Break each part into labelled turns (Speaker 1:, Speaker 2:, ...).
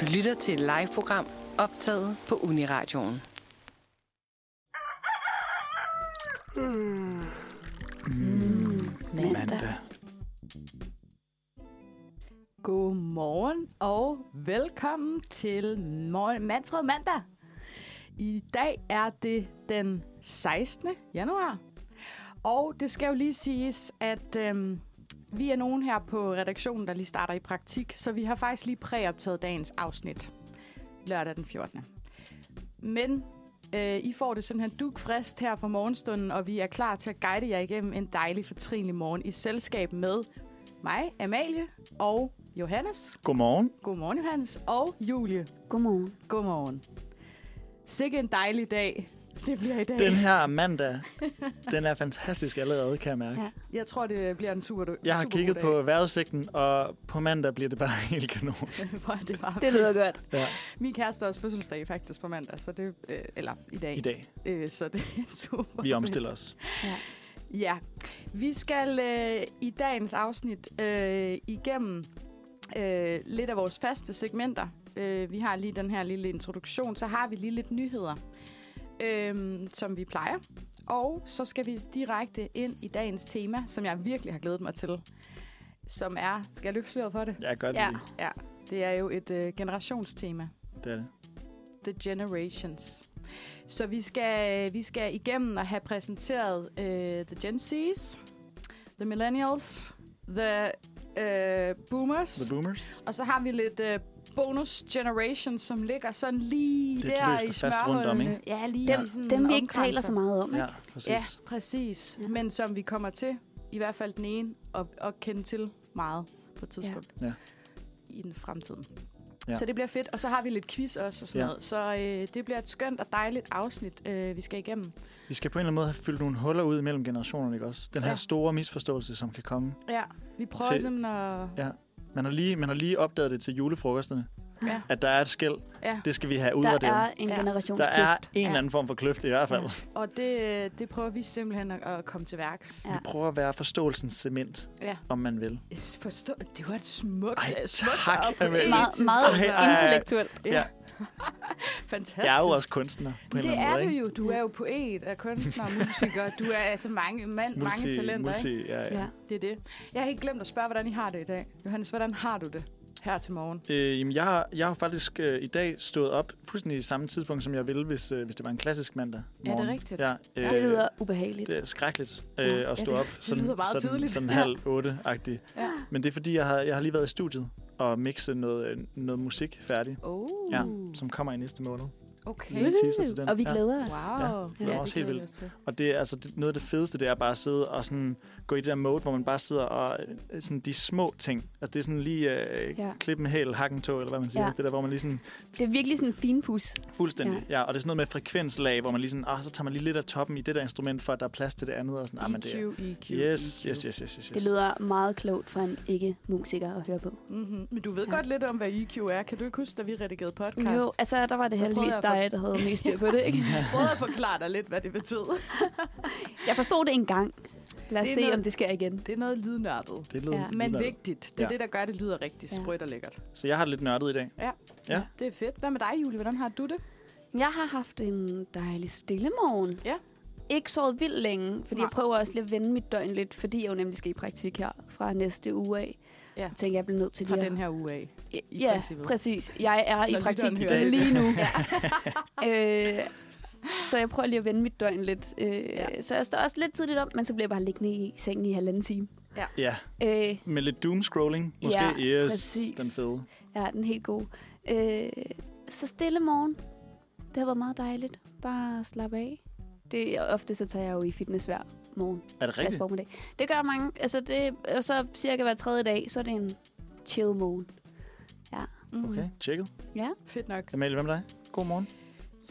Speaker 1: Du lytter til et live-program optaget på Uniradioen.
Speaker 2: mandag.
Speaker 3: Godmorgen og velkommen til Morgen Manfred Mandag. I dag er det den 16. januar. Og det skal jo lige siges, at øhm, vi er nogen her på redaktionen, der lige starter i praktik, så vi har faktisk lige præoptaget dagens afsnit lørdag den 14. Men øh, I får det simpelthen dugfrist her fra morgenstunden, og vi er klar til at guide jer igennem en dejlig fortrinlig morgen i selskab med mig, Amalie og Johannes.
Speaker 2: Godmorgen.
Speaker 3: Godmorgen, Johannes. Og Julie.
Speaker 4: Godmorgen.
Speaker 3: Godmorgen. Sikke en dejlig dag. Det bliver i dag.
Speaker 2: Den her mandag, den er fantastisk allerede, kan jeg mærke.
Speaker 4: Ja.
Speaker 3: Jeg tror, det bliver en super super
Speaker 2: Jeg har
Speaker 3: god
Speaker 2: kigget
Speaker 3: dag.
Speaker 2: på vejrudsigten, og på mandag bliver det bare helt kanon.
Speaker 3: Hvor er det var.
Speaker 4: Det lyder godt.
Speaker 2: Ja,
Speaker 3: Min kæreste har også fødselsdag faktisk på mandag, så det, øh, eller i dag.
Speaker 2: I dag.
Speaker 3: Øh, så det er super.
Speaker 2: Vi omstiller os.
Speaker 3: Ja. Vi skal øh, i dagens afsnit øh, igennem øh, lidt af vores faste segmenter. Øh, vi har lige den her lille introduktion, så har vi lige lidt nyheder, øh, som vi plejer. Og så skal vi direkte ind i dagens tema, som jeg virkelig har glædet mig til. Som er, skal jeg løfte sløret for det?
Speaker 2: Ja, godt
Speaker 4: Ja.
Speaker 2: lige.
Speaker 3: Ja, det er jo et øh, generationstema.
Speaker 2: Det er det.
Speaker 3: The Generations. Så vi skal, vi skal igennem og have præsenteret uh, The Gen Z's, The Millennials, The uh, Boomers,
Speaker 2: The Boomers.
Speaker 3: og så har vi lidt uh, Bonus Generation, som ligger sådan lige
Speaker 2: Det er
Speaker 3: der
Speaker 2: løst
Speaker 3: i
Speaker 2: og fast rundt om,
Speaker 3: smørhullene. Ja, lige
Speaker 2: Dem-
Speaker 3: i sådan
Speaker 4: Dem vi ikke taler
Speaker 3: omkranser.
Speaker 4: så meget om.
Speaker 2: Ja,
Speaker 4: Ikke?
Speaker 2: præcis.
Speaker 3: Ja, præcis.
Speaker 4: Ja.
Speaker 3: Men som vi kommer til, i hvert fald den ene, at, at kende til meget på et tidspunkt.
Speaker 2: Ja.
Speaker 3: I den fremtiden.
Speaker 2: Ja.
Speaker 3: Ja. Så det bliver fedt. Og så har vi lidt quiz også og sådan
Speaker 2: Ja.
Speaker 3: ja. noget. Så øh, det bliver et skønt og dejligt afsnit, øh, vi skal igennem.
Speaker 2: Vi skal på en eller anden måde have fyldt nogle huller ud mellem generationerne, ikke også? Den her
Speaker 3: Ja.
Speaker 2: store misforståelse, som kan komme.
Speaker 3: Ja. Vi prøver
Speaker 2: Til-
Speaker 3: til... simpelthen at...
Speaker 2: Ja. Man har, lige, man har lige opdaget det til julefrokosterne,
Speaker 3: Ja.
Speaker 2: at der er et skæld.
Speaker 3: Ja.
Speaker 2: Det skal vi have
Speaker 4: Der
Speaker 2: udraderet.
Speaker 4: er en
Speaker 3: Ja.
Speaker 2: der
Speaker 4: generationskløft.
Speaker 2: er en eller
Speaker 3: Ja.
Speaker 2: anden form for kløft i hvert fald.
Speaker 4: Ja.
Speaker 3: Og det, øh, det prøver vi simpelthen at, at komme til værks.
Speaker 4: Ja.
Speaker 2: Vi prøver at være forståelsens cement,
Speaker 3: Ja.
Speaker 2: om man vil.
Speaker 3: Forstå, det var et smukt...
Speaker 2: Ej,
Speaker 3: smukt
Speaker 2: tak,
Speaker 3: oplæg.
Speaker 2: Amalie.
Speaker 4: Meget, meget
Speaker 2: Ej, ej, ej.
Speaker 4: intellektuelt.
Speaker 2: Ja.
Speaker 3: Fantastisk.
Speaker 2: Jeg er jo også kunstner på en
Speaker 3: Det
Speaker 2: eller
Speaker 3: er
Speaker 2: anden
Speaker 3: du
Speaker 2: måde.
Speaker 3: jo. Du er jo poet og kunstner og musiker. Du er altså mange, man,
Speaker 2: Multi,
Speaker 3: mange talenter,
Speaker 2: multi,
Speaker 3: ikke?
Speaker 2: Ja, ja.
Speaker 4: Ja.
Speaker 3: Det er det. Jeg har helt glemt at spørge, hvordan I har det i dag. Johannes, hvordan har du det her til morgen?
Speaker 2: Øh, jamen, jeg, har- jeg har faktisk øh, i dag stået op fuldstændig i samme tidspunkt, som jeg ville, hvis, øh, hvis det var en klassisk mandag morgen.
Speaker 3: rigtigt?
Speaker 2: Ja, øh,
Speaker 4: Det lyder ubehageligt.
Speaker 2: det er skrækkeligt
Speaker 4: Ja,
Speaker 2: øh,
Speaker 4: ja,
Speaker 2: at stå
Speaker 4: det-
Speaker 2: op sådan,
Speaker 3: lyder meget
Speaker 2: sådan,
Speaker 3: tidligt.
Speaker 2: sådan
Speaker 3: Ja.
Speaker 2: halv otte-agtigt.
Speaker 3: Ja.
Speaker 2: Men det er, fordi jeg har, jeg har lige været i studiet og mixet noget, øh, noget musik færdig,
Speaker 3: Oh,
Speaker 2: ja, som kommer i næste måned.
Speaker 3: okay.
Speaker 2: Lille teaser til den.
Speaker 4: Og vi
Speaker 2: Ja.
Speaker 4: glæder os.
Speaker 3: Wow.
Speaker 2: Ja,
Speaker 3: Ja,
Speaker 2: var også helt
Speaker 3: glæder
Speaker 2: vildt.
Speaker 3: vi os til.
Speaker 2: Og det er altså det, noget af det fedeste, det er bare at sidde og sådan gå i det der mode, hvor man bare sidder og øh, sådan de små ting. Altså det er sådan lige øh, ja.
Speaker 4: Ja.
Speaker 2: klippe en hæl, hakke en tå, eller hvad man siger. Ja.
Speaker 4: Ja.
Speaker 2: Det der, hvor man lige sådan
Speaker 4: Det er virkelig sådan en fin pus.
Speaker 2: fuldstændig, ja. ja. og det er sådan noget med frekvenslag, hvor man lige sådan, ah, så tager man lige lidt af toppen i det der instrument, for at der er plads til det andet, og sådan, ah, men det er,
Speaker 3: EQ, EQ,
Speaker 2: yes,
Speaker 3: EQ.
Speaker 2: yes, yes, yes, yes, yes.
Speaker 4: Det lyder meget klogt for en ikke-musiker at høre på.
Speaker 3: Mm-hmm. Men du ved
Speaker 4: Ja.
Speaker 3: godt lidt om, hvad EQ er. Kan du ikke huske, da vi redigerede podcast?
Speaker 4: Jo, altså der var det
Speaker 3: Der
Speaker 4: heldigvis
Speaker 3: prøvede jeg
Speaker 4: dig, der havde mest styr på det, ikke?
Speaker 3: Jeg prøvede at forklare dig lidt, hvad det betød.
Speaker 4: Jeg forstod det engang. Lad os
Speaker 3: Det er
Speaker 4: se,
Speaker 3: noget-
Speaker 4: om det sker igen.
Speaker 3: Det er noget lydnørdet.
Speaker 2: Det lyder,
Speaker 4: Ja.
Speaker 2: ja,
Speaker 3: Men vigtigt. Det er
Speaker 2: Ja.
Speaker 3: ja. det, der gør, at det lyder rigtig
Speaker 4: Ja.
Speaker 3: sprødt og lækkert.
Speaker 2: Så jeg har det lidt nørdet i dag. Ja.
Speaker 3: Det er fedt. Hvad med dig, Julie? Hvordan har du det?
Speaker 4: Jeg har haft en dejlig stille morgen.
Speaker 3: Ja.
Speaker 4: Ikke sovet vildt længe, fordi
Speaker 3: Nej.
Speaker 4: Nej. jeg prøver også lige at vende mit døgn lidt, fordi jeg jo nemlig skal i praktik her fra næste uge af.
Speaker 3: Ja.
Speaker 4: Jeg tænker, jeg bliver nødt til
Speaker 3: Fra
Speaker 4: lige at-
Speaker 3: den her uge af. i
Speaker 4: ja,
Speaker 3: princippet.
Speaker 4: præcis. Jeg er i
Speaker 3: Når
Speaker 4: praktik
Speaker 3: lytteren hører det.
Speaker 4: lige nu. øh, så jeg prøver lige at vende mit døgn lidt. Øh,
Speaker 3: Ja.
Speaker 4: ja. Så jeg står også lidt tidligt op, men så bliver jeg bare liggende i sengen i halvanden time.
Speaker 2: Ja,
Speaker 4: Øh,
Speaker 2: med lidt doom-scrolling, måske.
Speaker 4: Ja,
Speaker 2: yes,
Speaker 4: præcis.
Speaker 2: den fede.
Speaker 4: ja, den er helt god. Øh, så stille morgen. Det har været meget dejligt. Bare at slappe af. Det, og ofte så tager jeg jo i fitness hver morgen.
Speaker 2: Er det
Speaker 4: Slags
Speaker 2: rigtigt?
Speaker 4: formiddag. Det gør mange. Altså det, og så cirka hver tredje dag, så er det en chill morgen.
Speaker 3: Mm.
Speaker 2: Okay, tjekket.
Speaker 3: Fedt nok.
Speaker 2: Amalie, hvad med dig? God morgen.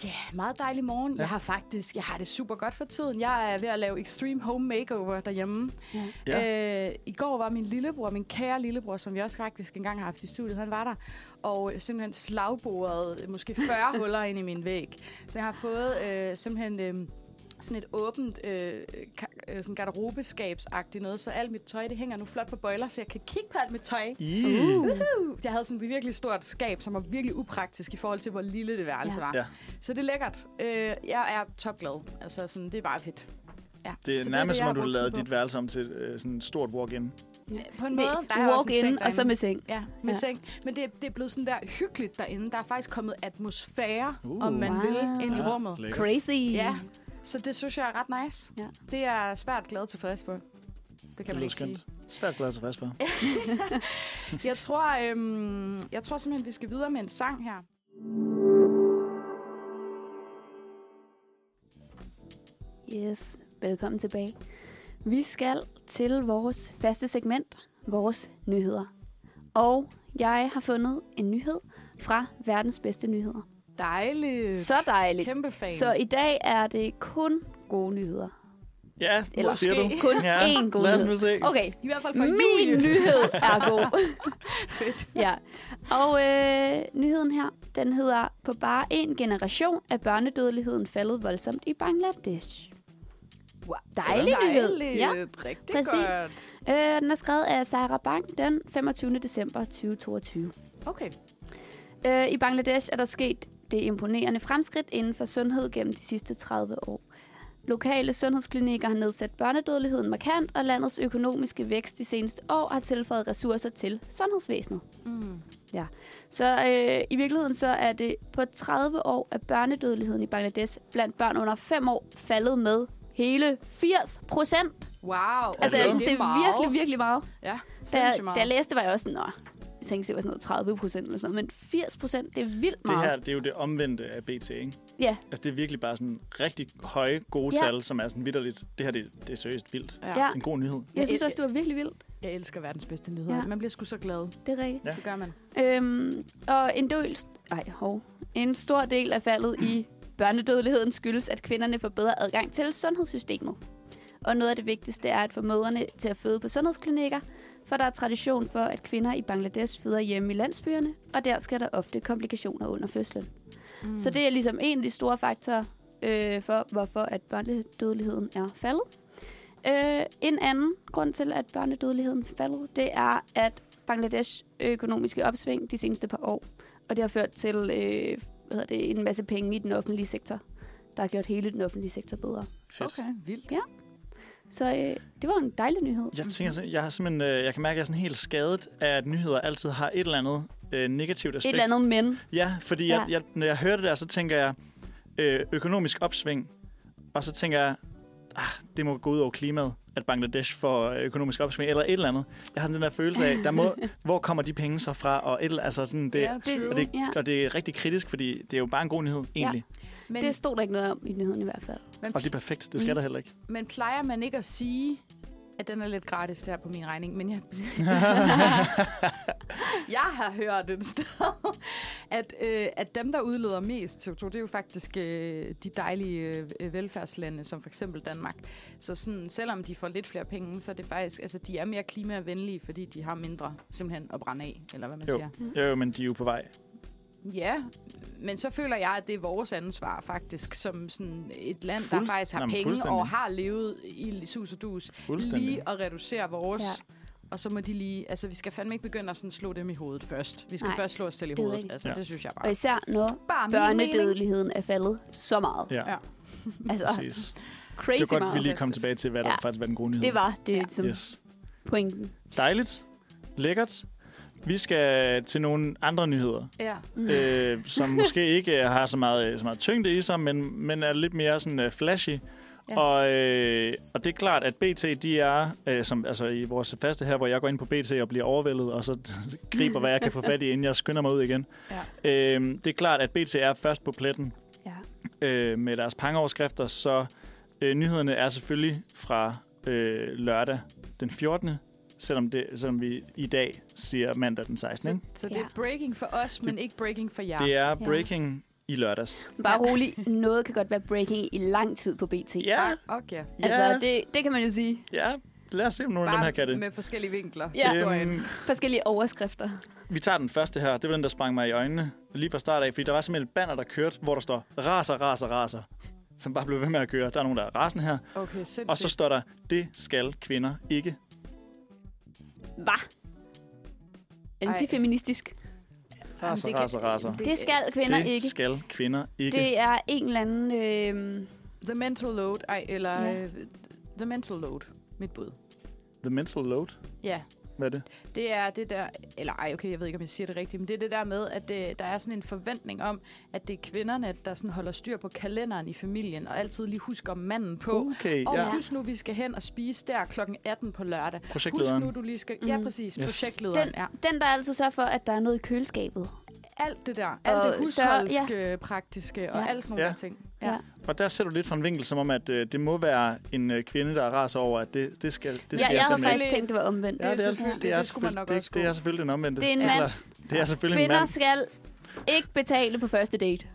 Speaker 3: Ja, meget dejlig morgen.
Speaker 2: Ja.
Speaker 3: Ja. Jeg har faktisk, jeg har det super godt for tiden. Jeg er ved at lave extreme home makeover derhjemme.
Speaker 4: Ja.
Speaker 3: Ja. Øh, I går var min lillebror, min kære lillebror, som vi også faktisk engang har haft i studiet, han var der, og simpelthen slagbordet måske 40 huller ind i min væg. Så jeg har fået øh, simpelthen øh, sådan et åbent øh, ka- øh, sådan garderobeskabsagtigt noget, så alt mit tøj, det hænger nu flot på bøjler, så jeg kan kigge på alt mit tøj.
Speaker 2: I.
Speaker 3: Uh, Jeg havde sådan et virkelig stort skab, som var virkelig upraktisk i forhold til, hvor lille det værelse
Speaker 4: Ja.
Speaker 3: var.
Speaker 2: Ja.
Speaker 3: Så det er lækkert. Øh, jeg er topglad. Altså, sådan, det er bare fedt. Ja.
Speaker 2: Det er
Speaker 3: så
Speaker 2: nærmest,
Speaker 3: jeg
Speaker 2: som om
Speaker 3: har
Speaker 2: du
Speaker 3: brugt tid
Speaker 2: lavede
Speaker 3: på.
Speaker 2: dit værelse om til øh, sådan et stort walk-in.
Speaker 3: På en
Speaker 4: Det,
Speaker 3: måde, der er også
Speaker 4: walk
Speaker 3: en seng
Speaker 4: in, og så
Speaker 3: derinde.
Speaker 4: med seng.
Speaker 3: Ja, med
Speaker 4: Ja.
Speaker 3: ja. seng. Men det, det er blevet sådan der hyggeligt derinde. Der er faktisk kommet atmosfære,
Speaker 2: Uh.
Speaker 3: uh, om man
Speaker 4: Wow.
Speaker 3: wow. vil, ind i
Speaker 2: Ja,
Speaker 3: rummet.
Speaker 2: lækkert.
Speaker 4: Crazy.
Speaker 3: Ja, så det synes jeg er ret nice.
Speaker 4: Ja.
Speaker 3: Det er jeg svært glad tilfreds for. Det kan
Speaker 2: Det
Speaker 3: man
Speaker 2: lyder
Speaker 3: ikke sige.
Speaker 2: skønt. Svært glad tilfreds for.
Speaker 3: Jeg tror, øhm, jeg tror simpelthen, vi skal videre med en sang her.
Speaker 4: Yes, velkommen tilbage. Vi skal til vores faste segment, vores nyheder. Og jeg har fundet en nyhed fra verdens bedste nyheder.
Speaker 3: Dejligt.
Speaker 4: Så dejligt.
Speaker 3: Øh, Kæmpe fan.
Speaker 4: Så i dag er det kun gode nyheder.
Speaker 2: Ja,
Speaker 4: Eller
Speaker 2: Eller siger du?
Speaker 3: måske
Speaker 4: kun
Speaker 2: ja,
Speaker 4: én god
Speaker 2: Lad os
Speaker 4: nyhed.
Speaker 2: nu se.
Speaker 4: Okay,
Speaker 3: I hvert fald for
Speaker 4: min
Speaker 3: Julie.
Speaker 4: nyhed er god.
Speaker 3: Fedt.
Speaker 4: ja. Og øh, nyheden her, den hedder, på bare en generation er børnedødeligheden faldet voldsomt i Bangladesh.
Speaker 3: Wow.
Speaker 4: Dejlig nyhed.
Speaker 3: Dejligt.
Speaker 4: Ja.
Speaker 3: Rigtig
Speaker 4: Præcis.
Speaker 3: godt.
Speaker 4: Øh, den er skrevet af Sarah Bang den 25. december 2022.
Speaker 3: Okay.
Speaker 4: Øh, I Bangladesh er der sket det imponerende fremskridt inden for sundhed gennem de sidste 30 år. Lokale sundhedsklinikker har nedsat børnedødeligheden markant, og landets økonomiske vækst de seneste år har tilføjet ressourcer til sundhedsvæsenet.
Speaker 3: Mm.
Speaker 4: Ja. Så øh, i virkeligheden så er det på 30 år, at børnedødeligheden i Bangladesh blandt børn under 5 år faldet med hele 80 procent.
Speaker 3: Wow.
Speaker 4: Altså,
Speaker 2: det
Speaker 4: jeg synes, det er
Speaker 3: meget.
Speaker 4: virkelig, virkelig meget.
Speaker 3: Ja,
Speaker 4: Da jeg,
Speaker 3: sindssygt
Speaker 4: da jeg
Speaker 3: meget.
Speaker 4: læste, var jeg også sådan, Nå, jeg tænkte, det var sådan noget 30 procent eller sådan noget, men 80 procent, det er vildt
Speaker 2: Det
Speaker 4: meget.
Speaker 2: her, det er jo det omvendte af BT, ikke?
Speaker 4: Ja,
Speaker 2: Altså, det er virkelig bare sådan rigtig høje, gode
Speaker 4: Ja.
Speaker 2: ja. tal, som er sådan vidderligt. Det her, det, det er seriøst vildt. Det
Speaker 4: Ja.
Speaker 2: er en god nyhed.
Speaker 4: jeg synes også, det var virkelig vildt.
Speaker 3: Jeg elsker verdens bedste nyheder.
Speaker 4: Ja.
Speaker 3: Ja. Man bliver sgu så glad.
Speaker 4: Det er rigtigt.
Speaker 2: Ja.
Speaker 3: Det gør man.
Speaker 4: Øhm, og en del... Ej, hov. En stor del af faldet i børnedødeligheden skyldes, at kvinderne får bedre adgang til sundhedssystemet. Og noget af det vigtigste er at få mødrene til at føde på sundhedsklinikker, for der er tradition for, at kvinder i Bangladesh føder hjemme i landsbyerne, og der sker der ofte komplikationer under fødslen. Mm. Så det er ligesom en af de store faktorer øh, for, hvorfor at børnedødeligheden er faldet. Øh, en anden grund til, at børnedødeligheden faldet, det er, at Bangladesh økonomiske opsving de seneste par år, og det har ført til øh, hvad hedder det, en masse penge i den offentlige sektor, der har gjort hele den offentlige sektor bedre.
Speaker 2: Fedt.
Speaker 3: Okay, vildt.
Speaker 4: Ja. Så øh, det var en dejlig nyhed.
Speaker 2: Jeg tænker, sim- jeg har simpelthen, øh, jeg kan mærke, at jeg er sådan helt skadet af, at nyheder altid har et eller andet øh, negativt aspekt.
Speaker 4: Et eller andet men.
Speaker 2: Ja, fordi ja. Jeg, jeg, når jeg hører det der, så tænker jeg øh, økonomisk opsving, og så tænker jeg, ah, det må gå ud over klimaet, at Bangladesh får øh, økonomisk opsving, eller et eller andet. Jeg har den der følelse af, der må, hvor kommer de penge så fra, og et, eller- altså sådan, det,
Speaker 3: Ja,
Speaker 4: det-
Speaker 2: og, det,
Speaker 4: ja.
Speaker 2: og det er rigtig kritisk, fordi det er jo bare en god nyhed, egentlig. Ja.
Speaker 3: Men,
Speaker 4: Det stod der ikke noget om i nyheden i hvert fald.
Speaker 3: men,
Speaker 2: Og det er perfekt, det skal
Speaker 4: Mm.
Speaker 2: mm. der heller ikke.
Speaker 3: men plejer man ikke at sige, at den er lidt gratis der på min regning, men jeg, jeg har hørt et sted, at, øh, at dem, der udleder mest CO2, det er jo faktisk øh, de dejlige øh, øh, velfærdslande, som for eksempel Danmark. Så sådan, selvom de får lidt flere penge, så er det faktisk, altså de er mere klimavenlige, fordi de har mindre simpelthen at brænde af, eller hvad man
Speaker 2: Jo.
Speaker 3: siger.
Speaker 2: Jo, jo, men de er jo på vej.
Speaker 3: Ja, men så føler jeg, at det er vores ansvar faktisk, som sådan et land, der
Speaker 2: Fuldst-
Speaker 3: faktisk har
Speaker 2: Nå, men
Speaker 3: penge
Speaker 2: fuldstændig.
Speaker 3: og har levet i sus og dus,
Speaker 2: Fuldstændig.
Speaker 3: lige at reducere vores.
Speaker 4: Ja.
Speaker 3: Ja. Og så må de lige, altså vi skal fandme ikke begynde at sådan slå dem i hovedet først. Vi skal
Speaker 4: Nej,
Speaker 3: Nej, først slå os selv i
Speaker 4: det er
Speaker 3: hovedet,
Speaker 4: rigtigt.
Speaker 3: altså
Speaker 2: Ja.
Speaker 3: ja. det synes jeg
Speaker 4: Og
Speaker 2: Ah.
Speaker 3: bare.
Speaker 4: især når
Speaker 3: Bare min mening.
Speaker 4: børnedødeligheden er faldet så meget.
Speaker 2: Ja, ja.
Speaker 3: Ja.
Speaker 4: Altså,
Speaker 2: præcis. Det
Speaker 4: crazy
Speaker 2: var godt,
Speaker 4: meget.
Speaker 2: vi lige kom tilbage til, hvad der
Speaker 4: Ja.
Speaker 2: ja. faktisk var den gode nyhed.
Speaker 4: Det var det
Speaker 3: Ja.
Speaker 4: ja. som yes.
Speaker 2: Yes.
Speaker 4: pointen.
Speaker 2: Dejligt. Lækkert. Vi skal til nogle andre nyheder,
Speaker 3: Ja.
Speaker 2: øh, som måske ikke øh, har så meget, så meget tyngde i sig, men, men er lidt mere sådan øh, flashy.
Speaker 3: Ja.
Speaker 2: Ja. Og, øh, og det er klart, at BT, de er, øh, som, altså i vores faste her, hvor jeg går ind på BT og bliver overvældet, og så griber, hvad jeg kan få fat i, inden jeg skynder mig ud igen.
Speaker 3: Ja.
Speaker 2: Øh, det er klart, at BT er først på pletten
Speaker 4: Ja.
Speaker 2: øh, med deres pangeoverskrifter, så øh, nyhederne er selvfølgelig fra øh, lørdag den 14., selvom, det, selvom vi i dag siger mandag den 16.
Speaker 3: Så,
Speaker 2: Ikke?
Speaker 3: så det
Speaker 4: Ja.
Speaker 3: er breaking for os, men ikke breaking for jer.
Speaker 2: Det er breaking ja. i lørdags.
Speaker 4: Bare rolig. Noget kan godt være breaking i lang tid på BT.
Speaker 2: Ja,
Speaker 3: Okay.
Speaker 4: Altså,
Speaker 2: Ja.
Speaker 4: det, det kan man jo sige.
Speaker 2: ja. Lad os se, om nogen af dem her kan
Speaker 3: Bare
Speaker 2: det.
Speaker 3: med forskellige vinkler.
Speaker 4: Ja.
Speaker 3: Historien.
Speaker 2: Øhm,
Speaker 4: Forskellige overskrifter.
Speaker 2: vi tager den første her. Det var den, der sprang mig i øjnene lige fra start af, fordi der var simpelthen et banner, der kørte, hvor der står raser, raser, raser. som bare blev ved med at køre. Der er nogen, der er rasende her.
Speaker 3: Okay, sindssygt.
Speaker 2: Og så står der, det skal kvinder ikke.
Speaker 4: Hvad? Antifeministisk.
Speaker 2: Raser,
Speaker 3: det
Speaker 2: det
Speaker 3: kan-
Speaker 2: raser, raser.
Speaker 4: Det skal kvinder
Speaker 2: det
Speaker 4: ikke.
Speaker 2: skal kvinder ikke.
Speaker 4: Det er en eller anden... Øh,
Speaker 3: The mental load, ej, eller...
Speaker 4: Ja.
Speaker 3: Ja. The mental load, mit bud.
Speaker 2: The mental load.
Speaker 3: Ja,
Speaker 2: Hvad er det?
Speaker 3: det er det der... Eller ej, okay, jeg ved ikke, om jeg siger det rigtigt, men det er det der med, at det, der er sådan en forventning om, at det er kvinderne, der sådan holder styr på kalenderen i familien, og altid lige husker manden på. Uh.
Speaker 2: Okay,
Speaker 3: Og
Speaker 2: ja.
Speaker 4: ja.
Speaker 3: husk nu, vi skal hen og spise der klokken 18 på lørdag. Husk
Speaker 2: Projektlederen.
Speaker 3: nu, du lige skal... Ja,
Speaker 4: Mm.
Speaker 3: præcis.
Speaker 2: Yes.
Speaker 3: Projektlederen,
Speaker 4: Den-
Speaker 3: ja.
Speaker 4: den, der altid sørger for, at der er noget i køleskabet.
Speaker 3: Alt det der. Alt det
Speaker 4: Og så- ja.
Speaker 3: husholdske, ja. praktiske og
Speaker 4: Ja.
Speaker 3: alt sådan nogle
Speaker 2: Ja.
Speaker 3: ting.
Speaker 4: Ja.
Speaker 2: Og der ser du lidt fra en vinkel, som om, at øh, det må være en øh, kvinde, der raser over, at det, det skal, det skal
Speaker 4: Ja, jeg havde
Speaker 2: simpelthen
Speaker 4: faktisk
Speaker 2: ikke.
Speaker 4: tænkt, det var omvendt.
Speaker 3: Ja, det er selvfølgelig- det skulle man nok
Speaker 2: det,
Speaker 3: også
Speaker 2: Det er
Speaker 3: kunne.
Speaker 2: selvfølgelig den omvendte.
Speaker 4: Det er en
Speaker 2: klart.
Speaker 4: mand.
Speaker 2: Det er selvfølgelig en
Speaker 4: Kvinder
Speaker 2: mand.
Speaker 4: skal ikke betale på første date.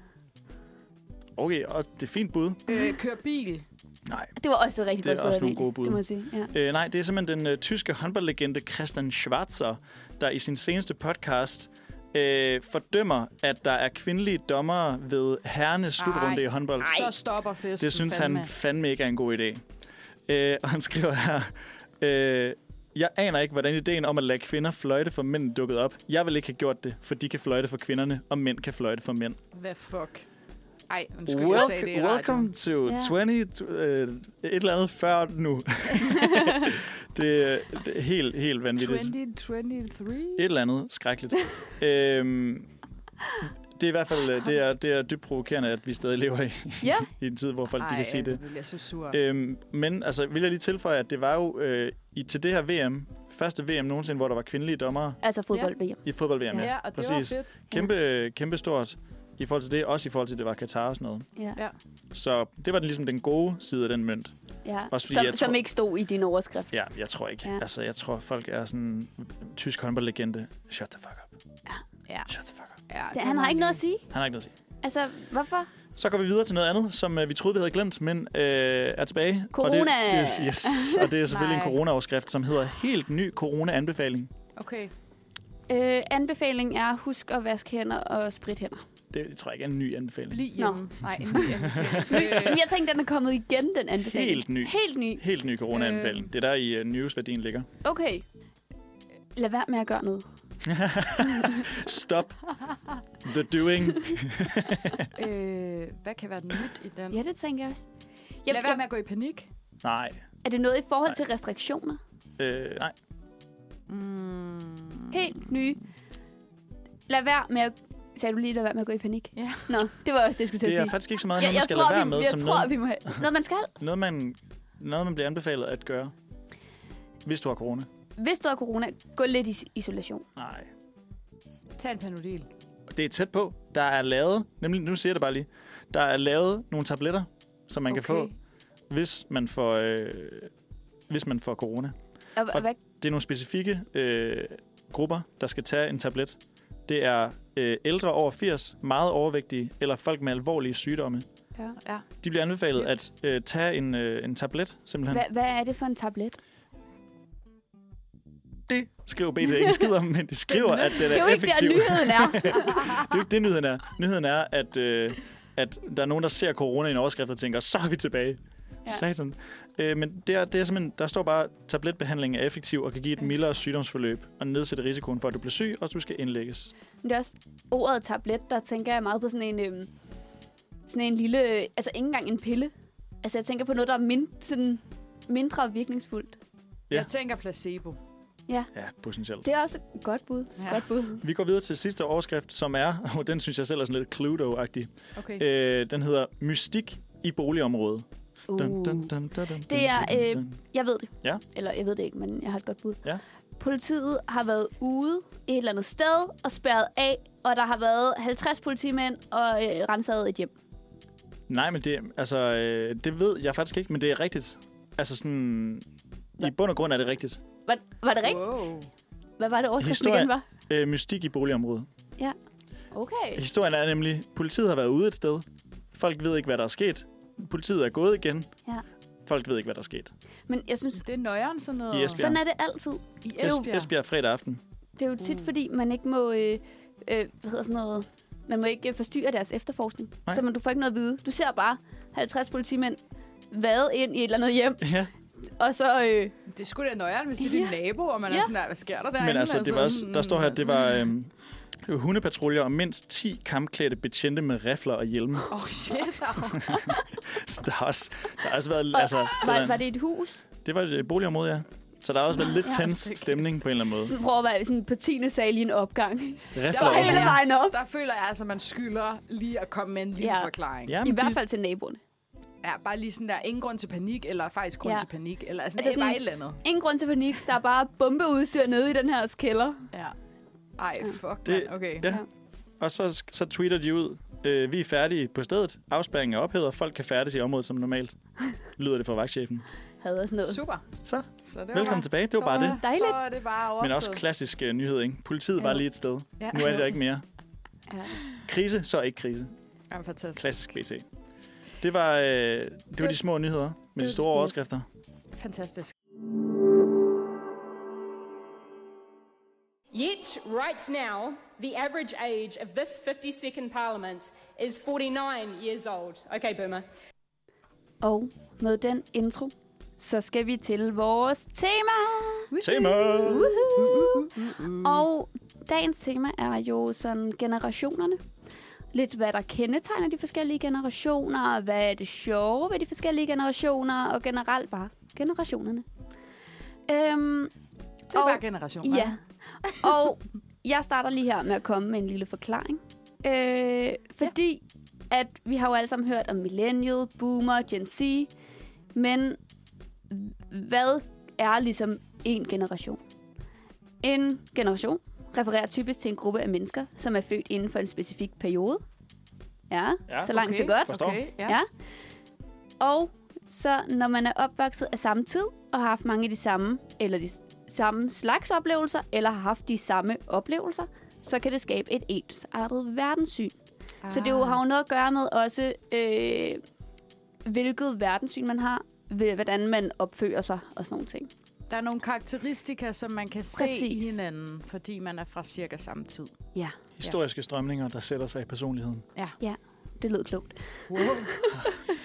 Speaker 2: Okay, og det er fint bud.
Speaker 3: Øh, kør bil.
Speaker 2: Nej.
Speaker 4: Det var også et rigtig
Speaker 2: Det er
Speaker 4: godt bud,
Speaker 2: også nogle
Speaker 4: Amalie.
Speaker 2: gode bud.
Speaker 4: Det må jeg sige, ja.
Speaker 2: Øh, nej, det er simpelthen den øh, tyske håndboldlegende Christian Schwarzer, der i sin seneste podcast øh, fordømmer, at der er kvindelige dommere ved herrenes slutrunde
Speaker 3: Ej.
Speaker 2: i håndbold.
Speaker 3: Så stopper festen.
Speaker 2: Det synes
Speaker 3: fandme.
Speaker 2: han fandme ikke er en god idé. Øh, og han skriver her... Øh, jeg aner ikke, hvordan ideen om at lade kvinder fløjte for mænd dukkede op. Jeg vil ikke have gjort det, for de kan fløjte for kvinderne, og mænd kan fløjte for mænd.
Speaker 3: Hvad fuck? Ej, undskyld, jeg sagde det i
Speaker 2: Welcome,
Speaker 3: radioen.
Speaker 2: welcome to
Speaker 4: Ja.
Speaker 2: 20... øh, et eller andet før nu. det, er- det er helt, helt vanvittigt.
Speaker 3: 2023?
Speaker 2: Et eller andet skrækkeligt. øhm, det er i hvert fald øh, det er, det er dybt provokerende, at vi stadig lever i,
Speaker 4: Ja,
Speaker 2: i en tid, hvor folk de kan sige det.
Speaker 3: Ej, jeg er så sur.
Speaker 2: Øhm, men altså, vil jeg lige tilføje, at det var jo øh, i, til det her VM, første VM nogensinde, hvor der var kvindelige dommere
Speaker 4: altså fodbold ja.
Speaker 2: i fodbold-VM. Ja.
Speaker 3: ja, og det
Speaker 2: præcis.
Speaker 3: var fedt.
Speaker 2: Kæmpe, kæmpe stort i forhold til det, også i forhold til, at det var Katar og sådan noget.
Speaker 4: ja.
Speaker 3: Ja.
Speaker 2: Så det var den, ligesom den gode side af den mønt.
Speaker 4: ja.
Speaker 2: Også fordi
Speaker 4: Som,
Speaker 2: jeg tror-
Speaker 4: som ikke stod i din overskrift.
Speaker 2: Ja, jeg tror ikke.
Speaker 4: Ja.
Speaker 2: Ja. Altså, jeg tror, folk er sådan tysk håndboldlegende. Shut the fuck up.
Speaker 3: Ja.
Speaker 2: Shut the fuck up.
Speaker 3: Ja,
Speaker 4: Det, han har ikke noget at sige.
Speaker 2: Han har ikke noget at sige.
Speaker 4: Altså, hvorfor?
Speaker 2: Så går vi videre til noget andet, som øh, vi troede, vi havde glemt, men øh, er tilbage. Og det,
Speaker 4: Corona!
Speaker 2: det, er- yes, og det er selvfølgelig en
Speaker 3: Nej.
Speaker 2: corona-overskrift, som hedder Helt ny corona-anbefaling.
Speaker 3: Okay.
Speaker 4: Øh, anbefalingen er, husk at vaske hænder og sprit hænder.
Speaker 2: Det tror jeg ikke er en ny anbefaling.
Speaker 3: Bliv
Speaker 4: Nå.
Speaker 3: hjemme. Nej, en ny anbefaling.
Speaker 4: Men jeg tænkte, den er kommet igen, den anbefaling.
Speaker 2: Helt ny.
Speaker 4: Helt ny.
Speaker 2: Helt ny corona-anbefaling. Øh. Det er der i uh, news, hvad din ligger.
Speaker 4: Okay. Lad være med at gøre noget.
Speaker 2: Stop the doing.
Speaker 3: Øh, øh, hvad kan være nyt i den?
Speaker 4: Ja, det tænker jeg også.
Speaker 3: Jeg,
Speaker 4: Jeg,
Speaker 3: Lad være med at gå i panik.
Speaker 2: Nej.
Speaker 4: Er det noget i forhold til restriktioner?
Speaker 2: Øh, nej.
Speaker 3: Mm.
Speaker 4: Helt nye. Lad være med at... Sagde du lige, lad være med at gå i panik?
Speaker 3: Ja.
Speaker 4: Nå, det var også det, jeg skulle til
Speaker 2: Det
Speaker 4: at
Speaker 2: er
Speaker 4: sige.
Speaker 2: faktisk ikke så meget
Speaker 4: jeg,
Speaker 2: noget, man
Speaker 4: jeg
Speaker 2: skal
Speaker 4: tror,
Speaker 2: lade være
Speaker 4: vi,
Speaker 2: med,
Speaker 4: jeg
Speaker 2: som
Speaker 4: tror,
Speaker 2: noget,
Speaker 4: vi må have... Noget, man skal.
Speaker 2: noget, man, noget, man bliver anbefalet at gøre. Hvis du har corona.
Speaker 4: Hvis du har corona, gå lidt i isolation.
Speaker 2: Nej.
Speaker 3: Tag en panodil.
Speaker 2: Det er tæt på. Der er lavet, nemlig nu siger jeg det bare lige, der er lavet nogle tabletter, som man okay. kan få, hvis man får, øh, hvis man får corona.
Speaker 4: Og, og
Speaker 2: Og-
Speaker 4: hvad,
Speaker 2: Det er nogle specifikke øh, grupper, der skal tage en tablet. Det er øh, ældre over 80, meget overvægtige eller folk med alvorlige sygdomme.
Speaker 4: ja.
Speaker 3: Ja.
Speaker 2: De bliver anbefalet at øh, tage en, øh, en tablet, simpelthen.
Speaker 4: hvad, hvad er det for en tablet?
Speaker 2: Det skriver BT ikke en skid om, men de skriver, at den er,
Speaker 4: det er jo ikke
Speaker 2: effektiv.
Speaker 4: der, nyheden er.
Speaker 2: det er jo ikke det, nyheden er. Nyheden er, at, øh, at der er nogen, der ser corona i en overskrift og tænker, så er vi tilbage.
Speaker 4: Ja.
Speaker 2: Ja. Satan. Øh, men det er, det er simpelthen, der står bare, tabletbehandling er effektiv og kan give et mildere sygdomsforløb og nedsætte risikoen for, at du bliver syg, og at du skal indlægges.
Speaker 4: Men det er også ordet tablet, der tænker jeg meget på sådan en, øhm, sådan en lille... øh, Altså ikke engang en pille. Altså jeg tænker på noget, der er mind, sådan mindre virkningsfuldt.
Speaker 2: Ja.
Speaker 3: Jeg tænker placebo.
Speaker 2: Ja, potentielt.
Speaker 4: Det er også et godt bud.
Speaker 3: Ja.
Speaker 4: Ja. Godt bud.
Speaker 2: Vi går videre til sidste overskrift, som er, og den synes jeg selv er sådan lidt Cluedo-agtig.
Speaker 3: Okay.
Speaker 2: Øh, den hedder Mystik i boligområdet. Dun, dun, dun, dun, dun,
Speaker 4: Uh. Det er,
Speaker 2: dun,
Speaker 4: øh,
Speaker 2: dun, dun.
Speaker 4: Jeg ved det.
Speaker 2: Ja.
Speaker 4: Eller jeg ved det ikke, men jeg har et godt bud.
Speaker 2: Ja.
Speaker 4: Politiet har været ude et eller andet sted og spærret af, og der har været 50 politimænd og øh, renset et hjem.
Speaker 2: Nej, men det, altså, øh, det ved jeg faktisk ikke, men det er rigtigt. Altså sådan, i bund og grund er det rigtigt.
Speaker 4: Var, var det rigtigt?
Speaker 3: Wow.
Speaker 4: Hvad var det overskriften
Speaker 2: Historie.
Speaker 4: igen var?
Speaker 2: Øh, mystik i boligområdet.
Speaker 4: Okay.
Speaker 2: Historien er nemlig, politiet har været ude et sted. Folk ved ikke, hvad der er sket. Politiet er gået igen.
Speaker 4: Ja.
Speaker 2: Folk ved ikke, hvad der er sket.
Speaker 4: Men jeg synes,
Speaker 3: Det er nøjeren sådan noget.
Speaker 2: I Esbjerg.
Speaker 4: sådan er det altid.
Speaker 3: I
Speaker 2: Esbjerg,
Speaker 3: Esbjerg.
Speaker 2: Esbjerg fredag aften.
Speaker 4: Det er jo tit, fordi man ikke må... Øh, øh, hvad hedder sådan noget? Man må ikke øh, forstyrre deres efterforskning.
Speaker 2: Nej.
Speaker 4: Nej. Så man, du får ikke noget at vide. Du ser bare 50 politimænd vade ind i et eller andet hjem,
Speaker 2: Ja,
Speaker 4: og så... Øh,
Speaker 3: Det skulle da nøjeren, hvis det er din nabo, og man ja. er
Speaker 4: Ja.
Speaker 3: sådan der, hvad sker der derinde?
Speaker 2: men altså, det var, også- der står her, at det var øhm, hundepatruljer og mindst 10 kampklædte betjente med rifler og hjelme.
Speaker 3: Åh, oh, shit.
Speaker 2: Så der har også, der har også været...
Speaker 4: og,
Speaker 2: Altså,
Speaker 4: var, var, det et hus?
Speaker 2: det var et boligområde, ja. Så der har også været lidt
Speaker 4: Ja.
Speaker 2: tens stemning på en eller anden måde.
Speaker 4: Så prøv at være sådan på 10. sal i en opgang.
Speaker 3: Der
Speaker 2: Rifler
Speaker 3: var
Speaker 2: og
Speaker 3: hele
Speaker 4: Hele
Speaker 2: hjelme.
Speaker 4: vejen op.
Speaker 3: Der føler jeg altså, at man skylder lige at komme med en lille ja.
Speaker 4: Ja.
Speaker 3: forklaring. Ja.
Speaker 2: Ja,
Speaker 4: I
Speaker 2: men
Speaker 4: hvert
Speaker 2: de,
Speaker 4: fald til naboerne.
Speaker 3: ja. bare lige sådan der, ingen grund til panik, eller faktisk grund ja.
Speaker 4: Ja.
Speaker 3: til panik, eller sådan,
Speaker 4: Altså
Speaker 3: altså sådan
Speaker 4: sådan-
Speaker 3: bare et eller andet.
Speaker 4: Ingen grund til panik. Der er bare bombeudstyr nede i den her kælder.
Speaker 3: Ja. Ej, fuck,
Speaker 2: Det-
Speaker 3: det, okay.
Speaker 2: ja. Og så, så tweeter de ud, øh, vi er færdige på stedet. Afspæringen er ophævet, og folk kan færdes i området som normalt. Lyder det fra vagtchefen.
Speaker 4: Havde og sådan noget.
Speaker 3: Super.
Speaker 2: Så,
Speaker 3: Så det var
Speaker 2: velkommen
Speaker 3: bare-
Speaker 2: tilbage. Det var bare
Speaker 3: så,
Speaker 2: det.
Speaker 4: Dejligt.
Speaker 3: Så er det bare
Speaker 2: Men
Speaker 3: overstået.
Speaker 2: også klassisk uh, nyhed, ikke? Politiet var
Speaker 4: Ja.
Speaker 2: lige et sted.
Speaker 3: Ja.
Speaker 2: Nu er det der ikke mere.
Speaker 4: Ja.
Speaker 2: Krise, så ikke krise.
Speaker 3: Ja, fantastisk.
Speaker 2: Klassisk BT. Det var, øh, det var de små nyheder med de
Speaker 4: det-
Speaker 2: store
Speaker 4: yes.
Speaker 2: overskrifter.
Speaker 3: Fantastisk.
Speaker 5: Yet, right now, the average age of this 52nd Parliament is 49 years old. Okay, Boomer.
Speaker 4: Og med den intro, så skal vi til vores tema.
Speaker 2: Tema!
Speaker 4: Og dagens tema er jo sådan generationerne. Lidt hvad der kendetegner de forskellige generationer, hvad er det sjove ved de forskellige generationer, og generelt bare generationerne. Øhm,
Speaker 3: Det er
Speaker 4: Og-
Speaker 3: bare generationer.
Speaker 4: Ja. Og jeg starter lige her med at komme med en lille forklaring. Øh, fordi ja. at vi har jo alle sammen hørt om millennial, boomer, gen Z, men hvad er ligesom en generation? En generation refererer typisk til en gruppe af mennesker, som er født inden for en specifik periode. Ja,
Speaker 2: Ja,
Speaker 4: ja så langt så godt.
Speaker 2: Forstår.
Speaker 3: Okay, ja.
Speaker 4: Ja. Og så når man er opvokset af samme tid og har haft mange af de samme, eller de s- samme slags oplevelser, eller har haft de samme oplevelser, så kan det skabe et ensartet verdenssyn. Ah. Så det jo har jo noget at gøre med også, øh, hvilket verdenssyn man har, hvil- hvordan man opfører sig og sådan nogle ting.
Speaker 3: Der er nogle karakteristika, som man kan se
Speaker 4: Præcis.
Speaker 3: i hinanden, fordi man er fra cirka samme tid.
Speaker 4: Ja,
Speaker 2: Historiske strømninger, der sætter sig i personligheden.
Speaker 4: det lød klogt.
Speaker 3: Wow.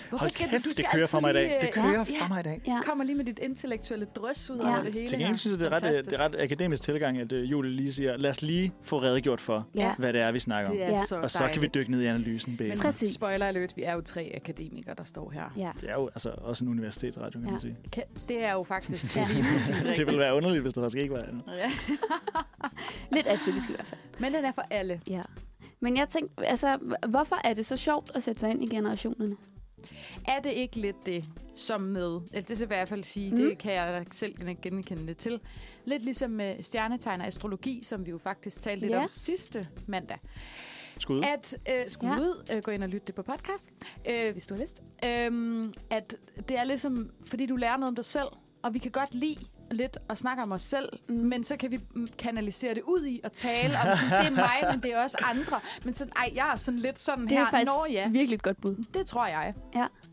Speaker 3: Hvorfor
Speaker 2: Hold kæft, det kører for mig i dag. Det kører for mig i dag.
Speaker 4: øh, Ja.
Speaker 3: kommer lige med dit intellektuelle drøs ud
Speaker 4: Ja.
Speaker 3: over det hele
Speaker 2: Til
Speaker 3: her.
Speaker 2: gengæld synes jeg, det er, ret, øh, det
Speaker 3: Fantastisk.
Speaker 2: er ret akademisk tilgang, at øh, Julie lige siger, lad os lige få redegjort for,
Speaker 4: Ja.
Speaker 2: hvad det er, vi snakker om.
Speaker 3: Det er
Speaker 4: Ja.
Speaker 3: så
Speaker 2: Og så kan vi
Speaker 3: dejligt.
Speaker 2: dykke ned i analysen bag.
Speaker 3: Men
Speaker 2: Det
Speaker 4: Præcis.
Speaker 3: spoiler alert, vi er jo tre akademikere, der står her.
Speaker 4: Ja.
Speaker 2: er jo altså også en universitetsradio, kan man
Speaker 4: Ja.
Speaker 2: sige.
Speaker 3: Kan- Det er jo faktisk
Speaker 4: Ja.
Speaker 3: lige præcis
Speaker 2: Det
Speaker 3: rigtigt.
Speaker 2: ville være underligt, hvis der faktisk ikke var andet.
Speaker 3: Ja.
Speaker 4: Lidt atypisk i hvert fald.
Speaker 3: Men den er for alle.
Speaker 4: Ja. Men jeg tænkte, altså, h- hvorfor er det så sjovt at sætte sig ind i generationerne?
Speaker 3: Er det ikke lidt det, som med, eller det skal jeg i hvert fald sige, mm. det kan jeg da selv ikke genkende det til, lidt ligesom med stjernetegn og astrologi, som vi jo faktisk talte lidt
Speaker 4: Ja.
Speaker 3: om sidste mandag,
Speaker 2: Skud.
Speaker 3: at øh, skulle ja.
Speaker 4: Ja.
Speaker 3: ud, øh, gå ind og lytte det på podcast, øh, hvis du har lyst, øh, at det er ligesom, fordi du lærer noget om dig selv, og vi kan godt lide lidt at snakke om os selv, mm. men så kan vi mm, kanalisere det ud i og tale om, sådan, det er mig, men det er også andre. Men sådan, ej, jeg er sådan lidt sådan
Speaker 4: Det er
Speaker 3: her.
Speaker 4: faktisk
Speaker 3: Nå ja,
Speaker 4: virkelig et godt bud.
Speaker 3: det tror jeg.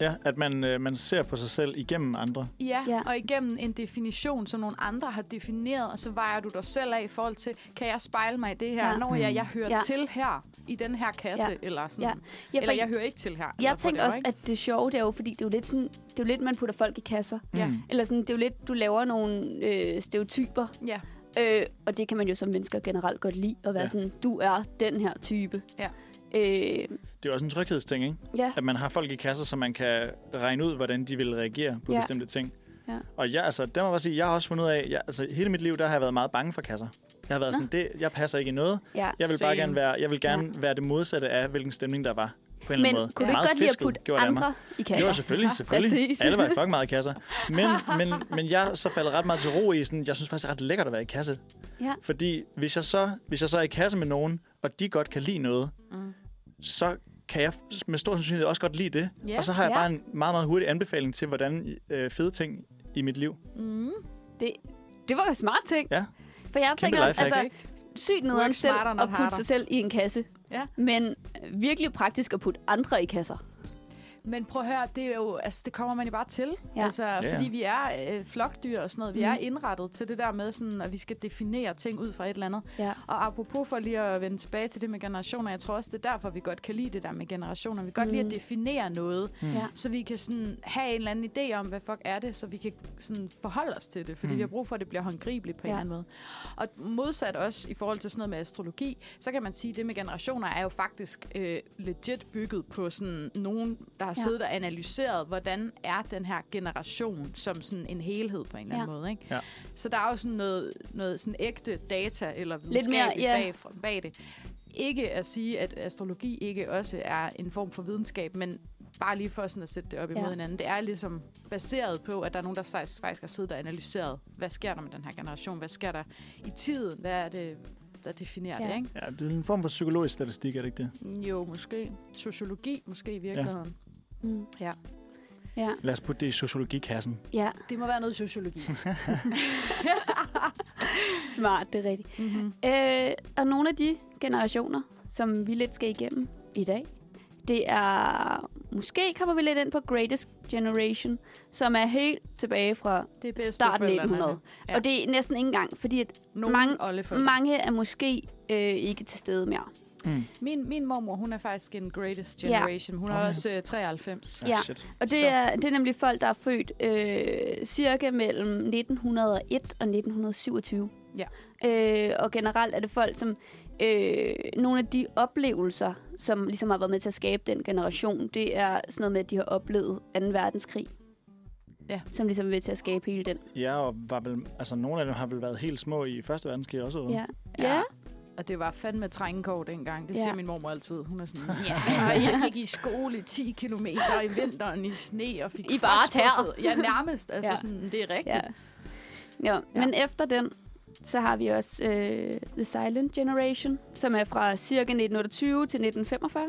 Speaker 2: Ja, at man, øh, man ser på sig selv igennem andre.
Speaker 3: Ja, ja,
Speaker 4: Ja.
Speaker 3: og igennem en definition, som nogle andre har defineret, og så vejer du dig selv af i forhold til, kan jeg spejle mig i det her, ja.
Speaker 4: Ja.
Speaker 3: når jeg, jeg hører ja.
Speaker 4: Ja.
Speaker 3: til her, i den her kasse, ja.
Speaker 4: Ja.
Speaker 3: eller sådan.
Speaker 4: Ja.
Speaker 3: Ja.
Speaker 4: Ja,
Speaker 3: Eller
Speaker 4: for-
Speaker 3: jeg hører ikke til her. eller
Speaker 4: Jeg tænkte
Speaker 3: whatever,
Speaker 4: også,
Speaker 3: ikke?
Speaker 4: at det sjove, det er jo, fordi det er jo lidt sådan, det er jo lidt, man putter folk i kasser.
Speaker 3: Ja.
Speaker 4: Eller sådan, det er jo lidt, du laver nogle øh, stereotyper,
Speaker 3: ja.
Speaker 4: øh, og det kan man jo som mennesker generelt godt lide, at være
Speaker 2: Ja.
Speaker 4: ja. sådan, du er den her type.
Speaker 3: Ja.
Speaker 4: Øh,
Speaker 2: Det er jo også en tryghedsting, ikke?
Speaker 4: ja,
Speaker 2: At man har folk i kasser, så man kan regne ud, hvordan de vil reagere på ja.
Speaker 4: Ja.
Speaker 2: bestemte ting.
Speaker 4: Ja.
Speaker 2: Og jeg, altså, der må jeg bare sige, jeg har også fundet ud af, jeg, altså, hele mit liv, der har jeg været meget bange for kasser. Jeg har været sådan, det, jeg passer ikke i noget.
Speaker 4: ja.
Speaker 2: Jeg vil bare
Speaker 3: Same.
Speaker 2: gerne være, jeg vil gerne være det modsatte af, hvilken stemning der var. På en eller
Speaker 4: Men
Speaker 2: anden måde.
Speaker 4: kunne du
Speaker 2: Meget
Speaker 4: ikke godt lide at
Speaker 2: fisket,
Speaker 4: putte
Speaker 2: gjorde det af mig.
Speaker 4: andre i kasser?
Speaker 2: Jo, selvfølgelig, selvfølgelig.
Speaker 4: Præcis.
Speaker 2: Alle var i fucking meget i kasser. Men, men, men jeg så faldt ret meget til ro i sådan, jeg synes faktisk, det er ret lækkert at være i kasse.
Speaker 4: Ja.
Speaker 2: Fordi hvis jeg, så, hvis jeg så er i kasse med nogen, og de godt kan lide noget, mm. så kan jeg f- med stor sandsynlighed også godt lide det.
Speaker 3: Ja,
Speaker 2: og så har jeg
Speaker 4: ja.
Speaker 2: bare en meget, meget hurtig anbefaling til, hvordan øh, fede ting i mit liv.
Speaker 4: Det, det var jo smart ting.
Speaker 2: Ja.
Speaker 4: For jeg tænker også,
Speaker 2: lifehack.
Speaker 4: altså, sygt nederen
Speaker 3: Work
Speaker 4: selv
Speaker 3: smarter, not
Speaker 4: at putte
Speaker 3: harder.
Speaker 4: sig selv i en kasse.
Speaker 3: Ja.
Speaker 4: Men virkelig praktisk at putte andre i kasser.
Speaker 3: Men prøv at høre, det, er jo, altså, det kommer man jo bare til.
Speaker 4: Ja.
Speaker 3: Ja. Altså,
Speaker 2: ja.
Speaker 3: ja. Fordi vi er øh, flokdyr og sådan noget. Vi
Speaker 4: Mm.
Speaker 3: mm. er indrettet til det der med, sådan, at vi skal definere ting ud fra et eller andet.
Speaker 4: Ja.
Speaker 3: Og apropos for lige at vende tilbage til det med generationer, jeg tror også, det er derfor, vi godt kan lide det der med generationer. Vi kan godt lide at definere noget,
Speaker 2: Mm.
Speaker 4: Ja.
Speaker 3: så vi kan sådan have en eller anden idé om, hvad fuck er det, så vi kan sådan forholde os til det, fordi
Speaker 2: Mm.
Speaker 3: mm. vi har brug for, at det bliver håndgribeligt på ja. en
Speaker 4: Ja.
Speaker 3: eller anden måde. Og modsat også i forhold til sådan noget med astrologi, så kan man sige, at det med generationer er jo faktisk øh, legit bygget på sådan nogen, der har
Speaker 4: Ja.
Speaker 3: ja. siddet og analyseret, hvordan er den her generation som sådan en helhed på en eller anden
Speaker 4: Ja.
Speaker 3: måde. Ikke?
Speaker 2: Ja.
Speaker 3: Så der er jo sådan noget, noget sådan ægte data eller
Speaker 4: mere,
Speaker 3: videnskab
Speaker 4: ja.
Speaker 3: bag, fra- bag det. Ikke at sige, at astrologi ikke også er en form for videnskab, men bare lige for sådan at sætte det op imod
Speaker 4: Ja.
Speaker 3: ja. hinanden. Det er ligesom baseret på, at der er nogen, der faktisk faktisk har siddet og analyseret, hvad sker der med den her generation? Hvad sker der i tiden? Hvad er det, der definerer
Speaker 4: Ja.
Speaker 3: ja. det,
Speaker 2: Ja, det er en form for psykologisk statistik, er det ikke det?
Speaker 3: ikke? Jo, måske. Sociologi, måske i virkeligheden. Ja.
Speaker 4: Mm.
Speaker 3: Ja.
Speaker 4: Ja.
Speaker 2: Lad os putte det i sociologikassen.
Speaker 4: ja,
Speaker 3: Det må være noget sociologi.
Speaker 4: smart, det er rigtigt.
Speaker 3: mm-hmm.
Speaker 4: Øh, og nogle af de generationer, som vi lidt skal igennem i dag, det er... Måske kommer vi lidt ind på Greatest Generation, som er helt tilbage fra
Speaker 3: Det er bedste
Speaker 4: starten af 1900. Ja.
Speaker 3: Ja.
Speaker 4: Og det er næsten ikke engang, fordi at
Speaker 3: Nogle
Speaker 4: Mange-
Speaker 3: mange, oldeforældre.
Speaker 4: mange er måske øh, ikke til stede mere.
Speaker 2: Mm.
Speaker 3: Min, min mormor, hun er faktisk en greatest
Speaker 4: Ja.
Speaker 3: generation. Hun er
Speaker 2: Nå,
Speaker 3: også øh, 93.
Speaker 4: Ja.
Speaker 2: Ah, Shit.
Speaker 4: Og
Speaker 3: Så-
Speaker 4: det er, det er nemlig folk, der er født øh, cirka mellem 1901 og 1927.
Speaker 3: Ja.
Speaker 4: Øh, og generelt er det folk, som øh, nogle af de oplevelser, som ligesom har været med til at skabe den generation, det er sådan noget med, at de har oplevet 2. verdenskrig.
Speaker 3: Ja. Mm.
Speaker 4: Som ligesom er med til at skabe hele den.
Speaker 2: Ja, og var vel, altså, nogle af dem har vel været helt små i Første Verdenskrig også. eller?
Speaker 4: Ja. Ja.
Speaker 3: Og det var fandme trængekår dengang. Det
Speaker 4: Ja.
Speaker 3: siger min mormor altid. Hun er sådan, ja, og jeg gik i skole i 10 km i vinteren i sne og fik
Speaker 4: I bare
Speaker 3: frostbuffet." Ja, nærmest. Altså
Speaker 4: Ja.
Speaker 3: ja. sådan, det er rigtigt.
Speaker 4: ja.
Speaker 3: Ja.
Speaker 4: ja. Men efter den, så har vi også øh, The Silent Generation, som er fra cirka 1928 til 1945.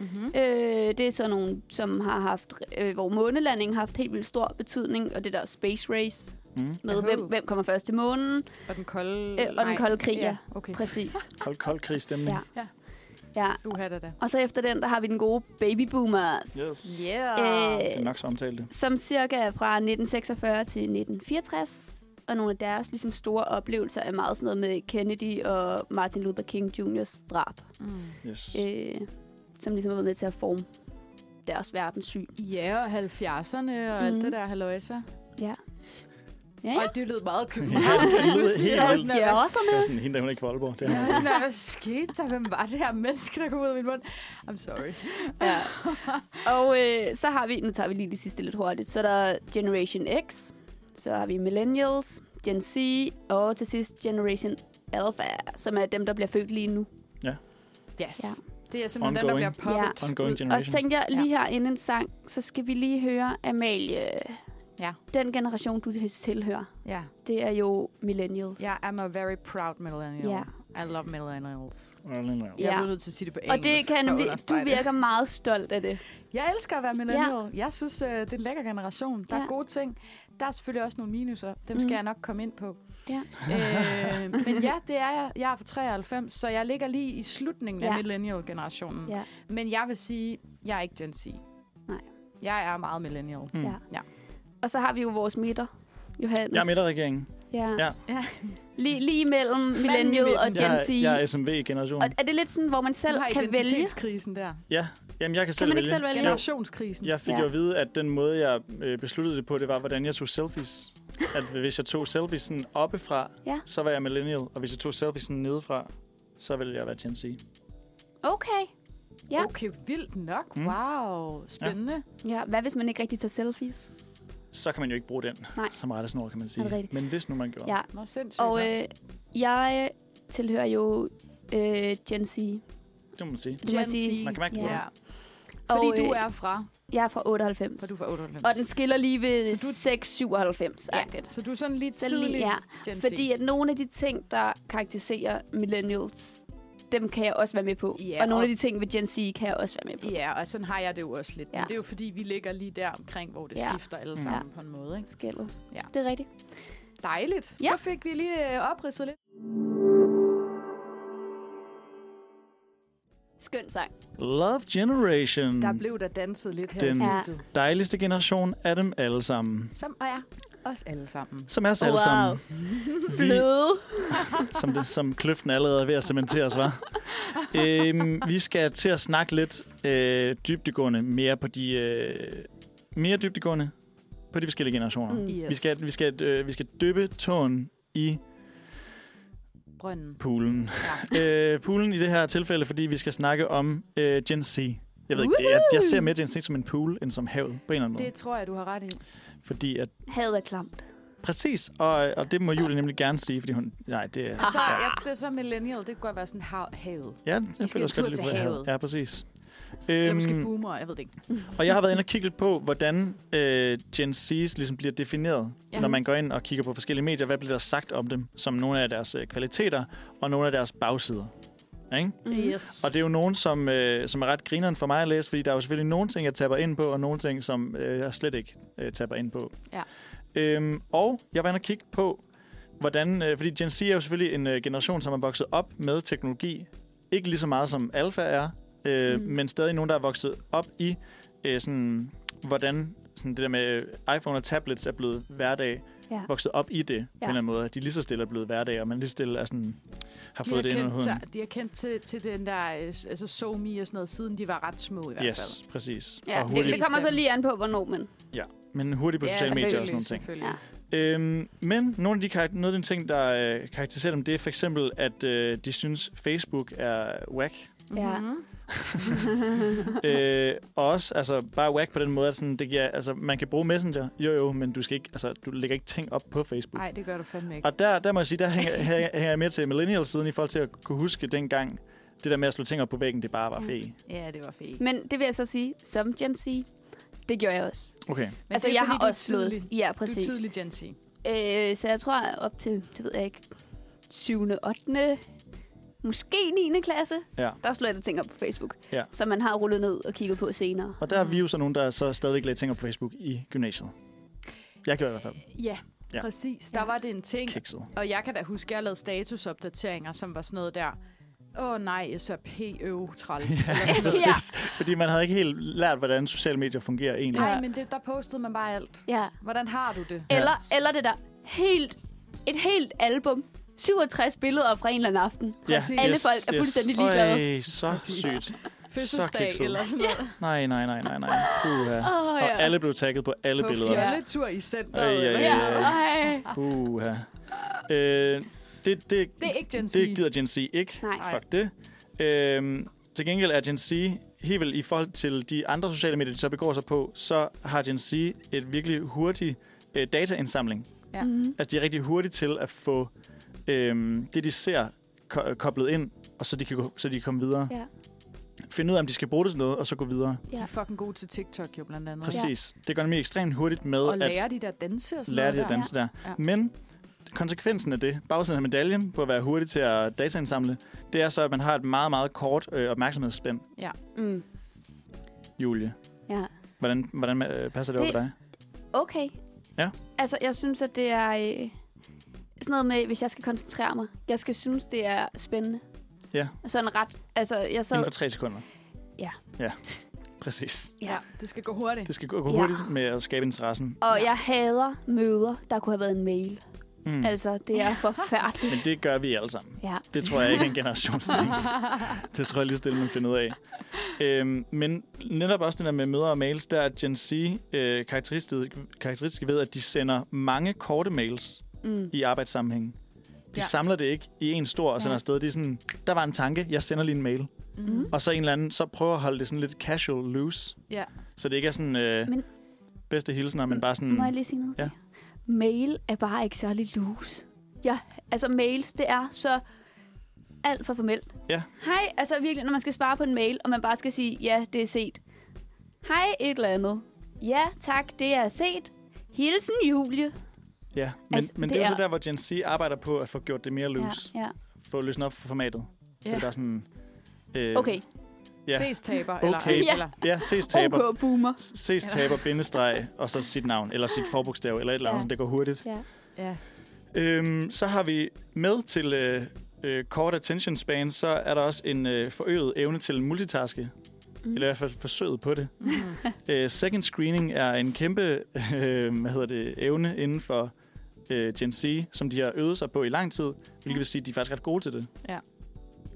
Speaker 3: Mm-hmm.
Speaker 4: Øh, det er sådan nogle, som har haft, øh, hvor månelandingen har haft helt vildt stor betydning, og det der space race
Speaker 2: Mm.
Speaker 4: med,
Speaker 3: Aha.
Speaker 4: hvem, hvem kommer først til månen,
Speaker 3: Og den kolde...
Speaker 4: øh, og den
Speaker 3: nej.
Speaker 4: kolde krig, ja.
Speaker 3: Okay.
Speaker 4: Præcis.
Speaker 2: Kold, kold krigsstemning.
Speaker 4: Ja.
Speaker 3: Ja.
Speaker 4: ja.
Speaker 3: Du har det da.
Speaker 4: Og så efter den, der har vi den gode baby boomers,
Speaker 2: Yes.
Speaker 3: Yeah.
Speaker 2: Det er
Speaker 4: øh,
Speaker 2: nok så omtalte.
Speaker 4: som cirka er fra 1946 til 1964. Og nogle af deres ligesom, store oplevelser er meget sådan noget med Kennedy og Martin Luther King Jr.'s drab,
Speaker 3: Mm.
Speaker 2: Yes.
Speaker 4: øh, som ligesom har været med til at forme deres verdenssyn.
Speaker 3: Ja, og 70'erne og mm.
Speaker 4: Mhm.
Speaker 3: alt det der haløjse.
Speaker 4: Ja,
Speaker 3: Ja.
Speaker 4: ja.
Speaker 3: Og det lød meget købt.
Speaker 2: det lyder helt vildt.
Speaker 4: Ja,
Speaker 3: Ja,
Speaker 4: også
Speaker 2: Det er sådan, hende der, hun er ikke fra Aalborg. Det er hun
Speaker 3: Jeg var
Speaker 2: altså.
Speaker 3: sådan, her, hvad skete der? Hvem var det her menneske, der kom ud af min mund? I'm sorry.
Speaker 4: Ja. Og øh, så har vi, nu tager vi lige det sidste lidt hurtigt, så er der Generation X, så har vi Millennials, Gen Z, og til sidst Generation Alpha, som er dem, der bliver født lige nu.
Speaker 3: Yes. Ja.
Speaker 4: Ja.
Speaker 3: Det er simpelthen den, der bliver
Speaker 2: Ongoing.
Speaker 3: poppet.
Speaker 2: Ongoing
Speaker 3: ud.
Speaker 4: Og så
Speaker 2: generation.
Speaker 4: tænkte jeg lige her inden en sang, så skal vi lige høre Amalie.
Speaker 3: Ja.
Speaker 4: Den generation, du tilhører,
Speaker 3: Ja.
Speaker 4: det er jo Millennials.
Speaker 3: Yeah, I'm a very proud millennial.
Speaker 4: Ja.
Speaker 3: I love millennials.
Speaker 2: Ørlen-
Speaker 4: Ja.
Speaker 3: Jeg er blevet nødt til at sige det på
Speaker 4: Og
Speaker 3: engelsk.
Speaker 4: det kan
Speaker 3: for at
Speaker 4: vi, du
Speaker 3: understrege det.
Speaker 4: virker meget stolt af det.
Speaker 3: Jeg elsker at være millennial. Jeg synes, øh, det er en lækker generation. Der
Speaker 4: Ja.
Speaker 3: er gode ting. Der er selvfølgelig også nogle minuser. Dem
Speaker 4: Mm.
Speaker 3: skal jeg nok komme ind på.
Speaker 4: Ja.
Speaker 3: Øh, men ja, det er jeg. Jeg er fra 93, så jeg ligger lige i slutningen
Speaker 4: Ja.
Speaker 3: af millennial-generationen.
Speaker 4: Ja.
Speaker 3: Men jeg vil sige, jeg er ikke Gen Z.
Speaker 4: Nej.
Speaker 3: Jeg er meget millennial.
Speaker 2: Mm.
Speaker 4: Ja.
Speaker 3: Ja.
Speaker 4: Og så har vi jo vores midter. Johannes.
Speaker 2: Jeg er midterregeringen.
Speaker 4: Ja.
Speaker 2: Ja.
Speaker 3: Ja.
Speaker 4: Lige, lige mellem
Speaker 3: i
Speaker 4: Millennial
Speaker 3: midten.
Speaker 4: og
Speaker 2: Jeg
Speaker 4: Gen
Speaker 2: er,
Speaker 4: Z.
Speaker 2: jeg er SMV-generation.
Speaker 4: Og er det lidt sådan, hvor man selv
Speaker 3: du har
Speaker 4: kan vælge?
Speaker 3: identitetskrisen der.
Speaker 2: Ja, jamen jeg kan, selv
Speaker 4: man
Speaker 2: vælge.
Speaker 4: ikke selv vælge?
Speaker 2: Jo.
Speaker 3: Generationskrisen.
Speaker 2: Jeg fik
Speaker 4: Ja.
Speaker 2: ja. jo at vide, at den måde, jeg øh, besluttede det på, det var, hvordan jeg tog selfies. At hvis jeg tog selfies sådan oppefra,
Speaker 4: Ja.
Speaker 2: så var jeg millennial. Og hvis jeg tog selfies sådan nedefra, så ville jeg være Gen Z.
Speaker 4: Okay. Ja.
Speaker 3: Okay, vildt nok.
Speaker 2: Mm.
Speaker 3: Wow, spændende.
Speaker 4: Ja, hvad hvis man ikke rigtig tager selfies?
Speaker 2: Så kan man jo ikke bruge den
Speaker 4: Nej.
Speaker 2: som rettesnor, kan man
Speaker 4: Er det
Speaker 2: sige.
Speaker 4: rigtigt?
Speaker 2: Men hvis nu man gjorde.
Speaker 4: Ja.
Speaker 3: Nå, sindssygt.
Speaker 4: Og øh, jeg tilhører jo øh, Gen Z.
Speaker 2: Det må man sige.
Speaker 4: Du må
Speaker 3: Gen
Speaker 4: sige-
Speaker 3: Z.
Speaker 2: Man kan mærke det på
Speaker 3: Ja.
Speaker 2: dem.
Speaker 3: Fordi
Speaker 4: Og,
Speaker 3: og, du
Speaker 4: øh,
Speaker 3: er fra,
Speaker 4: Jeg er fra 98.
Speaker 3: og du er fra 98.
Speaker 4: Og den skiller lige ved
Speaker 3: Så du-
Speaker 4: 697
Speaker 3: ja.
Speaker 4: agtigt
Speaker 3: Så du er sådan lige
Speaker 4: Så lige-
Speaker 3: tidlig
Speaker 4: ja.
Speaker 3: Gen Z.
Speaker 4: Fordi at nogle af de ting, der karakteriserer millennials, dem kan jeg også være med på.
Speaker 3: Ja,
Speaker 4: og nogle
Speaker 3: og-
Speaker 4: af de ting ved Gen Z kan jeg også være med på.
Speaker 3: Ja, og sådan har jeg det jo også lidt.
Speaker 4: Ja.
Speaker 3: Men det er jo fordi, vi ligger lige der omkring, hvor det
Speaker 4: Ja.
Speaker 3: skifter alle sammen på en måde. Ikke?
Speaker 4: Skældet.
Speaker 3: Ja.
Speaker 4: Det er rigtigt.
Speaker 3: Dejligt.
Speaker 4: Ja.
Speaker 3: Så fik vi lige øh, opridset lidt.
Speaker 4: Skøn sang.
Speaker 2: Love Generation.
Speaker 3: Der blev der danset lidt her i
Speaker 2: Mm. Den-
Speaker 3: studiet.
Speaker 2: Dejligste generation af dem alle sammen.
Speaker 3: Som er os alle sammen.
Speaker 2: Som er os alle
Speaker 4: Wow.
Speaker 2: sammen. Vi,
Speaker 4: Bløde.
Speaker 2: som, det, som kløften allerede er ved at cementere os, var. øhm, vi skal til at snakke lidt øh, dybdegående mere på de... Øh, mere dybdegående på de forskellige generationer. Mm.
Speaker 3: Yes.
Speaker 2: Vi skal, vi, skal, øh, vi skal dyppe tåen i
Speaker 3: Brønden.
Speaker 2: poolen. øh, poolen i det her tilfælde, fordi vi skal snakke om øh, Gen Z. Jeg ved ikke, det- jeg, jeg ser mere Gen Z som en pool, end som havet, på en eller anden måde.
Speaker 3: Det tror jeg, du har ret i.
Speaker 2: Fordi at,
Speaker 4: Havet er klamt.
Speaker 2: præcis, og, og det må Julie nemlig gerne sige, fordi hun... Nej, det er...
Speaker 3: Og så, jeg, det er så millennial, det kunne godt være sådan hav, havet.
Speaker 2: Ja,
Speaker 3: en
Speaker 2: jeg føler også
Speaker 3: tur
Speaker 2: godt, det
Speaker 3: til
Speaker 2: er
Speaker 3: havet.
Speaker 2: havet. Ja, præcis.
Speaker 3: Eller
Speaker 2: Øhm,
Speaker 3: måske boomer, jeg ved det ikke.
Speaker 2: og jeg har været inde og kigge lidt på, hvordan øh, Gen Z's ligesom bliver defineret,
Speaker 3: Ja.
Speaker 2: ja. når man går ind og kigger på forskellige medier. Hvad bliver der sagt om dem som nogle af deres øh, kvaliteter og nogle af deres bagsider? Ikke?
Speaker 4: Mm-hmm.
Speaker 3: Yes.
Speaker 2: Og det er jo nogen, som, øh, som er ret grineren for mig at læse, fordi der er jo selvfølgelig nogle ting, jeg tapper ind på, og nogle ting, som øh, jeg slet ikke øh, tapper ind på.
Speaker 3: Ja.
Speaker 2: Øhm, og jeg var inde og kigge på, hvordan... Øh, fordi Gen Z er jo selvfølgelig en øh, generation, som er vokset op med teknologi. Ikke lige så meget som Alpha er, øh,
Speaker 4: Mm.
Speaker 2: mm. men stadig nogen, der er vokset op i, øh, sådan, hvordan sådan det der med øh, iPhone og tablets er blevet hverdag.
Speaker 4: Ja.
Speaker 2: Vokset op i det, ja. på en eller anden måde. At De lige så stille er blevet hverdag, og man lige så stille er sådan, har
Speaker 3: de
Speaker 2: fået det ind under
Speaker 3: kendt,
Speaker 2: huden.
Speaker 3: til- de har kendt til, til den der øh, s- altså, SoMe og sådan noget, siden de var ret små i hvert fald.
Speaker 2: Yes, præcis.
Speaker 4: Ja,
Speaker 2: og
Speaker 4: det,
Speaker 2: hurtigt,
Speaker 4: det kommer så lige an på, hvornår, men
Speaker 2: men hurtigt på sociale medier og sådan nogle ting.
Speaker 3: selvfølgelig.
Speaker 2: Øhm, men nogle af de, karak- noget af de ting, der øh, karakteriserer dem, det er for eksempel, at øh, de synes, Facebook er whack.
Speaker 4: Ja.
Speaker 3: Mhm.
Speaker 2: øh, og også altså, bare whack på den måde, at sådan, det giver, altså, man kan bruge Messenger, jo jo, men du, skal ikke, altså, du lægger ikke ting op på Facebook.
Speaker 3: Ej, det gør du fandme ikke.
Speaker 2: Og der, der må jeg sige, der hænger, hænger, hænger jeg mere til millennial-siden i forhold til at kunne huske dengang, det der med at slå ting op på væggen, det bare var fe.
Speaker 3: Ja, det var fedt.
Speaker 4: Men det vil jeg så sige, som Gen Z, det gjorde jeg også.
Speaker 2: Okay.
Speaker 4: Men altså, jeg har også slået.
Speaker 3: Tidlig.
Speaker 4: Ja,
Speaker 3: Du er
Speaker 4: præcis.
Speaker 3: tidlig, Gen Z.
Speaker 4: Øh, så jeg tror op til, det ved jeg ikke, 7. 8. Måske 9. klasse.
Speaker 2: Ja.
Speaker 4: Der slår jeg da ting op på Facebook.
Speaker 2: Ja.
Speaker 4: Som man har rullet ned og kigget på senere.
Speaker 2: Og der er vi jo så nogen, der så stadigvæk lagde ting op på Facebook i gymnasiet. Jeg gjorde i hvert fald
Speaker 3: Ja,
Speaker 2: Ja.
Speaker 3: præcis. Der var det en ting,
Speaker 2: kikset.
Speaker 3: Og jeg kan da huske, at jeg lavede statusopdateringer, som var sådan noget der, åh oh, nej, SAP, øv, træls. Ja. Eller sådan noget.
Speaker 4: Ja.
Speaker 2: Præcis. Fordi man havde ikke helt lært, hvordan sociale medier fungerer egentlig.
Speaker 3: Nej, men det, der postede man bare alt.
Speaker 4: Ja.
Speaker 3: Hvordan har du det?
Speaker 4: Eller, ja. eller det der helt, et helt album. 67 billeder fra en eller anden aften.
Speaker 3: præcis.
Speaker 4: Alle folk er fuldstændig ligeglade.
Speaker 2: Øj, så
Speaker 3: Præcis.
Speaker 2: sygt.
Speaker 3: Fødselsdag
Speaker 2: kikset.
Speaker 3: eller sådan noget.
Speaker 2: Nej, nej, nej, nej, nej. Puha.
Speaker 4: Åh,
Speaker 2: Og
Speaker 4: ja.
Speaker 2: alle blev tagget på alle
Speaker 3: På
Speaker 2: billeder.
Speaker 3: fjolletur i centret.
Speaker 2: Ej, ej,
Speaker 3: eller
Speaker 2: ej.
Speaker 3: sådan
Speaker 4: Ja.
Speaker 3: noget.
Speaker 4: Ej.
Speaker 2: Puha. Øh, det, det,
Speaker 3: Det er ikke Gen Z.
Speaker 2: det gider Gen Z ikke.
Speaker 4: Nej.
Speaker 2: Fuck det. Øhm, til gengæld er Gen Z helt vel i forhold til de andre sociale medier, de så begår sig på, så har Gen Z et virkelig hurtig øh, dataindsamling.
Speaker 3: Ja.
Speaker 4: Mhm.
Speaker 2: Altså, de er rigtig hurtige til at få øhm, det, de ser, ko- øh, koblet ind, og så de kan, gå, så de kan komme videre.
Speaker 4: Ja.
Speaker 2: Finde ud af, om de skal bruge det til noget, og så gå videre.
Speaker 3: De er fucking gode til TikTok jo blandt andet.
Speaker 2: Præcis. Det gør nemlig ekstremt hurtigt med
Speaker 3: Og
Speaker 2: at
Speaker 3: lærer de der danse og sådan
Speaker 2: lære det
Speaker 3: noget
Speaker 2: at
Speaker 3: der.
Speaker 2: danse der.
Speaker 3: Ja.
Speaker 2: Men konsekvensen af det, bagsiden af medaljen på at være hurtig til at dataindsamle, det er så, at man har et meget, meget kort øh, opmærksomhedsspænd,
Speaker 4: Mm.
Speaker 2: Julie.
Speaker 4: Ja.
Speaker 2: Hvordan, hvordan øh, passer det, det
Speaker 4: Det-
Speaker 2: over dig?
Speaker 4: Okay.
Speaker 2: Ja.
Speaker 4: Altså, jeg synes, at det er øh, sådan noget med, hvis jeg skal koncentrere mig. Jeg skal synes, det er spændende.
Speaker 2: Ja.
Speaker 4: Sådan ret. Altså, jeg sad...
Speaker 2: Inden for tre sekunder.
Speaker 4: Ja.
Speaker 2: Ja, præcis.
Speaker 3: Ja, det skal gå hurtigt.
Speaker 2: Det skal gå gå
Speaker 4: Ja.
Speaker 2: hurtigt med at skabe interessen.
Speaker 4: Og jeg hader møder, der kunne have været en mail.
Speaker 2: Mm.
Speaker 4: Altså, det er forfærdeligt.
Speaker 2: Men det gør vi alle sammen.
Speaker 4: Ja.
Speaker 2: Det tror jeg ikke er en generationsting. det tror jeg lige stille, man finder ud af. Øhm, men netop også det der med møder og mails, der er Gen Z øh, karakteristisk, karakteristisk ved, at de sender mange korte mails
Speaker 4: Mm.
Speaker 2: i arbejdssammenhæng. De
Speaker 3: Ja.
Speaker 2: ja. samler det ikke i en stor og sender
Speaker 3: Ja.
Speaker 2: afsted. Det er sådan, der var en tanke, jeg sender lige en mail.
Speaker 3: Mm.
Speaker 4: Mm-hmm.
Speaker 2: Og så en eller anden, så prøver at holde det sådan lidt casual loose.
Speaker 3: Ja.
Speaker 2: Så det ikke er sådan øh,
Speaker 4: Men-
Speaker 2: men, bedste hilsener, men bare sådan...
Speaker 4: Må jeg lige sige noget?
Speaker 2: Mm. Ja.
Speaker 4: Mail er bare ikke særlig loose. Ja, altså mails, det er så alt for formelt.
Speaker 2: Ja.
Speaker 4: Hej, altså virkelig, når man skal svare på en mail, og man bare skal sige, ja, det er set. Hej, et eller andet. Ja, tak, det er set. Hilsen, Julie.
Speaker 2: Ja, men,
Speaker 4: Altså,
Speaker 2: altså, men det,
Speaker 4: det
Speaker 2: det er jo
Speaker 4: er-
Speaker 2: så der, hvor Gen Z arbejder på at få gjort det mere loose. Ja.
Speaker 4: Ja, ja.
Speaker 2: Få løsnet op for formatet. Så
Speaker 3: Ja.
Speaker 2: det er bare sådan... Øh,
Speaker 4: Okay,
Speaker 2: Ja.
Speaker 3: Ses taber.
Speaker 2: Okay.
Speaker 3: Eller,
Speaker 2: Ja.
Speaker 3: eller,
Speaker 2: Ja, ses taber.
Speaker 4: OK, boomer.
Speaker 2: Ses taber, bindestreg, og så sit navn, eller sit forbogstav, eller et eller andet,
Speaker 4: Ja.
Speaker 2: ja. det går hurtigt.
Speaker 4: Ja.
Speaker 3: ja.
Speaker 2: Øhm, så har vi med til øh, øh, kort attention span, så er der også en øh, forøget evne til multitaske. Mm. Eller i hvert fald forsøget på det.
Speaker 3: Mm.
Speaker 2: øh, second screening er en kæmpe øh, hvad hedder det, evne inden for øh, Gen Z, som de har øvet sig på i lang tid. Hvilket vil sige, at de er faktisk ret gode til det.
Speaker 3: Ja.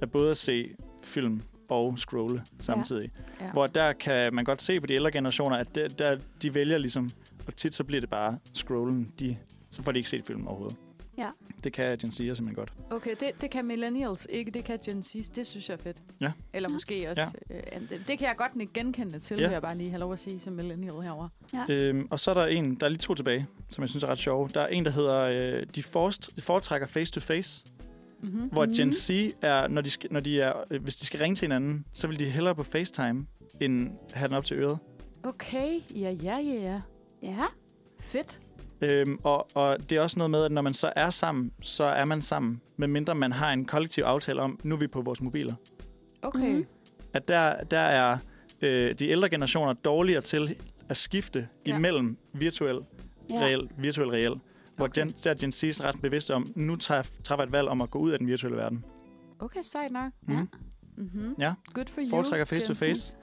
Speaker 2: At både at se film og scrolle samtidig.
Speaker 3: Ja.
Speaker 2: Hvor der kan man godt se på de ældre generationer, at der, der, de vælger ligesom, og tit så bliver det bare scrollen, de, så får de ikke set filmen overhovedet.
Speaker 4: Ja.
Speaker 2: Det kan Gen Z'er simpelthen godt.
Speaker 3: Okay, det, det kan millennials ikke, det kan Gen Z's. Det synes jeg er fedt.
Speaker 2: Ja.
Speaker 3: Eller måske også... Ja. Øh, jamen, det, det kan jeg godt nikke genkende til,
Speaker 2: Ja.
Speaker 3: ja. vil jeg bare lige have lov at sige som millennial herover.
Speaker 2: Øhm, og så er der en, der er lige to tilbage, som jeg synes er ret sjove. Der er en, der hedder, øh, de forst, foretrækker face-to-face,
Speaker 3: Mm-hmm.
Speaker 2: hvor
Speaker 4: Mhm.
Speaker 2: Gen Z er, når de, skal, når de er, øh, hvis de skal ringe til hinanden, så vil de hellere på FaceTime, end have den op til øret.
Speaker 3: Mm, Okay, ja, ja, ja, ja.
Speaker 4: Ja.
Speaker 3: Fedt.
Speaker 2: Øhm, og, og det er også noget med, at når man så er sammen, så er man sammen, medmindre man har en kollektiv aftale om, nu er vi på vores mobiler.
Speaker 3: Okay.
Speaker 4: Mhm.
Speaker 3: Mm-hmm.
Speaker 2: At der, der er øh, de ældre generationer dårligere til at skifte
Speaker 3: Ja.
Speaker 2: ja. imellem virtuel
Speaker 4: ja.
Speaker 2: reel, virtuel reel. Hvor
Speaker 3: Okay.
Speaker 2: Gen, der er Gen Z's ret bevidst om, nu tager, træffer jeg et valg om at gå ud af den virtuelle verden.
Speaker 3: Okay, sejt nok.
Speaker 2: Mhm.
Speaker 4: Ja.
Speaker 3: Mm-hmm.
Speaker 2: Ja.
Speaker 3: Good for you,
Speaker 2: Foretrækker face
Speaker 3: Gen
Speaker 2: to
Speaker 3: Z.
Speaker 2: face.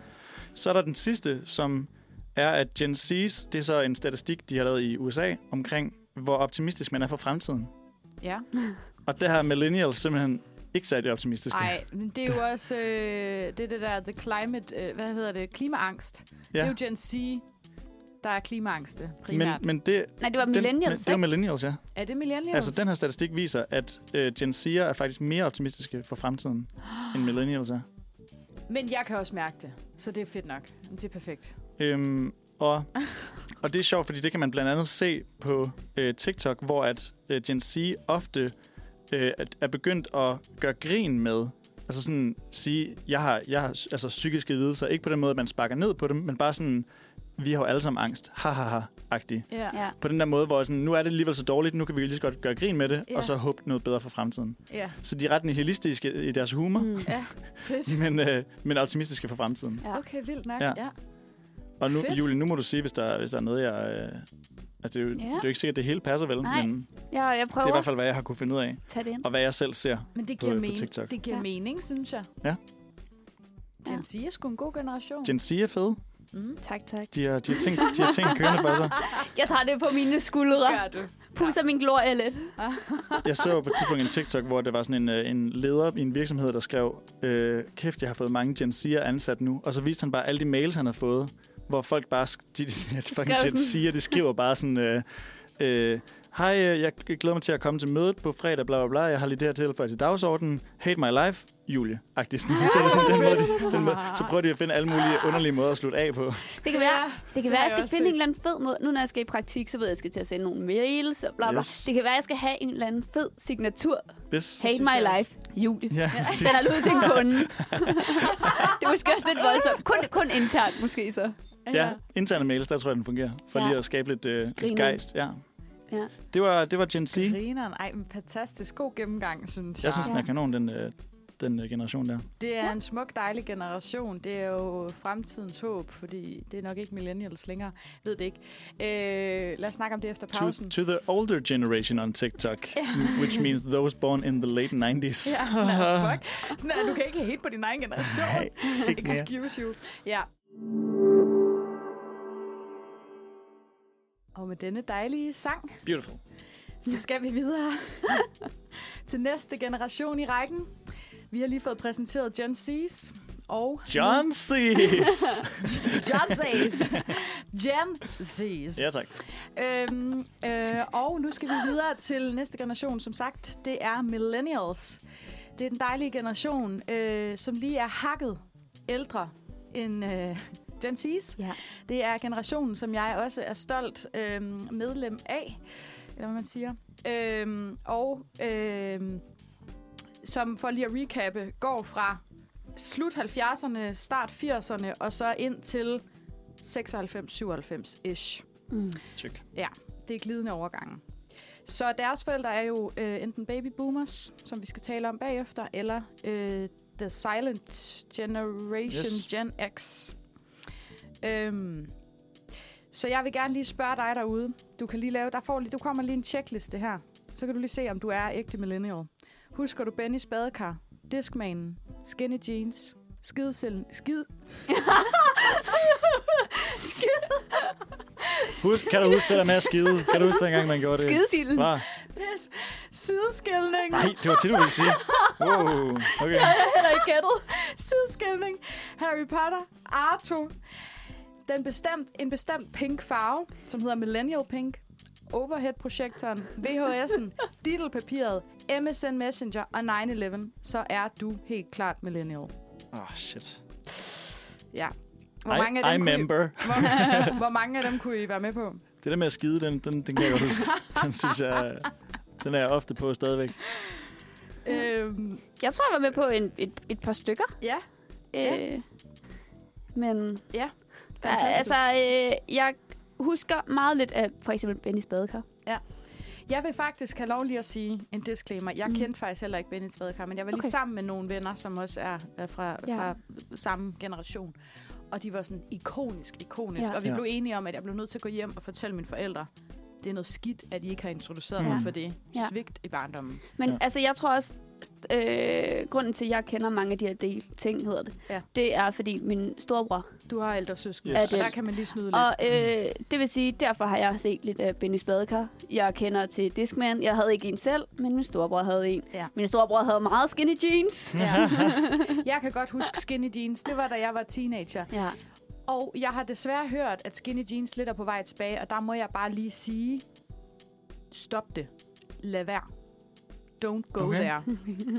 Speaker 2: Så er der den sidste, som er, at Gen Z's, det er så en statistik, de har lavet i USA, omkring, hvor optimistisk man er for fremtiden.
Speaker 3: Ja.
Speaker 2: Og der har millennials simpelthen ikke særlig optimistiske.
Speaker 3: Nej, men det er jo også øh, det, er det der the climate, øh, hvad hedder det, klimaangst. Ja. Det er jo Gen Z, der er klimaangste primært.
Speaker 2: men, men det,
Speaker 4: Nej, det var
Speaker 2: den, men,
Speaker 4: millennials,
Speaker 2: det er jo
Speaker 4: ikke?
Speaker 2: millennials, ja.
Speaker 3: er det millennials?
Speaker 2: Altså, den her statistik viser, at øh, Gen Z'er er faktisk mere optimistiske for fremtiden, end millennials er.
Speaker 3: Men jeg kan også mærke det, så det er fedt nok. Det er perfekt.
Speaker 2: Øhm, og, og det er sjovt, fordi det kan man blandt andet se på øh, TikTok, hvor at øh, Gen Z ofte øh, at- er begyndt at gøre grin med. Altså sådan sige, jeg har, jeg har altså, psykiske lidelser. Ikke på den måde, at man sparker ned på dem, men bare sådan, vi har jo alle sammen angst. Ha ha ha, agtig.
Speaker 4: Ja.
Speaker 2: På den der måde, hvor sådan, nu er det alligevel så dårligt, nu kan vi lige så godt gøre grin med det,
Speaker 3: Ja.
Speaker 2: yeah. og så håbe noget bedre for fremtiden.
Speaker 3: ja.
Speaker 2: Så de er ret nihilistiske i deres humor, mm.
Speaker 4: Mm.
Speaker 3: Fedt.
Speaker 2: men, øh, men optimistiske for fremtiden.
Speaker 4: Ja.
Speaker 3: Okay, vildt nok. Ja.
Speaker 2: Ja.
Speaker 3: ja.
Speaker 2: Og nu,
Speaker 3: Fedt.
Speaker 2: Julie, nu må du sige, hvis der, hvis der er noget, jeg... Øh, altså, det er, jo, det er jo ikke sikkert, at det hele passer, vel?
Speaker 4: Nej.
Speaker 2: Men det
Speaker 4: ja, og jeg
Speaker 2: er i
Speaker 4: prøver
Speaker 2: hvert fald, hvad jeg har kunne finde ud af.
Speaker 4: at tage det ind.
Speaker 2: Og hvad jeg selv ser.
Speaker 3: Men det
Speaker 2: På-
Speaker 3: giver,
Speaker 2: på
Speaker 3: mening.
Speaker 2: TikTok.
Speaker 3: det giver
Speaker 4: Ja.
Speaker 3: ja. mening, synes jeg.
Speaker 2: Ja.
Speaker 3: Gen
Speaker 4: Ja.
Speaker 3: Z er sgu en god generation.
Speaker 2: Gen Z er fede.
Speaker 3: Mm.
Speaker 4: Tak, tak.
Speaker 2: De har, de har, ting, de har ting kørende på sig.
Speaker 4: Jeg tager det på mine skuldre.
Speaker 3: Gør du.
Speaker 4: Pusser min glorie lidt.
Speaker 2: Jeg så på et tidspunkt en TikTok, hvor der var sådan en, øh, en leder i en virksomhed, der skrev, øh, kæft, jeg har fået mange Gen Z'er ansat nu. Og så viste han bare alle de mails, han havde fået, hvor folk bare... sk- De, de, de, de,
Speaker 4: skrev
Speaker 2: Gen
Speaker 4: sådan.
Speaker 2: Z'er, de skriver bare sådan... Øh, øh, Hej, øh, jeg glæder mig til at komme til mødet på fredag, bla bla bla. Jeg har lige det her tilføjet til dagsordenen. Hate my life, Julie. Agtigt. Så, er det sådan, den måde, de, den måde, så prøver de at finde alle mulige underlige måder at slutte af på.
Speaker 4: Det kan være, det kan
Speaker 3: har
Speaker 4: være jeg
Speaker 3: jeg
Speaker 4: skal
Speaker 3: også
Speaker 4: finde en
Speaker 3: set.
Speaker 4: eller anden fed måde. Nu når jeg skal i praktik, så ved jeg, at jeg skal til at sende nogle mails og bla bla.
Speaker 2: Yes.
Speaker 4: Det kan være, at jeg skal have en eller anden fed signatur.
Speaker 2: Yes.
Speaker 4: Hate
Speaker 3: synes
Speaker 4: my
Speaker 3: jeg også.
Speaker 4: life, Julie.
Speaker 2: Ja, præcis.
Speaker 4: Sender det ud til en kunde. det er måske også lidt voldsomt. Kun, kun internt måske så.
Speaker 2: Ja, interne mails, der tror jeg, den fungerer. For
Speaker 4: Ja.
Speaker 2: lige at skabe lidt, øh,
Speaker 4: Griner.
Speaker 2: lidt gejst. Ja.
Speaker 4: Ja.
Speaker 2: Det var, det var Gen Z.
Speaker 3: Grineren. Ej, men fantastisk god gennemgang, synes jeg.
Speaker 2: Jeg synes, den er
Speaker 4: Ja.
Speaker 2: kanon, den, øh, den øh, generation der.
Speaker 3: Det er en smuk, dejlig generation. Det er jo fremtidens håb, fordi det er nok ikke millennials længere. Jeg ved det ikke. Øh, lad os snakke om det efter
Speaker 2: To,
Speaker 3: pausen.
Speaker 2: to the older generation on TikTok, which means those born in the late 90s.
Speaker 3: Ja, sådan er, det. fuck. Sådan er, du kan ikke hate på din egen generation.
Speaker 2: Nej, ikke mere.
Speaker 3: Excuse you. Ja. Og med denne dejlige sang,
Speaker 2: Beautiful.
Speaker 3: så skal vi videre til næste generation i rækken. Vi har lige fået præsenteret Gen C's og Mm.
Speaker 2: John C's.
Speaker 3: John Z's. Gen Z's.
Speaker 2: ja, tak.
Speaker 3: Øhm, øh, og nu skal vi videre til næste generation. Som sagt, det er millennials. Det er den dejlige generation, øh, som lige er hakket ældre end øh, Gen Z's.
Speaker 4: Ja.
Speaker 3: Det er generationen, som jeg også er stolt øh, medlem af, eller hvad man siger. Øh, og øh, som for lige at recappe, går fra slut 70'erne, start 80'erne, og så ind til 96-97-ish.
Speaker 4: Mm.
Speaker 2: Check.
Speaker 3: Ja, det er glidende overgange. Så deres forældre er jo øh, enten baby boomers, som vi skal tale om bagefter, eller øh, the silent generation, yes.
Speaker 2: Yes.
Speaker 3: Gen X. Øhm, så jeg vil gerne lige spørge dig derude. Du kan lige lave, der får lige, du kommer lige en checkliste her. Så kan du lige se, om du er ægte millennial. Husker du Benny Spadekar, Discmanen, Skinny Jeans, Skidsilden, Skid,
Speaker 2: Husk, kan du huske det der med at skide? Kan du huske dengang, man gjorde det?
Speaker 4: Skidesilden.
Speaker 2: Bare,
Speaker 3: Pis, Sideskældning.
Speaker 2: nej, det var det, du ville sige. Wow, okay.
Speaker 3: heller ikke gættet. Sideskældning. Harry Potter. Arto. Den bestemt, en bestemt pink farve, som hedder Millennial Pink. Overhead-projektoren, VHS'en, Diddle-papiret, MSN Messenger og 9-11, så er du helt klart millennial.
Speaker 2: Åh, oh, shit.
Speaker 3: Ja.
Speaker 2: I, I
Speaker 3: kunne I-
Speaker 2: remember.
Speaker 3: Hvor, hvor mange af dem kunne I være med på?
Speaker 2: Det der med at skide, den, den, den kan jeg godt huske. Den synes jeg, den er jeg ofte på stadigvæk.
Speaker 3: Øhm,
Speaker 4: Jeg tror, jeg var med på en, et, et par stykker.
Speaker 3: ja, Ja.
Speaker 4: Øh, men
Speaker 3: ja.
Speaker 4: der, altså, øh, jeg husker meget lidt af for eksempel Benny Spadekar.
Speaker 3: Jeg vil faktisk have lov lige at sige en disclaimer. Jeg mm. kendte faktisk heller ikke Benny Svedekar, men jeg var lige
Speaker 4: Okay.
Speaker 3: okay. sammen med nogle venner, som også er, er fra,
Speaker 4: Ja.
Speaker 3: ja. fra samme generation. Og de var sådan ikonisk, ikonisk.
Speaker 4: Ja.
Speaker 3: Ja. Og vi
Speaker 2: Ja.
Speaker 3: ja. blev enige om, at jeg blev nødt til at gå hjem og fortælle mine forældre, det er noget skidt, at I ikke har introduceret
Speaker 2: Ja.
Speaker 3: ja. mig for det
Speaker 4: Ja.
Speaker 3: ja. svigt i barndommen.
Speaker 4: Men
Speaker 2: Ja.
Speaker 4: ja. altså, jeg tror også, øh, grunden til, at jeg kender mange af de her del, ting, hedder det,
Speaker 3: Ja.
Speaker 4: det er, fordi min storebror.
Speaker 3: Du har ældre søskende,
Speaker 2: Yes.
Speaker 3: yes.
Speaker 4: Er
Speaker 3: og
Speaker 4: det-
Speaker 3: der kan man lige snyde lidt. Mm.
Speaker 4: Og øh, det vil sige, derfor har jeg set lidt af Benny Spadekar. Jeg kender til Discman. Jeg havde ikke en selv, men min storebror havde en.
Speaker 3: Ja.
Speaker 4: Min storebror havde meget skinny jeans.
Speaker 3: Ja. Jeg kan godt huske skinny jeans. Det var, da jeg var teenager.
Speaker 4: Ja.
Speaker 3: Og jeg har desværre hørt, at skinny jeans lidt er på vej tilbage, og der må jeg bare lige sige, stop det. Lad være. Don't
Speaker 2: Okay.
Speaker 3: go okay. there.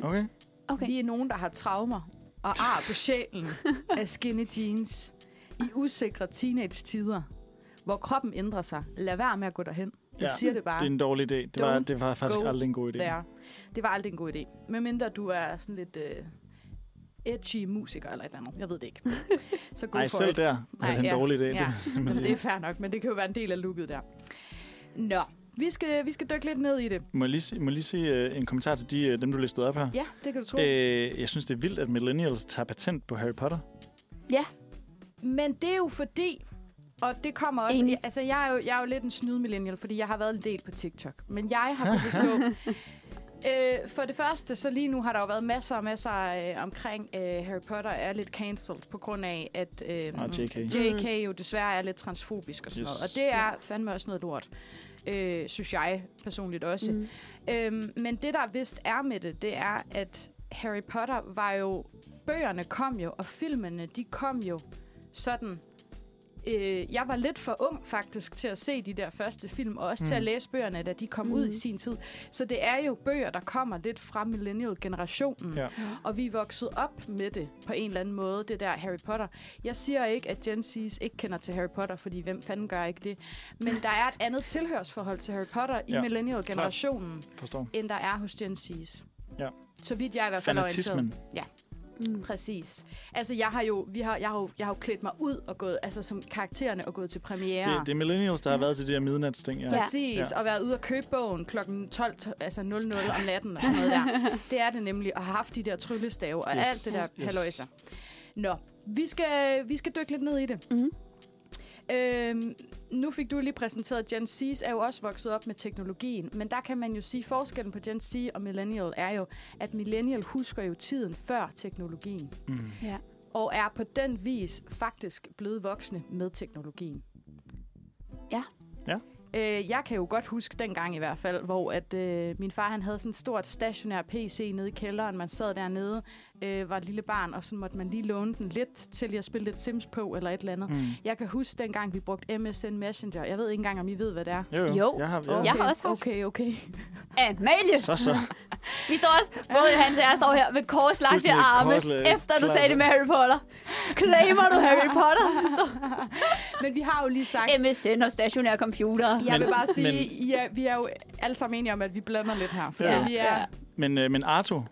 Speaker 2: Okay.
Speaker 4: Okay.
Speaker 3: Vi er nogen, der har traumer og ar på sjælen af skinny jeans i usikre teenage-tider, hvor kroppen ændrer sig. Lad være med at gå derhen. Jeg
Speaker 2: Ja,
Speaker 3: ja, siger det bare.
Speaker 2: Det er en dårlig idé. Det var,
Speaker 3: Don't
Speaker 2: det var faktisk
Speaker 3: go
Speaker 2: aldrig en god idé.
Speaker 3: there. Det var aldrig en god idé. Medmindre du er sådan lidt øh, edgy musiker eller et eller andet. Jeg ved det ikke. Så go
Speaker 2: Nej,
Speaker 3: for
Speaker 2: selv
Speaker 3: it.
Speaker 2: der er
Speaker 3: Nej,
Speaker 2: det en
Speaker 3: ja.
Speaker 2: dårlig idé.
Speaker 3: Ja.
Speaker 2: Det, må man
Speaker 3: Jamen, Altså, det er
Speaker 2: sige.
Speaker 3: fair nok, men det kan jo være en del af looket der. Nå, vi skal, vi skal dykke lidt ned i det.
Speaker 2: Må jeg lige, se- må jeg lige se øh, en kommentar til de, øh, dem, du listede op her?
Speaker 3: Ja, det kan du tro. Øh.
Speaker 2: Øh, jeg synes, det er vildt, at millennials tager patent på Harry Potter.
Speaker 3: Men det er jo fordi, og det kommer også...
Speaker 4: Enig.
Speaker 3: Altså, jeg er jo, jeg er jo lidt en snyd millennial, fordi jeg har været en del på TikTok. Men jeg har kunnet forstå... Øh, for det første, så lige nu har der jo været masser og masser øh, omkring øh, Harry Potter er lidt cancelled på grund af, at øh,
Speaker 2: Og JK.
Speaker 3: JK jo desværre er lidt transfobisk og sådan
Speaker 2: Yes.
Speaker 3: yes. noget. Og det er fandme også noget lort, øh, synes jeg personligt også.
Speaker 4: Mm.
Speaker 3: Øhm, men det, der vist er med det, det er, at Harry Potter var jo... Bøgerne kom jo, og filmene, de kom jo sådan... Øh, jeg var lidt for ung faktisk til at se de der første film, og også mm. til at læse bøgerne, da de kom mm. ud i sin tid. Så det er jo bøger, der kommer lidt fra millennial-generationen.
Speaker 2: Ja.
Speaker 3: Og vi er vokset op med det på en eller anden måde, det der Harry Potter. Jeg siger ikke, at Gen Z's ikke kender til Harry Potter, fordi hvem fanden gør ikke det? Men der er et andet tilhørsforhold til Harry Potter i
Speaker 2: Ja.
Speaker 3: ja. millennial-generationen,
Speaker 2: Forstår.
Speaker 3: end der er hos Gen Z's.
Speaker 2: Ja.
Speaker 3: Så vidt jeg i hvert fald er
Speaker 2: Fanatismen.
Speaker 3: orienteret. Præcis. Altså, jeg har jo, vi har, jeg har jo, jeg har jo klædt mig ud og gået, altså som karaktererne, og gået til premiere.
Speaker 2: Det, det er millennials, der har været til de her midnatsting. Ja.
Speaker 4: Ja.
Speaker 3: Præcis,
Speaker 2: Ja.
Speaker 3: ja. og været ude og købe bogen kl. 12, to- altså 00 om natten og sådan noget der. Det er det nemlig, og har haft de der tryllestave og
Speaker 2: Yes.
Speaker 3: yes. alt det der
Speaker 2: Yes.
Speaker 3: yes. halløjser. Nå, vi skal, vi skal dykke lidt ned i det.
Speaker 4: Mhm.
Speaker 3: Øhm, nu fik du lige præsenteret, Gen Z's er jo også vokset op med teknologien, men der kan man jo sige, forskellen på Gen Z og Millennial er jo, at Millennial husker jo tiden før teknologien,
Speaker 2: Mm.
Speaker 4: Ja.
Speaker 3: og er på den vis faktisk blevet voksne med teknologien. Øh, jeg kan jo godt huske dengang i hvert fald, hvor at, øh, min far han havde sådan en stort stationær PC nede i kælderen. Man sad dernede, øh, var et lille barn, og så måtte man lige låne den lidt, til lige at spille lidt Sims på eller et eller andet. Mm.
Speaker 2: Mm.
Speaker 3: Jeg kan huske dengang, vi brugte MSN Messenger. Jeg ved ikke engang, om I ved, hvad det er.
Speaker 2: Jo, jo.
Speaker 4: Jo.
Speaker 2: Jeg har, ja.
Speaker 4: Okay. Jeg har også haft.
Speaker 3: Okay, okay.
Speaker 4: Amalie!
Speaker 2: Så så.
Speaker 4: Vi står også, både Hans og jeg står her med korslagte
Speaker 2: Fuldstændig
Speaker 4: arme,
Speaker 2: korslagte.
Speaker 4: efter du
Speaker 2: Klar.
Speaker 4: sagde det med Harry Potter. Claimer du Harry Potter? Så
Speaker 3: Men vi har jo lige sagt...
Speaker 4: MSN og stationære computer.
Speaker 3: Jeg
Speaker 2: Men-
Speaker 3: vil bare sige,
Speaker 2: men-
Speaker 3: ja, vi er jo alle sammen enige om, at vi blander lidt her. Fordi
Speaker 2: Ja.
Speaker 3: ja. vi er
Speaker 2: Men, øh, men Arto?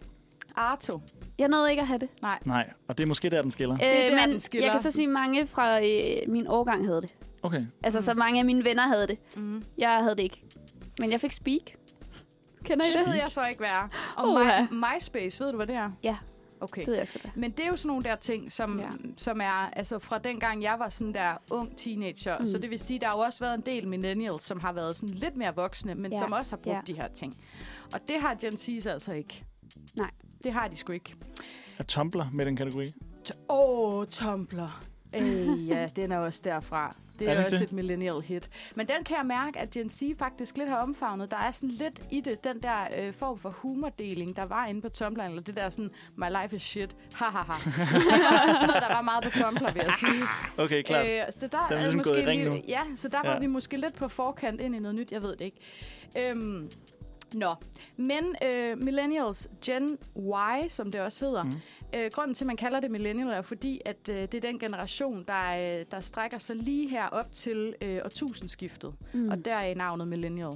Speaker 3: Arto.
Speaker 4: Jeg nåede ikke at have det.
Speaker 2: Nej. Og det er måske der, den skiller.
Speaker 4: Øh,
Speaker 3: der,
Speaker 4: men
Speaker 3: den skiller.
Speaker 4: jeg kan så sige, at mange fra øh, min årgang havde det.
Speaker 3: Øh.
Speaker 2: Okay.
Speaker 4: Altså, så mange af mine venner havde det.
Speaker 3: Mm.
Speaker 4: Jeg havde det ikke. Men jeg fik Speak. Kender I
Speaker 3: Det
Speaker 4: det?
Speaker 3: ved jeg så ikke, hvad er. Og
Speaker 4: Uha.
Speaker 3: my, MySpace, ved du, hvad det er?
Speaker 4: Ja.
Speaker 3: Okay.
Speaker 4: Det ved jeg også godt, hvad
Speaker 3: Men det er jo sådan nogle der ting, som,
Speaker 4: Ja.
Speaker 3: ja. som er altså fra dengang jeg var sådan der ung teenager. Mm. Så det vil sige, der har jo også været en del millennials, som har været sådan lidt mere voksne, men
Speaker 4: Ja.
Speaker 3: ja. som også har brugt
Speaker 4: Ja.
Speaker 3: ja. de her ting. Og det har Gen Z's altså ikke.
Speaker 4: Nej.
Speaker 3: Det har de sgu ikke.
Speaker 2: Er Tumblr med den kategori?
Speaker 3: T- Åh, oh, Tumblr. Øh, ja, den er også derfra. Det
Speaker 2: Er
Speaker 3: er,
Speaker 2: det
Speaker 3: er også
Speaker 2: det?
Speaker 3: et millennial hit. Men den kan jeg mærke, at Gen Z faktisk lidt har omfavnet. Der er sådan lidt i det, den der øh, form for humordeling, der var inde på Tumblr, eller det der sådan, my life is shit, ha ha ha. Det var sådan noget, der var meget på Tumblr, vil jeg sige.
Speaker 2: Okay, klart. Øh,
Speaker 3: Øh, så der
Speaker 2: Den er
Speaker 3: er
Speaker 2: ligesom
Speaker 3: måske
Speaker 2: gået i ring
Speaker 3: lige-
Speaker 2: nu.
Speaker 3: Ja, så der var
Speaker 2: Ja.
Speaker 3: vi måske lidt på forkant ind i noget nyt, jeg ved det ikke. Øhm, nå, men øh, millennials, Gen Y, som det også hedder, mm. øh, grunden til, at man kalder det millennial, er fordi, at øh, det er den generation, der, øh, der strækker sig lige her op til øh, årtusindskiftet, mm. og der er navnet millennial.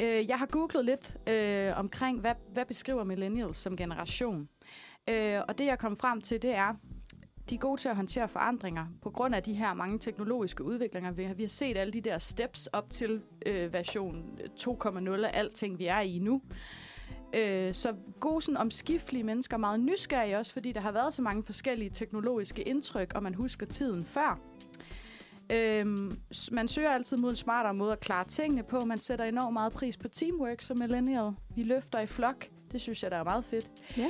Speaker 3: Øh, jeg har googlet lidt øh, omkring, hvad, hvad beskriver millennials som generation. Øh, og det, jeg kom frem til, det er, de er gode til at håndtere forandringer på grund af de her mange teknologiske udviklinger. Vi har, vi har set alle de der steps op til øh, version 2.0 af alting, vi er i nu. Øh, så gode sådan omskiftelige mennesker, meget nysgerrige også, fordi der har været så mange forskellige teknologiske indtryk, og man husker tiden før. Øhm, s- man søger altid mod en smartere måde at klare tingene på. Man sætter enormt meget pris på teamwork som millennial. Vi løfter i flok. Det synes jeg, der er meget fedt.
Speaker 4: Ja.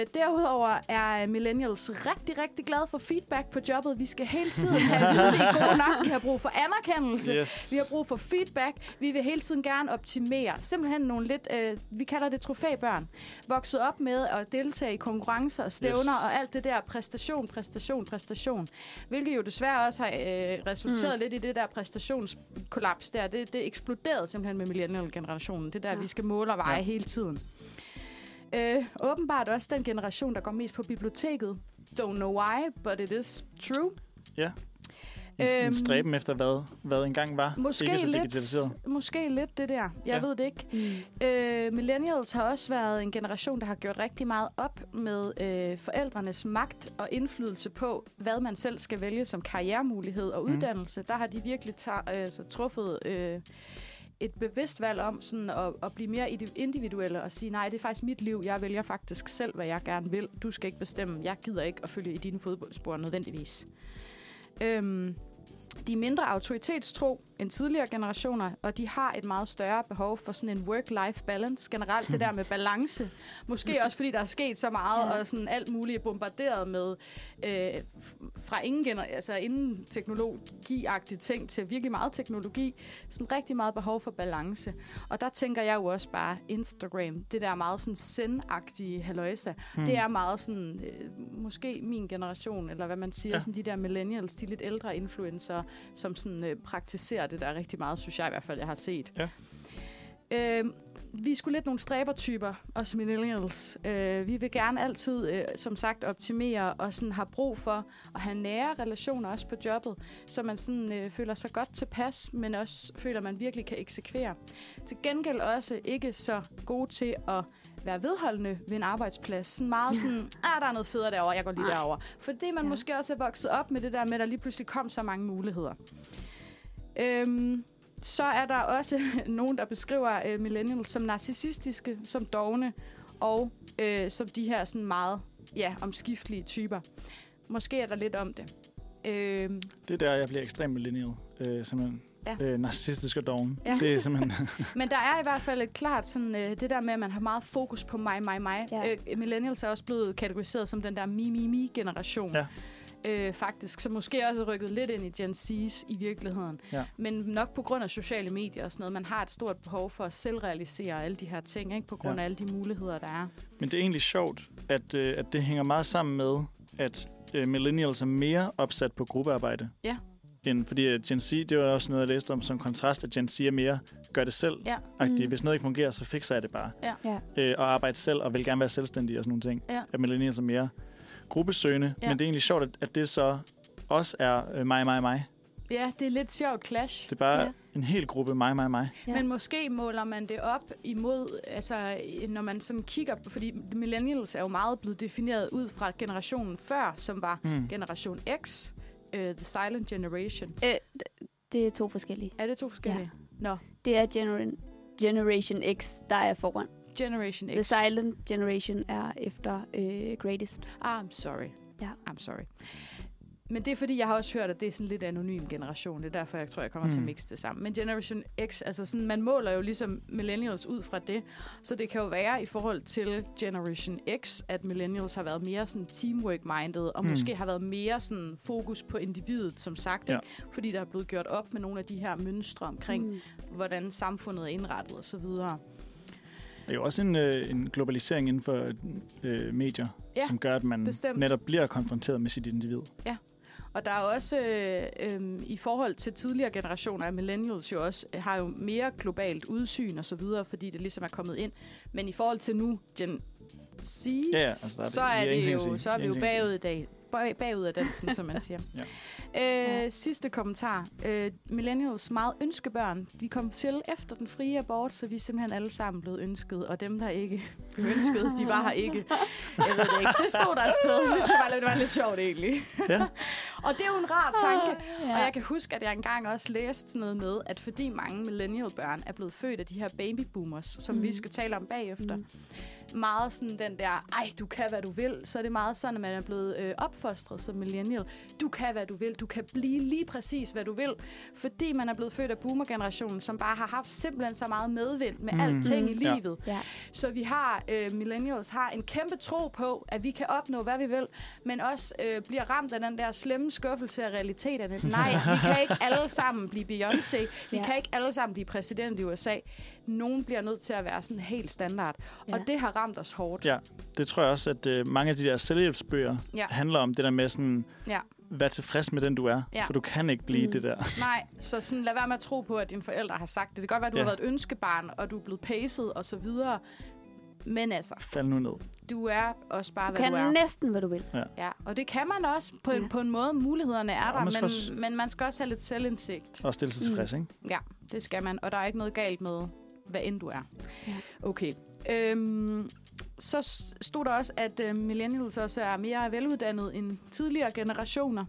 Speaker 3: Øh, derudover er millennials rigtig, rigtig glade for feedback på jobbet. Vi skal hele tiden have at vide, vi er gode nok. Vi har brug for anerkendelse.
Speaker 2: Yes.
Speaker 3: Vi har brug for feedback. Vi vil hele tiden gerne optimere. Simpelthen nogle lidt, øh, vi kalder det trofæbørn. Vokset op med at deltage i konkurrencer og stævner
Speaker 2: Yes.
Speaker 3: og alt det der præstation, præstation, præstation. Hvilket jo desværre også har øh, resulteret mm. lidt i det der præstationskollaps der. Det, det eksploderede simpelthen med millennial-generationen. Det der, ja. vi skal måle og veje ja.
Speaker 2: Ja.
Speaker 3: hele tiden. Øh, åbenbart også den generation, der går mest på biblioteket. Don't know why, but it is true.
Speaker 2: ja. En,
Speaker 3: Øhm,
Speaker 2: en stræben efter, hvad, hvad engang var. ikke er
Speaker 3: Måske
Speaker 2: så
Speaker 3: lidt,
Speaker 2: digitaliseret.
Speaker 3: måske lidt det der. Jeg ja.
Speaker 2: Ja.
Speaker 3: ved det ikke. Øh, millennials har også været en generation, der har gjort rigtig meget op med øh, forældrenes magt og indflydelse på, hvad man selv skal vælge som karrieremulighed og
Speaker 2: Mhm.
Speaker 3: uddannelse. Der har de virkelig ta- øh, så truffet øh, et bevidst valg om sådan at, at blive mere indi- individuelle og sige, nej, det er faktisk mit liv. Jeg vælger faktisk selv, hvad jeg gerne vil. Du skal ikke bestemme. Jeg gider ikke at følge i dine fodboldspor nødvendigvis. Øhm, de er mindre autoritetstro end tidligere generationer, og de har et meget større behov for sådan en work-life balance. Generelt det der med balance. Måske også fordi der er sket så meget, og sådan alt muligt er bombarderet med øh, f- fra ingen, gener- altså inden teknologi-agtige ting til virkelig meget teknologi. Sådan rigtig meget behov for balance. Og der tænker jeg jo også bare Instagram, det der meget sådan zen-agtige haløjsa. Mm. Det er meget sådan, øh, måske min generation, eller hvad man siger, ja.
Speaker 2: Ja.
Speaker 3: sådan de der millennials, de lidt ældre influencer, som sådan øh, praktiserer det der rigtig meget, synes jeg i hvert fald, jeg har set.
Speaker 2: Ja.
Speaker 3: Øh, vi skulle lidt nogle stræbertyper, os millennials. Øh, vi vil gerne altid, øh, som sagt, optimere og sådan har brug for at have nære relationer også på jobbet, så man sådan, øh, føler sig godt tilpas, men også føler, man virkelig kan eksekvere. Til gengæld også ikke så gode til at være vedholdende ved en arbejdsplads. Sådan meget sådan, ah, der er noget federe derovre, jeg går lige
Speaker 4: Ej.
Speaker 3: derover. Fordi man ja.
Speaker 4: Ja.
Speaker 3: måske også er vokset op med det der med, at der lige pludselig kom så mange muligheder. Øhm, så er der også nogen, der beskriver øh, millennials som narcissistiske, som dogne og øh, som de her sådan meget ja, omskiftelige typer. Måske er der lidt om det. Øh,
Speaker 2: Det er der, jeg bliver ekstremt millennial. Øh, simpelthen.
Speaker 3: Ja.
Speaker 2: Ja. Øh, narcissistisk og doven.
Speaker 3: Ja.
Speaker 2: Ja. Det er simpelthen...
Speaker 3: men der er i hvert fald et klart sådan, øh, det der med, at man har meget fokus på mig, mig, mig. Ja.
Speaker 4: Ja.
Speaker 3: Øh, millennials er også blevet kategoriseret som den der mi-mi-mi-generation.
Speaker 2: Ja.
Speaker 3: Øh, faktisk, som måske også er rykket lidt ind i Gen Z's i virkeligheden.
Speaker 2: Ja.
Speaker 3: Men nok på grund af sociale medier og sådan noget. Man har et stort behov for at selvrealisere alle de her ting, ikke? på grund
Speaker 2: Ja.
Speaker 3: ja. af alle de muligheder, der er.
Speaker 2: Men det er egentlig sjovt, at, øh, at det hænger meget sammen med, at øh, millennials er mere opsat på gruppearbejde.
Speaker 3: Ja.
Speaker 2: End, fordi øh, Gen Z, det var også noget, jeg læste om som kontrast, at Gen Z er mere gør det selv.
Speaker 3: Ja.
Speaker 2: Mm.
Speaker 4: Mm.
Speaker 2: Hvis noget ikke fungerer, så fikser jeg det bare.
Speaker 3: Ja.
Speaker 4: Ja.
Speaker 2: Øh, og arbejde selv, og vil gerne være selvstændig og sådan nogle ting.
Speaker 3: Ja.
Speaker 2: At millennials er mere gruppesøgende.
Speaker 3: Ja.
Speaker 2: Men det er egentlig sjovt, at, at det så også er øh, mig, mig, mig.
Speaker 3: Ja, det er lidt sjovt clash.
Speaker 2: Det er bare
Speaker 4: Ja.
Speaker 2: ja. en hel gruppe mig, mig, mig.
Speaker 4: Ja.
Speaker 3: Men måske måler man det op imod, altså når man sådan kigger, på- fordi millennials er jo meget blevet defineret ud fra generationen før, som var
Speaker 2: Mm.
Speaker 3: generation X, uh, The Silent Generation.
Speaker 4: Øh, d- det er to forskellige.
Speaker 3: Er det to forskellige? Ja. Nå,
Speaker 4: Det er gener- Generation X, der er foran.
Speaker 3: Generation X.
Speaker 4: The Silent Generation er efter øh, Greatest.
Speaker 3: Ah, I'm sorry.
Speaker 4: Ja.
Speaker 3: I'm sorry. Men det er fordi, jeg har også hørt, at det er sådan lidt anonym generation. Det er derfor, jeg tror, jeg kommer mm. til at
Speaker 2: Mm.
Speaker 3: mixe det sammen. Men Generation X, altså sådan, man måler jo ligesom millennials ud fra det. Så det kan jo være i forhold til Generation X, at millennials har været mere sådan teamwork-minded, og
Speaker 2: Mm.
Speaker 3: mm. måske har været mere sådan fokus på individet, som sagt.
Speaker 2: Ja.
Speaker 3: Ja. Fordi der er blevet gjort op med nogle af de her mønstre omkring, mm. hvordan samfundet er indrettet osv.
Speaker 2: Det er jo også en, øh, en globalisering inden for øh, medier,
Speaker 3: Ja,
Speaker 2: som gør, at man
Speaker 3: bestemt.
Speaker 2: netop bliver konfronteret med sit individ.
Speaker 3: Og der er også, øh, øh, i forhold til tidligere generationer af millennials jo også, øh, har jo mere globalt udsyn og så videre, fordi det ligesom er kommet ind. Men i forhold til nu, Gen Z,
Speaker 2: Ja, ja, altså,
Speaker 3: altså,
Speaker 2: der er det- vi har
Speaker 3: så er det
Speaker 2: ingenting at
Speaker 3: jo,
Speaker 2: sige.
Speaker 3: så er
Speaker 2: Vi
Speaker 3: vi
Speaker 2: har
Speaker 3: jo
Speaker 2: ingenting at
Speaker 3: bagud i dag. Bag- Bagud af dansen, som man siger. Øh, sidste kommentar. Øh, millennials meget ønskebørn. Vi kom til efter den frie abort, så vi er simpelthen alle sammen blevet ønsket. Og dem, der ikke blev ønsket, de var her ikke. Jeg ved det ikke. Det stod der et sted. Det synes jeg bare, det var lidt sjovt egentlig.
Speaker 2: Ja.
Speaker 3: og det er jo en rar Ah, tanke.
Speaker 4: Ja.
Speaker 3: Og jeg kan huske, at jeg engang også læste sådan noget med, at fordi mange millennial-børn er blevet født af de her babyboomers, som mm. vi skal tale om bagefter, mm. meget sådan den der, ej, du kan, hvad du vil, så er det meget sådan, at man er blevet øh, opfostret som millennial. Du kan, hvad du vil. Du kan blive lige præcis, hvad du vil. Fordi man er blevet født af boomer-generationen, som bare har haft simpelthen så meget medvind med mm. alting i
Speaker 2: Ja.
Speaker 3: livet.
Speaker 4: Ja.
Speaker 3: Så vi har, øh, millennials har en kæmpe tro på, at vi kan opnå, hvad vi vil, men også øh, bliver ramt af den der slemme skuffelse af realiteterne. Nej, vi kan ikke alle sammen blive Beyoncé. Vi
Speaker 4: Ja.
Speaker 3: ja. kan ikke alle sammen blive præsident i USA. Nogen bliver nødt til at være sådan helt standard. Ja.
Speaker 4: Ja.
Speaker 3: Og det har ramt os hårdt.
Speaker 2: Ja, det tror jeg også, at øh, mange af de der selvhjælpsbøger
Speaker 3: Ja.
Speaker 2: handler om det der med sådan,
Speaker 3: Ja.
Speaker 2: vær tilfreds med den, du er,
Speaker 3: Ja.
Speaker 2: for du kan ikke blive
Speaker 4: Mm.
Speaker 2: mm. det der.
Speaker 3: Nej, så sådan, lad være med at tro på, at dine forældre har sagt det. Det kan godt være, at du ja.
Speaker 2: Ja.
Speaker 3: har været et ønskebarn, og du er blevet paced og så videre. Men altså,
Speaker 2: Fald nu ned.
Speaker 3: du er også bare,
Speaker 4: Du
Speaker 3: hvad
Speaker 4: kan
Speaker 3: du er.
Speaker 4: næsten, hvad du vil.
Speaker 3: Ja, og det kan man også på en,
Speaker 4: Ja.
Speaker 3: ja. på en måde. Mulighederne er
Speaker 2: Ja,
Speaker 3: der,
Speaker 2: man skal
Speaker 3: men,
Speaker 2: også-
Speaker 3: men man skal også have lidt selvindsigt.
Speaker 2: Og stille sig tilfreds, ikke?
Speaker 3: Ja, det skal man, og der er ikke noget galt med, hvad end du er.
Speaker 4: Ja.
Speaker 3: Okay. Øhm, så s- stod der også, at øh, millennials også er mere veluddannet end tidligere generationer.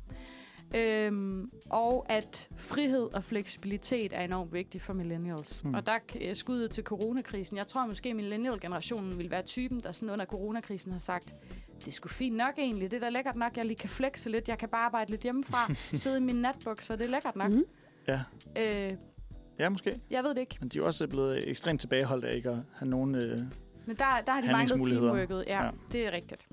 Speaker 3: Øhm, og at frihed og fleksibilitet er enormt vigtigt for millennials.
Speaker 2: Mm.
Speaker 3: Mm. Og der øh, skuddet til coronakrisen. Jeg tror måske, millennial-generationen vil være typen, der sådan under coronakrisen har sagt, det er sgu fint nok egentlig. Det er da lækkert nok, jeg lige kan flexe lidt. Jeg kan bare arbejde lidt hjemmefra. Sidde i min natbukser, det er lækkert nok. Mm.
Speaker 4: Mhm.
Speaker 2: Ja.
Speaker 3: Øh,
Speaker 2: Ja, måske.
Speaker 3: jeg ved det ikke.
Speaker 2: Men de er jo også blevet ekstremt tilbageholdt af ikke at have nogen... Øh...
Speaker 3: Men der, der har de manglet
Speaker 2: Handlingsmuligheder.
Speaker 3: teamworket. Ja,
Speaker 2: Ja.
Speaker 3: ja, det er rigtigt.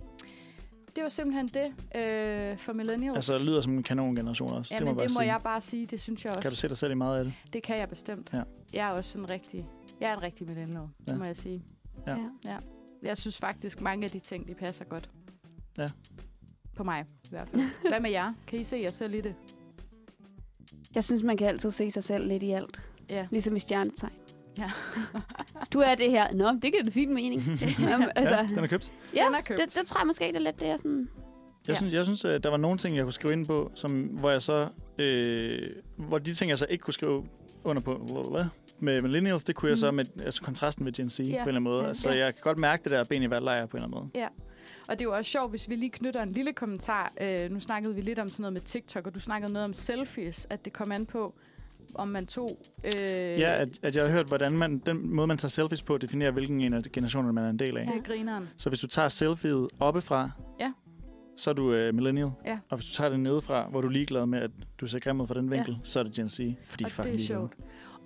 Speaker 3: Det var simpelthen det øh, for millennials.
Speaker 2: Altså, lyder som en kanongeneration også.
Speaker 3: ja,
Speaker 2: det må,
Speaker 3: men
Speaker 2: jeg bare
Speaker 3: det må
Speaker 2: sige.
Speaker 3: jeg bare sige. Det synes jeg også.
Speaker 2: Kan du se dig selv i meget af det?
Speaker 3: Det kan jeg bestemt.
Speaker 2: Ja.
Speaker 3: Jeg er også sådan rigtig... Jeg er en rigtig millennial,
Speaker 2: Ja.
Speaker 3: ja. må jeg sige.
Speaker 2: Ja.
Speaker 4: Ja.
Speaker 3: Jeg synes faktisk, mange af de ting, de passer godt.
Speaker 2: Ja.
Speaker 3: På mig, i hvert fald. Hvad med jer? Kan I se jer selv i det?
Speaker 4: Jeg synes, man kan altid se sig selv lidt i alt.
Speaker 3: Ja.
Speaker 4: Ligesom i stjernetegn.
Speaker 3: Ja.
Speaker 4: du er det her. Nå, men det giver da fint mening. Jamen, altså,
Speaker 2: Ja, den er købt.
Speaker 4: ja,
Speaker 3: Den er købt.
Speaker 4: det, det, tror jeg måske, det er lidt det, jeg sådan...
Speaker 2: Jeg,
Speaker 3: Ja.
Speaker 2: synes, jeg synes, at der var nogle ting, jeg kunne skrive ind på, som, hvor jeg så... Øh, hvor de ting, jeg så ikke kunne skrive under på blablabla, med millennials, det kunne jeg så
Speaker 4: Mm.
Speaker 2: med altså, kontrasten med Gen Z på en
Speaker 3: Ja.
Speaker 2: eller anden måde.
Speaker 4: Ja.
Speaker 2: Så
Speaker 4: Ja.
Speaker 2: jeg kan godt mærke det der ben i valglejr på en eller anden måde.
Speaker 3: Og det er jo også sjovt, hvis vi lige knytter en lille kommentar. Øh, nu snakkede vi lidt om sådan noget med TikTok, og du snakkede noget om selfies, at det kom an på, om man tog... Øh,
Speaker 2: Ja, at, at jeg har hørt, hvordan man, den måde, man tager selfies på, definerer, hvilken en af generationerne, man er en del af.
Speaker 3: Det er grineren.
Speaker 2: Så hvis du tager selfie'et oppefra,
Speaker 3: Ja.
Speaker 2: så er du øh, millennial.
Speaker 3: Ja.
Speaker 2: Og hvis du tager det nedefra, hvor du er ligeglad med, at du ser grim ud fra den
Speaker 3: Ja.
Speaker 2: vinkel, så er det Gen Z. Fordi
Speaker 3: Og
Speaker 2: fuck
Speaker 3: det er sjovt.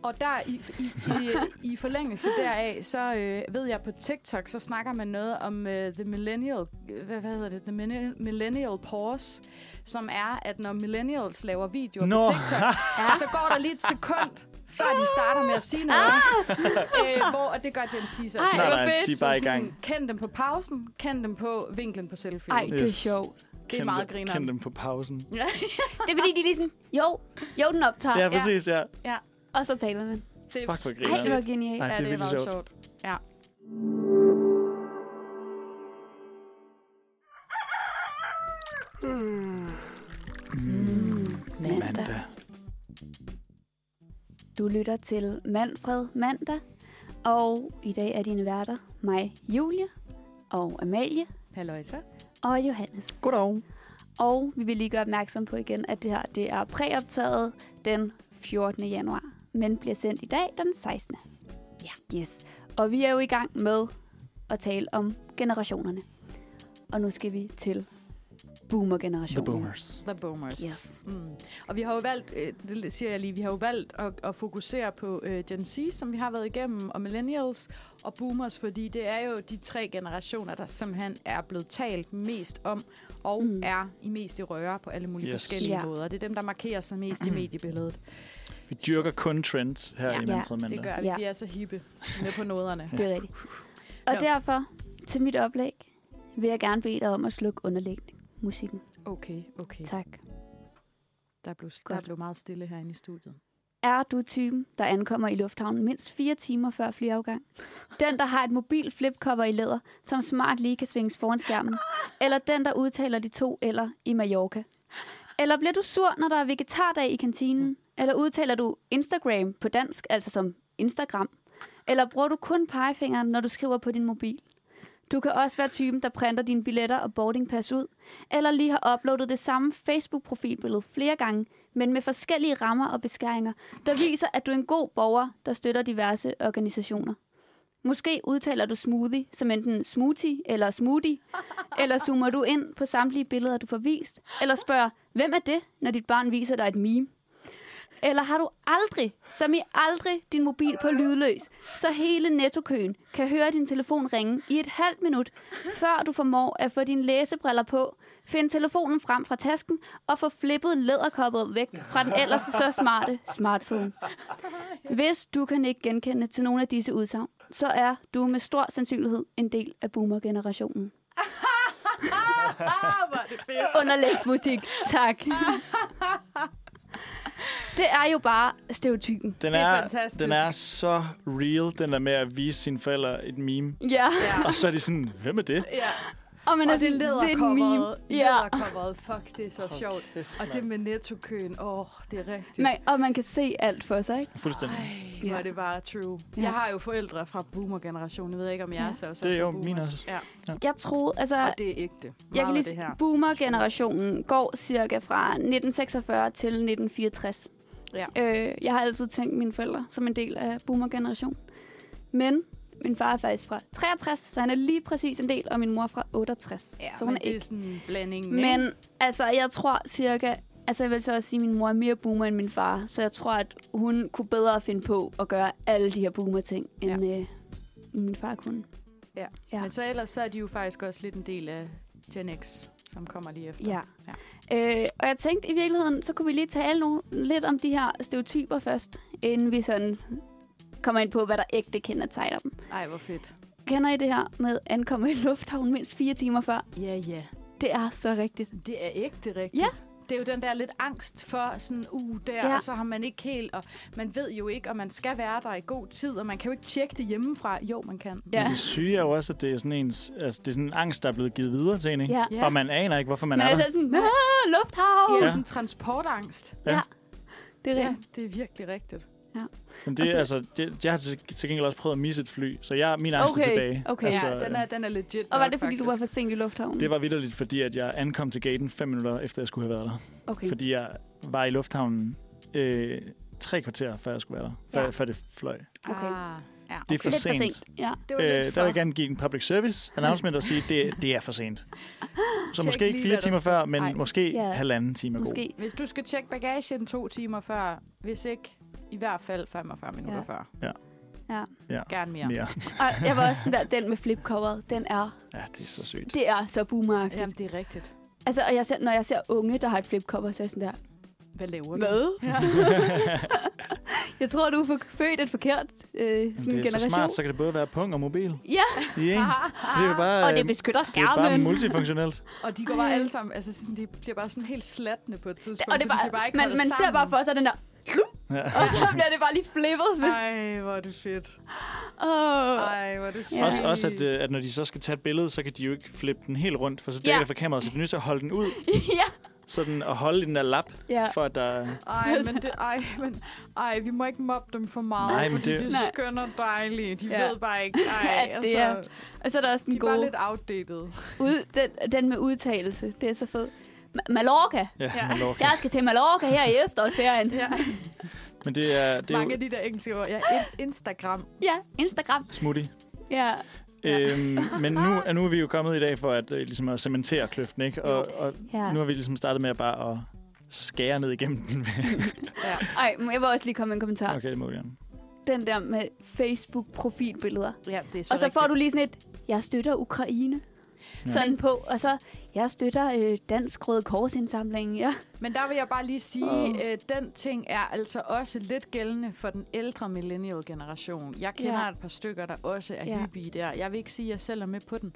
Speaker 3: Og der i, i, i, i forlængelse deraf, så øh, ved jeg på TikTok, så snakker man noget om øh, the millennial, øh, hvad, hvad hedder det, the millennial, millennial pause, som er, at når millennials laver videoer
Speaker 2: Nå.
Speaker 3: på TikTok, ja. så går der lige et sekund, før de starter med at sige noget. Ah. Øh, hvor, og det gør Gen Z så.
Speaker 4: Ej,
Speaker 2: Nej,
Speaker 4: hvor
Speaker 2: nej,
Speaker 4: fedt.
Speaker 2: de er bare i gang.
Speaker 3: Kend dem på pausen, kend dem på vinklen på selfie.
Speaker 4: Ej, det er
Speaker 2: Yes.
Speaker 4: sjovt.
Speaker 3: det er meget grineren.
Speaker 2: Kend dem på pausen.
Speaker 3: Ja.
Speaker 4: Det er fordi, de er lige sådan, jo, jo, den optager.
Speaker 2: Ja,
Speaker 4: Ja.
Speaker 2: præcis, ja.
Speaker 4: Og så taler man.
Speaker 3: Det
Speaker 2: Fuck, hvor
Speaker 4: Ej, det
Speaker 2: grineren.
Speaker 4: var genialt.
Speaker 2: Ej,
Speaker 3: Ja, det er
Speaker 2: virkelig
Speaker 3: meget
Speaker 2: sjovt.
Speaker 3: sjovt. Ja.
Speaker 2: Mandag.
Speaker 4: Du lytter til Manfred Mandag, og i dag er dine værter mig, Julie, og Amalie,
Speaker 3: Halløj, så.
Speaker 4: og Johannes.
Speaker 2: Goddag.
Speaker 4: Og vi vil lige gøre opmærksom på igen, at det her det er præoptaget den 14. januar, men bliver sendt i dag den 16. Ja. Yes. Og vi er jo i gang med at tale om generationerne. Og nu skal vi til boomer-generation.
Speaker 2: The boomers.
Speaker 3: The Boomers.
Speaker 4: Yes.
Speaker 3: Mm. Og vi har jo valgt, øh, det siger jeg lige, vi har jo valgt at, at fokusere på øh, Gen Z, som vi har været igennem, og Millennials og Boomers, fordi det er jo de tre generationer, der simpelthen er blevet talt mest om, og
Speaker 4: Mm.
Speaker 3: mm. er i mest i røre på alle mulige
Speaker 2: Yes.
Speaker 3: yes. forskellige
Speaker 4: Ja. Mm.
Speaker 3: ja. måder. Det er dem, der markerer sig mest i mediebilledet.
Speaker 2: Vi dyrker kun trends her
Speaker 4: Ja.
Speaker 2: i
Speaker 4: Ja,
Speaker 2: Manfred
Speaker 3: Det
Speaker 2: Mandag.
Speaker 3: gør vi.
Speaker 4: Ja.
Speaker 3: Vi er så hippe med på noderne.
Speaker 4: Det er rigtigt. Og
Speaker 3: Nå.
Speaker 4: derfor, til mit oplæg, vil jeg gerne bede dig om at slukke underlægning. Musikken.
Speaker 3: Okay, okay.
Speaker 4: Tak.
Speaker 3: Der blev, der
Speaker 4: Godt.
Speaker 3: blev meget stille herinde i studiet.
Speaker 4: Er du typen, der ankommer i lufthavnen mindst fire timer før flyafgang? Den, der har et mobil flipcover i læder, som smart lige kan svinges foran skærmen? Eller den, der udtaler de to eller i Mallorca? Eller bliver du sur, når der er vegetardag i kantinen? Eller udtaler du Instagram på dansk, altså som Instagram? Eller bruger du kun pegefingeren, når du skriver på din mobil? Du kan også være typen, der printer dine billetter og boardingpass ud, eller lige har uploadet det samme Facebook-profilbillede flere gange, men med forskellige rammer og beskæringer, der viser, at du er en god borger, der støtter diverse organisationer. Måske udtaler du smoothie som enten smoothie eller smoothie, eller zoomer du ind på samtlige billeder, du får vist, eller spørger, hvem er det, når dit barn viser dig et meme? Eller har du aldrig, som i aldrig, din mobil på lydløs, så hele nettokøen kan høre din telefon ringe i et halvt minut, før du formår at få dine læsebriller på, finde telefonen frem fra tasken og få flippet læderkoppet væk fra den ellers så smarte smartphone. Hvis du kan ikke genkende til nogle af disse udsagn, så er du med stor sandsynlighed en del af boomer-generationen. Underlægsmusik, tak. Det er jo bare stereotypen.
Speaker 2: Den
Speaker 3: Det er
Speaker 2: er,
Speaker 3: fantastisk.
Speaker 2: den er så real, den der med at vise sine forældre et meme.
Speaker 4: Ja,
Speaker 2: Og så er de sådan, hvem er det?
Speaker 3: Ja.
Speaker 4: og man
Speaker 3: Men
Speaker 4: er sådan, det er en meme.
Speaker 3: Ja.
Speaker 4: Ja.
Speaker 3: Fuck, det er så sjovt. Og det med nettokøen. Åh, oh, det er rigtigt.
Speaker 4: Man, og man kan se alt for sig, ikke?
Speaker 2: Fuldstændig.
Speaker 3: Ja.
Speaker 4: Ja.
Speaker 3: Var det bare true.
Speaker 4: Ja.
Speaker 3: Ja. Jeg har jo forældre fra boomer-generationen. Jeg ved ikke, om jeg
Speaker 4: Ja.
Speaker 3: er så også
Speaker 2: Det er
Speaker 3: fra
Speaker 2: jo
Speaker 3: boomers.
Speaker 2: min også.
Speaker 3: Ja,
Speaker 4: Jeg troede, altså...
Speaker 3: og det er ægte. Meget
Speaker 4: jeg kan lige
Speaker 3: af det her.
Speaker 4: s- boomer-generationen går cirka fra 1946 til 1964.
Speaker 3: Ja.
Speaker 4: Øh, jeg har altid tænkt mine forældre som en del af boomer-generationen. Men min far er faktisk fra 63, så han er lige præcis en del, og min mor er fra 68.
Speaker 3: Ja,
Speaker 4: så hun
Speaker 3: men
Speaker 4: er
Speaker 3: det
Speaker 4: ikke
Speaker 3: er sådan en blanding.
Speaker 4: Men altså, jeg tror cirka... Altså, jeg vil så også sige, at min mor er mere boomer end min far. Så jeg tror, at hun kunne bedre finde på at gøre alle de her boomer-ting, end ja. øh, min far kunne. ja.
Speaker 3: Men så ellers så er de jo faktisk også lidt en del af Gen X, som kommer lige efter.
Speaker 4: Ja. ja. Øh, og jeg tænkte i virkeligheden, så kunne vi lige tale nogle, lidt om de her stereotyper først, inden vi sådan kommer ind på, hvad der ægte kendetegner dem.
Speaker 3: Ej, hvor fedt.
Speaker 4: Kender I det her med ankommer i lufthavnen mindst fire timer før?
Speaker 3: Ja, ja.
Speaker 4: Det er så rigtigt.
Speaker 3: Det er ægte rigtigt.
Speaker 4: Ja.
Speaker 3: Det er jo den der lidt angst for sådan, uh, der,
Speaker 4: Ja.
Speaker 3: ja. og så har man ikke helt, og man ved jo ikke, og man skal være der i god tid, og man kan jo ikke tjekke det hjemmefra. Jo, man kan.
Speaker 4: Ja.
Speaker 2: Ja. Men det syge er jo også, at det er sådan ens, altså det er sådan en angst, der er blevet givet videre til en, ikke?
Speaker 4: Ja.
Speaker 3: Ja.
Speaker 2: Og man aner ikke, hvorfor man,
Speaker 4: Man
Speaker 2: er
Speaker 4: er
Speaker 2: der.
Speaker 4: selv sådan, "Ah, lufthavn!
Speaker 3: Det er
Speaker 2: Ja.
Speaker 3: sådan en transportangst.
Speaker 4: Det er
Speaker 3: Ja,
Speaker 4: rigtigt.
Speaker 3: det er virkelig rigtigt.
Speaker 2: Men det,
Speaker 4: Og så-
Speaker 2: er altså, det, jeg har til, til gengæld også prøvet at misse et fly, så jeg, min angst
Speaker 4: Okay,
Speaker 2: er tilbage.
Speaker 4: okay.
Speaker 2: altså,
Speaker 3: ja, den er, den er legit.
Speaker 4: Og var
Speaker 3: nok,
Speaker 4: det, fordi du var
Speaker 3: faktisk.
Speaker 4: for sent i lufthavnen?
Speaker 2: Det var vidderligt, fordi at jeg ankom til gaten fem minutter efter, jeg skulle have været der.
Speaker 4: okay.
Speaker 2: Fordi jeg var i lufthavnen øh, tre kvarter, før jeg skulle være der. Før,
Speaker 4: Ja.
Speaker 2: før det fløj. Det
Speaker 4: Okay.
Speaker 3: Ah, ja.
Speaker 2: er for
Speaker 4: Lidt
Speaker 2: sent.
Speaker 4: for sent. Ja.
Speaker 3: Det var
Speaker 2: Øh,
Speaker 3: lidt
Speaker 2: der
Speaker 3: for...
Speaker 2: vil jeg gerne give en public service announcement og sige, at det, det er for sent. Så
Speaker 3: Tjek
Speaker 2: måske ikke
Speaker 3: lige,
Speaker 2: fire
Speaker 3: hvad der
Speaker 2: timer
Speaker 3: står.
Speaker 2: før, men
Speaker 3: Ej.
Speaker 2: måske
Speaker 4: Ja.
Speaker 2: halvanden time er god.
Speaker 4: Måske.
Speaker 3: Hvis du skal tjekke bagagen to timer før, hvis ikke i hvert fald 45 minutter
Speaker 4: Ja.
Speaker 3: før.
Speaker 2: Ja.
Speaker 4: Ja.
Speaker 2: Ja.
Speaker 3: Gerne mere.
Speaker 2: Mere.
Speaker 4: Og jeg var også sådan der, den med flipcoveret, den er,
Speaker 2: Ja, det er så sygt.
Speaker 4: det er så boomer
Speaker 3: Jamen, det er rigtigt.
Speaker 4: Altså, og jeg ser, når jeg ser unge, der har et flipcover, så er jeg sådan der,
Speaker 3: Hvad laver du?
Speaker 4: Hvad? jeg tror, du er for- født et forkert øh, sådan
Speaker 2: Jamen, det er så
Speaker 4: generation.
Speaker 2: smart, så kan det både være pung og mobil.
Speaker 4: Ja,
Speaker 2: I en. Det er jo bare,
Speaker 4: og det
Speaker 2: øh,
Speaker 4: beskytter
Speaker 2: det er bare
Speaker 4: skærmen.
Speaker 2: multifunktionelt.
Speaker 3: Og de går bare alle sammen, altså sådan, de bliver bare sådan helt slatne på et tidspunkt,
Speaker 4: og det
Speaker 3: så
Speaker 4: er
Speaker 3: de kan bare
Speaker 4: bare,
Speaker 3: ikke
Speaker 4: man,
Speaker 3: holde
Speaker 4: man ser
Speaker 3: sammen.
Speaker 4: bare for sig den der,
Speaker 2: Ja.
Speaker 4: og så bliver det bare lige flippet. sådan.
Speaker 3: Ej, hvor er det fedt.
Speaker 4: Åh.
Speaker 3: Ej, hvor er det sygt.
Speaker 2: Også, også at, øh, at når de så skal tage et billede, så kan de jo ikke flippe den helt rundt, for så dækker
Speaker 4: Ja.
Speaker 2: ja. det for kameraet, så de er nødt til at holde den ud,
Speaker 4: ja.
Speaker 2: sådan og holde i den der lap,
Speaker 4: ja.
Speaker 2: for at der...
Speaker 3: Ej, men det, ej, men, ej, vi må ikke mobbe dem for meget,
Speaker 2: Nej,
Speaker 3: Nej,
Speaker 2: men
Speaker 3: fordi
Speaker 2: det-
Speaker 3: det... de
Speaker 4: Nej.
Speaker 3: er skønne og dejlige. De
Speaker 4: Ja.
Speaker 3: ja. ved bare ikke, ej,
Speaker 4: At det
Speaker 3: altså,
Speaker 4: er Og så er der også
Speaker 3: de
Speaker 4: den
Speaker 3: er bare
Speaker 4: gode,
Speaker 3: lidt outdated.
Speaker 4: ud, den, den med udtalelse. Det er så fedt. Ma- Mallorca.
Speaker 2: Ja,
Speaker 3: Ja.
Speaker 2: ja.
Speaker 4: Jeg skal til Mallorca her i efterårsferien.
Speaker 3: Ja,
Speaker 2: Men det er, det er
Speaker 3: mange
Speaker 2: jo
Speaker 3: af de der engelske ord. Ja, in- Instagram.
Speaker 4: Ja, Instagram.
Speaker 2: smoothie.
Speaker 4: Ja,
Speaker 2: Ja. Øhm, men nu, nu er vi jo kommet i dag for at, øh, ligesom at cementere kløften, ikke? Og, og
Speaker 4: Ja.
Speaker 2: nu har vi ligesom startet med at bare at skære ned igennem den.
Speaker 4: Ej, må jeg vil også lige komme med en kommentar. Okay.
Speaker 2: okay, det må vi gerne.
Speaker 4: Den der med Facebook-profilbilleder.
Speaker 3: Ja, det er så
Speaker 4: Så og så
Speaker 3: rigtigt.
Speaker 4: får du lige sådan et, jeg støtter Ukraine. Ja. Sådan på, og så, jeg støtter øh, Dansk Røde Kors indsamling, ja.
Speaker 3: Men der vil jeg bare lige sige, at øh, den ting er altså også lidt gældende for den ældre millennial-generation. Jeg kender
Speaker 4: Ja.
Speaker 3: et par stykker, der også er
Speaker 4: Ja.
Speaker 3: ja. hyppige der. Jeg vil ikke sige, at jeg selv er med på den.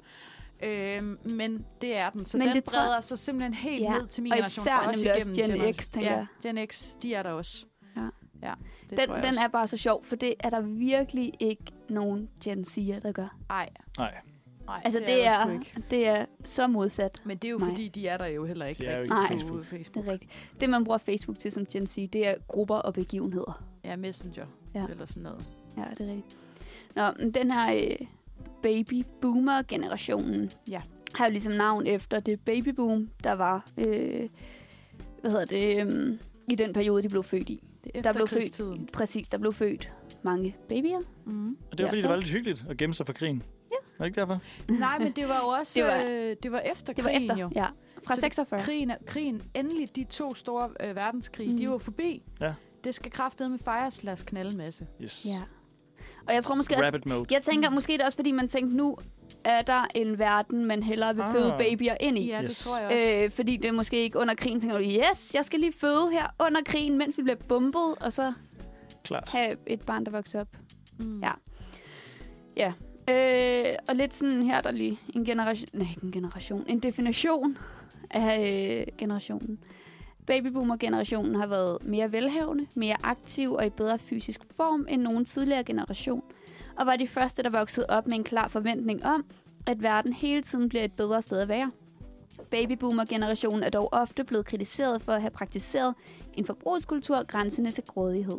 Speaker 3: Øhm, men det er den. Så
Speaker 4: Men
Speaker 3: men den
Speaker 4: det
Speaker 3: det
Speaker 4: tror-
Speaker 3: breder sig simpelthen helt
Speaker 4: Ja,
Speaker 3: ned til min
Speaker 4: og
Speaker 3: generation.
Speaker 4: især nemlig også
Speaker 3: igennem
Speaker 4: Gen X, tænker
Speaker 3: ja, Gen X, de er der også.
Speaker 4: Ja.
Speaker 3: ja det
Speaker 4: Den,
Speaker 3: tror jeg
Speaker 4: den
Speaker 3: også.
Speaker 4: er bare så sjov, for det er der virkelig ikke nogen Gen Z'er, der gør.
Speaker 3: Ej,
Speaker 2: Nej,
Speaker 3: nej,
Speaker 4: Altså, det, det,
Speaker 3: der
Speaker 4: er,
Speaker 3: sgu ikke.
Speaker 4: det er så modsat.
Speaker 3: Men det er jo
Speaker 4: Nej.
Speaker 3: fordi, de er der jo heller ikke
Speaker 2: De er jo
Speaker 4: ikke
Speaker 2: på
Speaker 3: rigtig på
Speaker 2: Nej.
Speaker 4: Det
Speaker 3: Facebook.
Speaker 4: er rigtigt. Det, man bruger Facebook til som Gen Z, det er grupper og begivenheder.
Speaker 3: Ja, Messenger
Speaker 4: Ja.
Speaker 3: ja. eller sådan noget.
Speaker 4: Ja, det er rigtigt. Nå, men den her øh, baby boomer-generationen
Speaker 3: Ja.
Speaker 4: har jo ligesom navn efter det baby boom, der var øh, hvad hedder det, øh, i den periode, de blev født i.
Speaker 3: Det er
Speaker 4: Der blev født,
Speaker 3: efterkrigstiden.
Speaker 4: præcis, der blev født mange babyer.
Speaker 3: Mhm.
Speaker 2: og det var fordi,
Speaker 4: Derfor.
Speaker 2: det var lidt hyggeligt at gemme sig for krigen. Ja. Var det ikke derfor?
Speaker 3: Nej, men det var jo også
Speaker 4: Det
Speaker 3: det
Speaker 4: var-
Speaker 3: var, øh, det var efter
Speaker 4: Det var
Speaker 3: krigen
Speaker 4: efter,
Speaker 3: jo.
Speaker 4: ja. Fra
Speaker 3: Så det-
Speaker 4: 46.
Speaker 3: Krigen, er- krigen, endelig de to store øh, verdenskrige,
Speaker 4: Mm.
Speaker 3: mm. de var forbi.
Speaker 2: Ja.
Speaker 3: Det skal kraftedeme fejres, lad os knalde masse.
Speaker 2: Yes.
Speaker 4: Ja. Og jeg tror måske også,
Speaker 2: Rapid mode.
Speaker 4: jeg tænker måske er det også, fordi man tænkte, nu er der en verden, man hellere vil
Speaker 2: Ah.
Speaker 4: føde babyer ind i.
Speaker 3: Ja, yes. det
Speaker 2: Yes.
Speaker 3: tror jeg også.
Speaker 4: Øh, fordi det er måske ikke under krigen, tænker du, yes, jeg skal lige føde her under krigen, mens vi bliver bombet, og så
Speaker 2: Klart.
Speaker 4: have et barn, der vokser op.
Speaker 3: mm.
Speaker 4: ja. Øh, og lidt sådan her, er der lige en generation, nej, ikke en generation, en definition af øh, generationen. Babyboomer-generationen har været mere velhavende, mere aktiv og i bedre fysisk form end nogen tidligere generation, og var de første, der voksede op med en klar forventning om, at verden hele tiden bliver et bedre sted at være. Babyboomer-generationen er dog ofte blevet kritiseret for at have praktiseret en forbrugskultur grænsende til grådighed.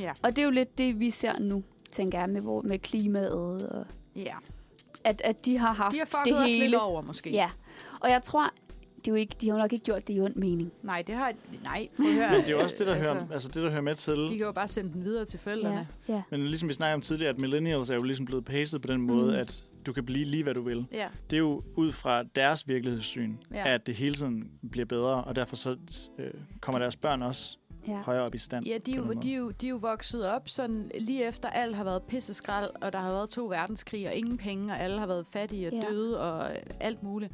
Speaker 3: Ja.
Speaker 4: Og det er jo lidt det, vi ser nu, tænker jeg, med, hvor, med klimaet, og
Speaker 3: ja.
Speaker 4: at, at de har haft
Speaker 3: De har
Speaker 4: det
Speaker 3: fucket os
Speaker 4: hele.
Speaker 3: lidt over, måske.
Speaker 4: Ja, og jeg tror, det er jo ikke, de har jo nok ikke gjort det i ond mening.
Speaker 3: Nej, det har... Nej, prøv at høre.
Speaker 2: Men det er jo også det, der,
Speaker 3: altså,
Speaker 2: hører, altså, det, der hører med til...
Speaker 3: De kan jo bare sende den videre til
Speaker 4: Ja,
Speaker 3: forældrene.
Speaker 4: ja.
Speaker 2: Men ligesom vi snakkede om tidligere, at millennials er jo ligesom blevet pacet på den måde,
Speaker 4: Mm.
Speaker 2: mm. at du kan blive lige, hvad du vil.
Speaker 3: Ja. ja.
Speaker 2: Det er jo ud fra deres virkelighedssyn,
Speaker 3: Ja.
Speaker 2: ja. at det hele tiden bliver bedre, og derfor så øh, kommer deres børn også
Speaker 4: ja.
Speaker 2: højere op i stand.
Speaker 3: Ja, de er,
Speaker 2: på
Speaker 3: jo,
Speaker 2: den måde.
Speaker 3: de, er jo, de er jo vokset op sådan lige efter alt har været pisseskrald, og der har været to verdenskrige, og ingen penge, og alle har været fattige og
Speaker 4: Ja.
Speaker 3: ja. døde og øh, alt muligt.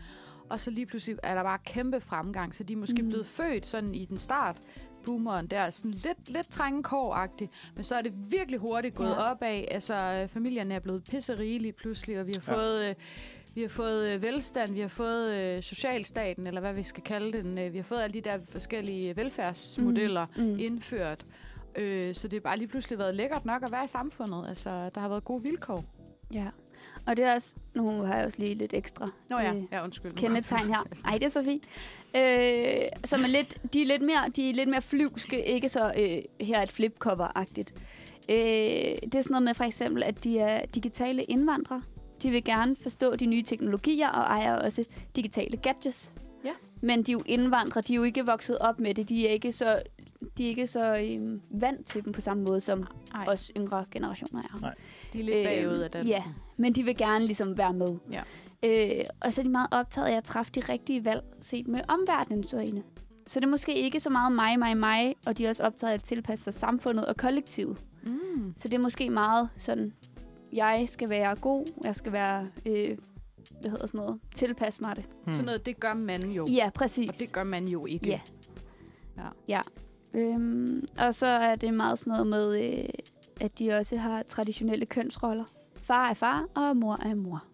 Speaker 3: Og så lige pludselig er der bare kæmpe fremgang, så de er måske
Speaker 4: Mm.
Speaker 3: mm. blevet født sådan i den start, boomeren der, sådan lidt, lidt trængekoragtigt, men så er det virkelig hurtigt gået
Speaker 4: Ja.
Speaker 3: ja. opad. Altså, øh, familierne er blevet pisserige lige pludselig, og vi har
Speaker 2: Ja.
Speaker 3: fået... Øh, vi har fået øh, velstand, vi har fået øh, socialstaten, eller hvad vi skal kalde den. Øh, vi har fået alle de der forskellige velfærdsmodeller,
Speaker 4: Mm.
Speaker 3: indført. Øh, så det har bare lige pludselig været lækkert nok at være i samfundet. Altså, der har været gode vilkår.
Speaker 4: ja. Og det er også, nu har jeg også lige lidt ekstra
Speaker 3: Nå ja,
Speaker 4: øh,
Speaker 3: ja undskyld. Nu
Speaker 4: kendetegn her. Nej, det er så fint. Øh, som er lidt, de er lidt mere, de er lidt mere flyvske, ikke så øh, her et flipcover-agtigt. Øh, det er sådan noget med for eksempel, at de er digitale indvandrere. De vil gerne forstå de nye teknologier og ejer også digitale gadgets.
Speaker 3: Ja.
Speaker 4: Men de er jo indvandrere, de er jo ikke vokset op med det. De er ikke så, de er ikke så øhm, vant til dem på samme måde, som
Speaker 3: Ej,
Speaker 4: Ej. os yngre generationer er.
Speaker 3: de er lidt
Speaker 4: øh,
Speaker 3: bagud af dansen.
Speaker 4: ja. Men de vil gerne ligesom være med.
Speaker 3: Ja.
Speaker 4: Øh, og så er de meget optaget af at træffe de rigtige valg, set med omverdenens øjne. Så det er måske ikke så meget mig, mig, mig, og de er også optaget af at tilpasse sig samfundet og kollektivet.
Speaker 3: Mm.
Speaker 4: Så det er måske meget sådan, jeg skal være god, jeg skal være, øh, hvad hedder sådan noget, tilpasse mig det.
Speaker 2: Hmm.
Speaker 3: Sådan noget, det gør man jo.
Speaker 4: Ja, præcis.
Speaker 3: Og det gør man jo ikke.
Speaker 4: Ja.
Speaker 3: Ja.
Speaker 4: ja. Øhm, og så er det meget sådan noget med, øh, at de også har traditionelle kønsroller. Far er far, og mor er mor.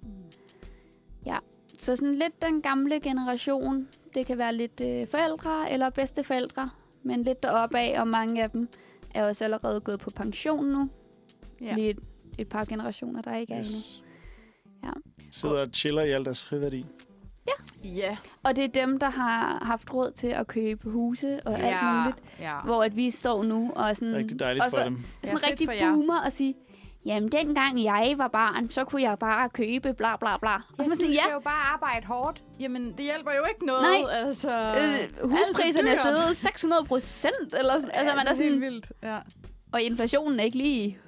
Speaker 4: Ja, så sådan lidt den gamle generation. Det kan være lidt øh, forældre eller bedsteforældre, men lidt deroppe af, og mange af dem er også allerede gået på pension nu. Ja.
Speaker 3: Ja.
Speaker 4: Lige et, et par generationer, der ikke yes. er endnu.
Speaker 2: Yes.
Speaker 4: Ja.
Speaker 2: Sidder og chiller i alt deres friværdi.
Speaker 3: Ja.
Speaker 4: Og det er dem, der har haft råd til at købe huse og ja. alt muligt.
Speaker 3: ja.
Speaker 4: Hvor at vi står nu og er sådan...
Speaker 2: Rigtig dejligt
Speaker 4: og
Speaker 2: for
Speaker 4: så,
Speaker 2: dem.
Speaker 4: sådan
Speaker 3: Ja, fedt
Speaker 4: rigtig
Speaker 3: for jer.
Speaker 4: boomer og sige, jamen dengang jeg var barn, så kunne jeg bare købe bla bla bla. Og så
Speaker 3: Ja,
Speaker 4: man
Speaker 3: du
Speaker 4: sådan, ja,
Speaker 3: skal jo bare arbejde hårdt. Jamen, det hjælper jo ikke noget.
Speaker 4: Nej.
Speaker 3: Altså,
Speaker 4: øh, huspriserne er
Speaker 3: alt dyrt.
Speaker 4: steget 600 procent, eller sådan.
Speaker 3: Ja,
Speaker 4: altså man
Speaker 3: det
Speaker 4: er
Speaker 3: helt
Speaker 4: sådan,
Speaker 3: vildt. Ja.
Speaker 4: og inflationen er ikke lige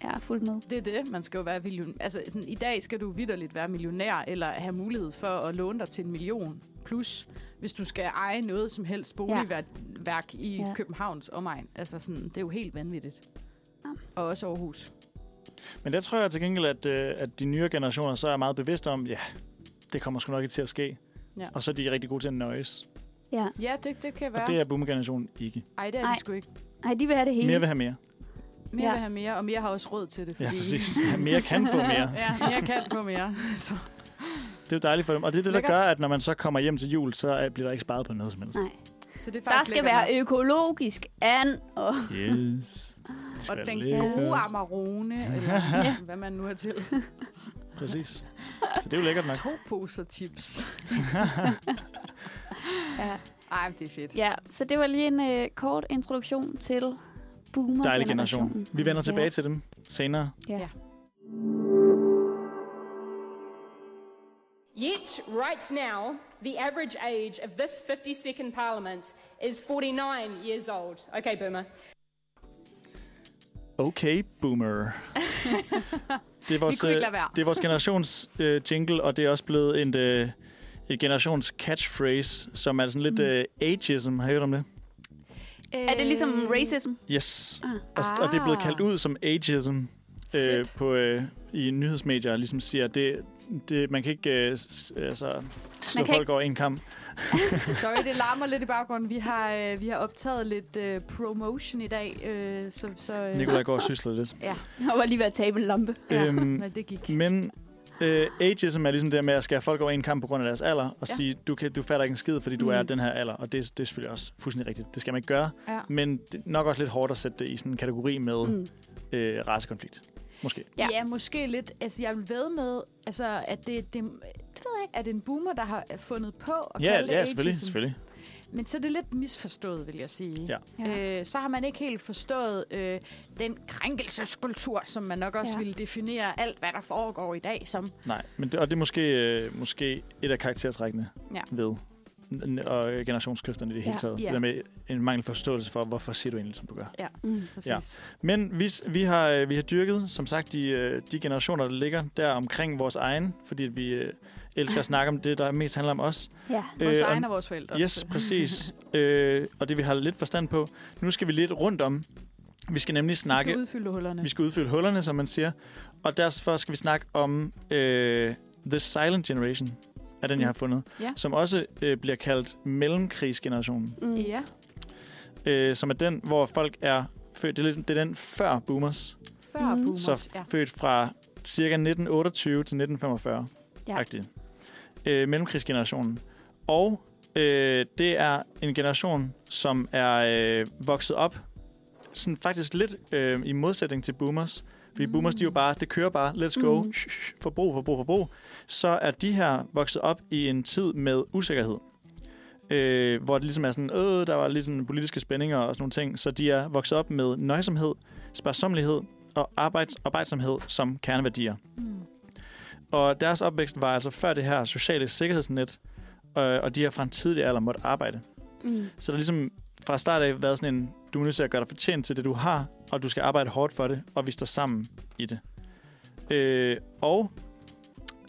Speaker 4: er fuldt med.
Speaker 3: Det er det. Man skal jo være million... Altså, sådan, i dag skal du vidderligt være millionær, eller have mulighed for at låne dig til en million plus, hvis du skal eje noget som helst boligværk i
Speaker 4: Ja.
Speaker 3: ja. Københavns omegn. Altså, sådan, det er jo helt vanvittigt.
Speaker 4: Ja.
Speaker 3: Og også Aarhus.
Speaker 2: Men der tror jeg til gengæld, at, øh, at de nyere generationer så er meget bevidste om, ja, det kommer sgu nok ikke til at ske.
Speaker 3: Ja.
Speaker 2: Og så er de rigtig gode til at nøjes.
Speaker 4: Ja.
Speaker 3: Ja, det, det kan
Speaker 2: Og
Speaker 3: være.
Speaker 2: det er boomer-generationen ikke.
Speaker 3: Ej, det er
Speaker 4: Ej.
Speaker 3: det sgu ikke.
Speaker 4: Ej, de vil have det hele.
Speaker 2: Mere vil have mere.
Speaker 3: Mere
Speaker 4: Ja.
Speaker 3: ja. vil have mere, og mere har også råd til det.
Speaker 2: Ja,
Speaker 3: fordi-
Speaker 2: præcis. Ja, mere kan få mere.
Speaker 3: ja, mere kan få mere. Så.
Speaker 2: Det er jo dejligt for dem. Og det er det, der
Speaker 3: Lækkert.
Speaker 2: gør, at når man så kommer hjem til jul, så øh, bliver der ikke sparet på noget som helst.
Speaker 4: Nej.
Speaker 3: Så det er
Speaker 4: Der
Speaker 3: faktisk
Speaker 4: skal
Speaker 3: lækkert
Speaker 4: være økologisk an, og
Speaker 2: Yes. Det
Speaker 3: nok.
Speaker 2: skal
Speaker 3: Og den
Speaker 2: være øh, lækkert.
Speaker 3: gode Amarone, eller hvad man nu er til.
Speaker 2: Præcis. Så det er jo lækkert nok.
Speaker 3: To poser chips.
Speaker 4: Ja.
Speaker 3: Ej, det er fedt.
Speaker 4: ja, så det var lige en øh, kort introduktion til
Speaker 2: Dejlig generation.
Speaker 4: boomer-generationen.
Speaker 2: Vi vender tilbage
Speaker 4: ja.
Speaker 2: til dem senere.
Speaker 4: Ja.
Speaker 5: Yet, right now, the average age of this 52nd Parliament is 49 years old. Okay, Boomer.
Speaker 2: Okay, boomer. Det er vores,
Speaker 3: kunne ikke
Speaker 2: øh,
Speaker 3: lade være.
Speaker 2: det er vores generations øh, jingle, og det er også blevet en, øh, et generations catchphrase, som er sådan lidt
Speaker 3: Mm.
Speaker 2: øh, ageism. Har I hørt om det?
Speaker 4: Er det ligesom
Speaker 3: Øh,
Speaker 4: racism?
Speaker 2: Yes.
Speaker 4: Ah.
Speaker 2: Og, og det er blevet
Speaker 3: Ah.
Speaker 2: kaldt ud som ageism øh,
Speaker 3: Fedt.
Speaker 2: på, øh, i nyhedsmedier, og ligesom siger, at det, det, man kan ikke øh, s- altså, slå
Speaker 4: kan
Speaker 2: folk
Speaker 4: ikke-
Speaker 2: over en kamp.
Speaker 3: Sorry, det larmer lidt i baggrunden. Vi har, øh, vi har optaget lidt øh, promotion i dag, øh, så, så øh,
Speaker 2: Nikolaj går og sysler lidt.
Speaker 4: Jeg var lige ved at tabe en lampe.
Speaker 3: Ja,
Speaker 2: Øhm,
Speaker 3: men det gik.
Speaker 2: Men øh, ageism er ligesom det der med at skære folk over en kamp på grund af deres alder, og ja.
Speaker 3: Ja.
Speaker 2: sige, du, kan, du fatter ikke en skid, fordi du mm. er
Speaker 3: Mm.
Speaker 2: den her alder. Og det, det er selvfølgelig også fuldstændig rigtigt. Det skal man ikke gøre.
Speaker 3: Ja.
Speaker 2: Men det er nok også lidt hårdt at sætte det i sådan en kategori med mm.
Speaker 4: Mm.
Speaker 2: øh, racekonflikt. Måske.
Speaker 4: Ja.
Speaker 3: Ja. ja, måske lidt. Altså, jeg vil ved med, altså, at det, det, det ved jeg ikke, er det en boomer, der har fundet på at
Speaker 2: Ja,
Speaker 3: kalde det
Speaker 2: ja, selvfølgelig,
Speaker 3: ageism?
Speaker 2: selvfølgelig.
Speaker 3: Men så er det lidt misforstået, vil jeg sige.
Speaker 2: Ja.
Speaker 4: Ja.
Speaker 3: Øh, så har man ikke helt forstået øh, den krænkelseskultur, som man nok også ja.
Speaker 4: Ja.
Speaker 3: ville definere alt, hvad der foregår i dag som.
Speaker 2: Nej, men det, og det er måske, øh, måske et af karaktertrækkene ja.
Speaker 3: Ja.
Speaker 2: ved n- n- og generationskløfterne i det hele
Speaker 4: Ja.
Speaker 2: taget. Ja.
Speaker 3: Ja.
Speaker 2: Det der med en mangel på forståelse for, hvorfor siger du egentlig, som du gør.
Speaker 4: Mm.
Speaker 3: Præcis.
Speaker 2: Men vi, s- vi, har, øh, vi har dyrket, som sagt, de, øh, de generationer, der ligger der omkring vores egen, fordi at vi øh, elsker at snakke om det, der mest handler om os.
Speaker 4: Ja.
Speaker 3: Vores
Speaker 2: og-
Speaker 3: øh, egne og vores forældres.
Speaker 2: Yes, præcis. øh, og det, vi har lidt forstand på. Nu skal vi lidt rundt om. Vi skal nemlig
Speaker 3: snakke.
Speaker 2: snakke...
Speaker 3: Vi skal udfylde hullerne.
Speaker 2: Vi skal udfylde hullerne, som man siger. Og derfor skal vi snakke om øh, The Silent Generation, er den, jeg har fundet.
Speaker 3: Mm. Ja.
Speaker 2: Som også øh, bliver kaldt mellemkrigsgenerationen.
Speaker 4: Mm.
Speaker 3: Ja,
Speaker 2: Øh, som er den, hvor folk er født... Det er, lidt- det er den før boomers.
Speaker 3: før
Speaker 4: Mm.
Speaker 3: mm. boomers.
Speaker 2: så
Speaker 3: ja.
Speaker 2: født fra cirka 1928 til 1945.
Speaker 4: Ja.
Speaker 2: Agtigt. Øh, mellemkrigsgenerationen. Og øh, det er en generation, som er øh, vokset op sådan faktisk lidt øh, i modsætning til boomers. Fordi mm. boomers, de er jo bare, det kører bare, let's go,
Speaker 4: Mm.
Speaker 2: mm. forbrug, forbrug, forbrug. Så er de her vokset op i en tid med usikkerhed. Øh, hvor det ligesom er sådan, øh, der var ligesom politiske spændinger og sådan nogle ting. Så de er vokset op med nøjsomhed, sparsomlighed og arbejds- arbejdsomhed som kerneværdier.
Speaker 3: Mm.
Speaker 2: Og deres opvækst var altså før det her sociale sikkerhedsnet, øh, og de har fra en tidlig alder måtte arbejde.
Speaker 4: Mm.
Speaker 2: Så der har ligesom fra start af været sådan en, du er nødt til at gøre dig fortjent til det, du har, og du skal arbejde hårdt for det, og vi står sammen i det. Øh, og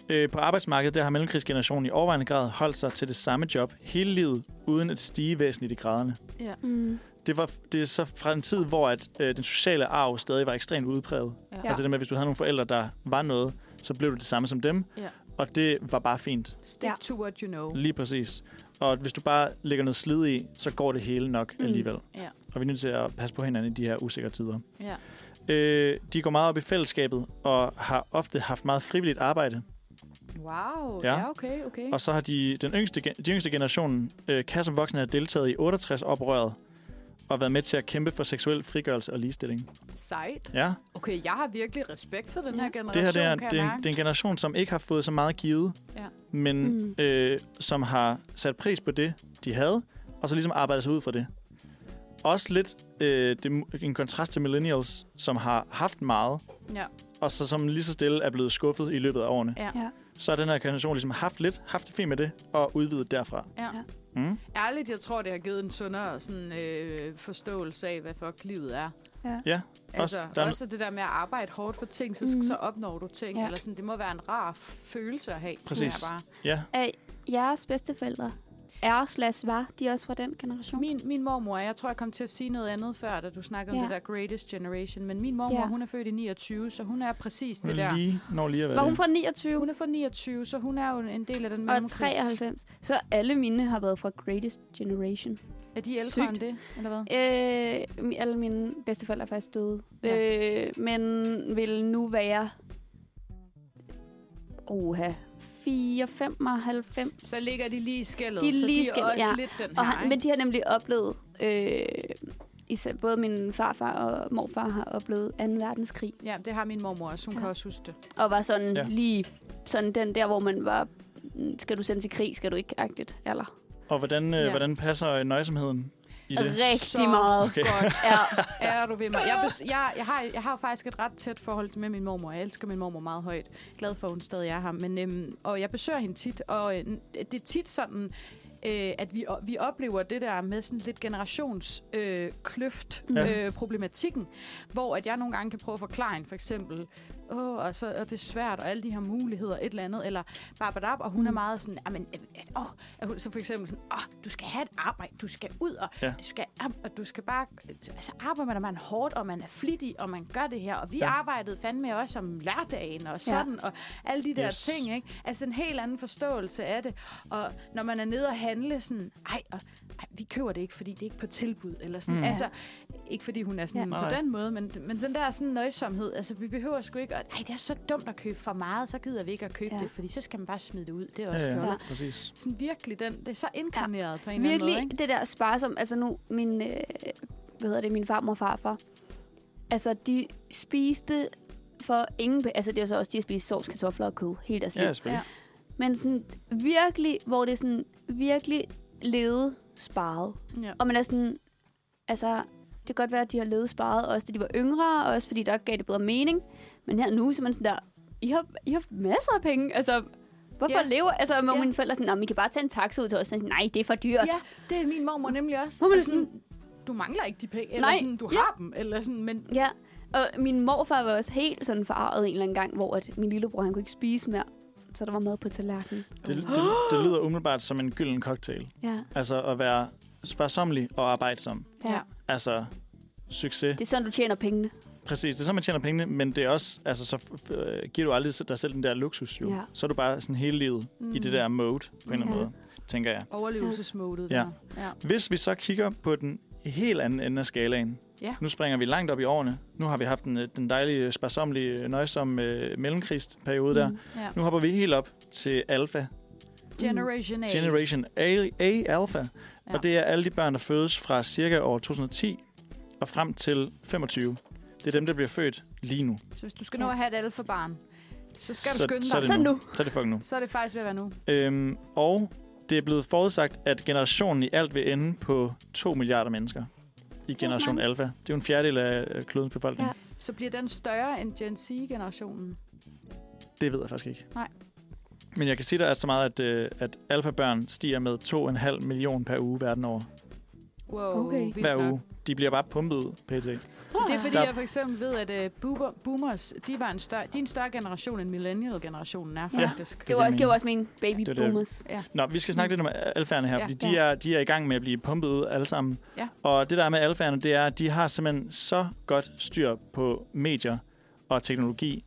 Speaker 2: øh, på arbejdsmarkedet, der har mellemkrigsgenerationen i overvejende grad holdt sig til det samme job hele livet, uden at stige væsentligt i graderne.
Speaker 4: Mm.
Speaker 2: Det, var, det er så fra en tid, hvor at, øh, den sociale arv stadig var ekstremt udpræget.
Speaker 3: Ja.
Speaker 2: Altså det med, at hvis du havde nogle forældre, der var noget, så blev du det samme som dem.
Speaker 3: Ja.
Speaker 2: Og det var bare fint.
Speaker 3: Stick
Speaker 4: Ja.
Speaker 3: to what you know.
Speaker 2: Lige præcis. Og hvis du bare lægger noget slid i, så går det hele nok
Speaker 4: Mm.
Speaker 2: alligevel.
Speaker 3: Ja.
Speaker 2: Og vi er nødt til at passe på hinanden i de her usikre tider.
Speaker 3: Ja.
Speaker 2: Øh, de går meget op i fællesskabet og har ofte haft meget frivilligt arbejde.
Speaker 3: Wow,
Speaker 2: Ja.
Speaker 3: ja, ja okay, okay.
Speaker 2: Og så har de, den yngste, gen- de yngste generation, øh, kan som voksne have deltaget i 68-oprøret og været med til at kæmpe for seksuel frigørelse og ligestilling.
Speaker 3: Sejt.
Speaker 2: Ja,
Speaker 3: Okay, jeg har virkelig respekt for den
Speaker 4: Ja.
Speaker 3: her
Speaker 4: Det her,
Speaker 3: generation,
Speaker 2: det her det er,
Speaker 3: kan
Speaker 2: det, er
Speaker 3: jeg
Speaker 2: en,
Speaker 3: mærke.
Speaker 2: det er en generation, som ikke har fået så meget givet,
Speaker 3: Ja.
Speaker 2: men
Speaker 4: Mm.
Speaker 2: øh, som har sat pris på det, de havde, og så ligesom arbejdet sig ud fra det. Også lidt øh, det, er en kontrast til millennials, som har haft meget,
Speaker 3: Ja.
Speaker 2: og så som lige så stille er blevet skuffet i løbet af årene.
Speaker 3: Ja.
Speaker 4: Ja.
Speaker 2: så har den her organisation ligesom haft lidt, haft det fint med det, og udvidet derfra.
Speaker 3: Ja.
Speaker 4: Ja.
Speaker 2: Mm.
Speaker 3: Ærligt, jeg tror, det har givet en sundere sådan, øh, forståelse af, hvad fuck livet er.
Speaker 2: Ja,
Speaker 3: Altså, også,
Speaker 2: der er-
Speaker 3: også det der med at arbejde hårdt for ting, så, mm. så opnår du ting. Ja.
Speaker 4: Mhm. Ja.
Speaker 3: Eller sådan, det må være en rar følelse at have. tænker
Speaker 2: Præcis.
Speaker 3: Jeg bare.
Speaker 2: ja.
Speaker 4: Er jeres bedsteforældre er slash var de også fra den generation?
Speaker 3: Min, min mormor, jeg tror, jeg kom til at sige noget andet før, da du snakkede ja.
Speaker 4: Ja.
Speaker 3: om det der greatest generation, men min mormor, ja.
Speaker 4: Ja.
Speaker 3: hun er født i 29, så hun er præcis
Speaker 2: Hun
Speaker 3: det der.
Speaker 2: lige, når lige at være
Speaker 4: Var hun
Speaker 2: det.
Speaker 4: fra 29
Speaker 3: Hun er fra 29, så hun er jo en del af den
Speaker 4: og
Speaker 3: mellemkrigs-
Speaker 4: 93? Så alle mine har været fra Greatest Generation.
Speaker 3: Er de ældre
Speaker 4: Sygt.
Speaker 3: end det, eller hvad?
Speaker 4: Øh, mi- alle mine bedsteforældre er faktisk døde.
Speaker 3: Ja.
Speaker 4: Ja. Øh, men vil nu være... Oha. 4, 95.
Speaker 3: Så ligger de lige i skældet,
Speaker 4: De er
Speaker 3: så
Speaker 4: lige i
Speaker 3: de er
Speaker 4: skellet,
Speaker 3: også
Speaker 4: ja.
Speaker 3: lidt den her,
Speaker 4: og han,
Speaker 3: ikke?
Speaker 4: Men de har nemlig oplevet... Øh, især, både min farfar og morfar har oplevet 2. verdenskrig.
Speaker 3: Ja, det har min mormor også. Hun ja.
Speaker 4: Ja.
Speaker 3: kan også huske det.
Speaker 4: Og var sådan
Speaker 2: Ja.
Speaker 4: ja. lige sådan den der, hvor man var... "Mm, Skal du sendes i krig, skal du ikke, agtigt. Eller
Speaker 2: Og hvordan, øh,
Speaker 3: Ja.
Speaker 2: ja. hvordan passer øh, nøjsomheden i det?
Speaker 4: rigtig
Speaker 3: Så
Speaker 4: meget.
Speaker 2: Okay.
Speaker 3: Godt.
Speaker 4: Ja.
Speaker 3: Er du ved mig? Jeg, bes- jeg, jeg, har, jeg har jo faktisk et ret tæt forhold med min mormor. Jeg elsker min mormor meget højt. Glad for, at hun stadig er her. Men, øhm, og jeg besøger hende tit, og øh, det er tit sådan, øh, at vi, o- vi oplever det der med sådan lidt generationskløft øh, kløft,
Speaker 2: Ja.
Speaker 3: øh, problematikken, hvor at jeg nogle gange kan prøve at forklare hende, for eksempel, åh, og så er det svært, og alle de her muligheder, et eller andet, eller babadab, og hun mm. er meget sådan, jamen, øh, at- åh, at hun- så for eksempel sådan, åh, du skal have et arbejde, du skal ud, og, ja.
Speaker 2: Ja.
Speaker 3: du, skal, am- og du skal bare, altså, så arbejder man, og man er hårdt, og man er flittig, og man gør det her, og vi ja.
Speaker 2: Ja.
Speaker 3: arbejdede fandme også om hverdagen, og sådan, ja. og alle de der yes.
Speaker 2: Yes.
Speaker 3: ting, ikke? Altså en helt anden forståelse af det, og når man er nede og handle, sådan, ej, og, ej vi køber det ikke, fordi det er ikke på tilbud, eller sådan, mm. altså, ikke fordi hun er sådan ja.
Speaker 2: Ja.
Speaker 3: på
Speaker 2: Nej.
Speaker 3: den måde, men, men den der sådan nøjsomhed, altså vi behøver sgu ikke, at, ej, det er så dumt at købe for meget, så gider vi ikke at købe ja.
Speaker 4: Ja.
Speaker 3: det, fordi så skal man bare smide det ud, det er også
Speaker 2: Ja,
Speaker 3: ja,
Speaker 2: ja,
Speaker 3: ja.
Speaker 2: ja, præcis.
Speaker 3: Sådan virkelig, den, det er så inkarneret ja. på en eller
Speaker 4: Virkelig
Speaker 3: anden måde,
Speaker 4: det der sparsom, altså nu min, øh, hvad hedder det, min farmor og farfar, altså de spiste for ingen, pe- altså det var så også, de har spist sovs, kartofler og kød hele deres liv.
Speaker 2: Ja, selvfølgelig.
Speaker 4: Men sådan virkelig, hvor det er sådan virkelig levede sparet.
Speaker 3: ikke? Ja.
Speaker 4: Og man er sådan, altså det kan godt være, at de har levet sparet, også da de var yngre, og også fordi der gav det bedre mening. Men her nu, så er man sådan der, I har, I har masser af penge, altså Hvorfor
Speaker 3: Ja.
Speaker 4: yeah. lever... Altså, hvor
Speaker 3: Ja.
Speaker 4: yeah. mine forældre er sådan, "Nå, men I kan bare tage en taxa ud til os. Sådan, Nej, det er for dyrt.
Speaker 3: Ja, det er min mormor nemlig også.
Speaker 4: Hvor man
Speaker 3: Og
Speaker 4: er sådan-
Speaker 3: du mangler ikke de penge, eller
Speaker 4: Nej,
Speaker 3: sådan, du
Speaker 4: ja.
Speaker 3: har dem, eller sådan, men
Speaker 4: Ja, og min morfar var også helt sådan forarvet en eller anden gang, hvor at min lillebror han kunne ikke spise mere, så der var mad på tallerkenen.
Speaker 2: Det, det, det lyder umiddelbart som en gylden cocktail.
Speaker 4: Ja.
Speaker 2: Altså at være sparsomlig og arbejdsom.
Speaker 3: Ja.
Speaker 4: ja.
Speaker 2: Altså succes.
Speaker 4: Det er sådan, du tjener pengene.
Speaker 2: Præcis, det er sådan, man tjener pengene, men det er også, altså, så f- øh, giver du aldrig dig selv den der luksus, jo.
Speaker 4: Ja.
Speaker 2: Så er du bare sådan hele livet mm. i det der mode, på en eller anden
Speaker 4: Ja.
Speaker 2: måde, tænker jeg.
Speaker 3: overlevelsesmodet.
Speaker 2: Ja.
Speaker 3: der. ja.
Speaker 2: Hvis vi så kigger på den helt anden ende af skalaen,
Speaker 3: Ja.
Speaker 2: nu springer vi langt op i årene, nu har vi haft den, øh, den dejlige, sparsomlige, nøjsomme øh, mellemkrigsperiode mm. der,
Speaker 3: ja.
Speaker 2: nu hopper vi helt op til alfa,
Speaker 3: Generation A.
Speaker 2: Generation A, A Alpha. Ja. Og det er alle de børn, der fødes fra cirka år 2010 og frem til 25. Det er dem, der bliver født lige nu.
Speaker 3: Så hvis du skal nå at have et alfa-barn, så skal du
Speaker 2: Så-
Speaker 3: skynde dig.
Speaker 2: så er det
Speaker 4: Så nu.
Speaker 2: Så er det fucking nu.
Speaker 3: Så er det faktisk ved at være nu.
Speaker 2: Øhm, og det er blevet forudsagt, at generationen i alt vil ende på 2 milliarder mennesker i generation
Speaker 4: mange.
Speaker 2: alfa. Det er jo en fjerdedel af øh, klodens befolkning. Ja.
Speaker 4: Ja.
Speaker 3: Så bliver den større end Gen Z-generationen.
Speaker 2: Det ved jeg faktisk ikke.
Speaker 3: Nej.
Speaker 2: Men jeg kan sige dig altså meget, at, øh, at alfabørn stiger med 2,5 millioner per uge verden over.
Speaker 3: Wow,
Speaker 4: Okay.
Speaker 3: vildt
Speaker 2: Hver
Speaker 3: nok.
Speaker 2: uge. De bliver bare pumpet ud, pt.
Speaker 3: Men Det er fordi,
Speaker 2: Der-
Speaker 3: jeg for eksempel ved, at uh, boomer, boomers, de, var en større, de er en større generation, end millennial-generationen er
Speaker 4: Ja.
Speaker 3: faktisk.
Speaker 4: Det var, også,
Speaker 2: mening.
Speaker 4: det var også min baby
Speaker 2: Det er det.
Speaker 4: boomers.
Speaker 2: Nå, vi skal snakke lidt om alfærerne her,
Speaker 3: Mm. Ja.
Speaker 2: ja, fordi de, er, de er i gang med at blive pumpet ud alle sammen.
Speaker 3: Ja.
Speaker 2: Og det der er med alfærerne, det er, at de har simpelthen så godt styr på medier og teknologi,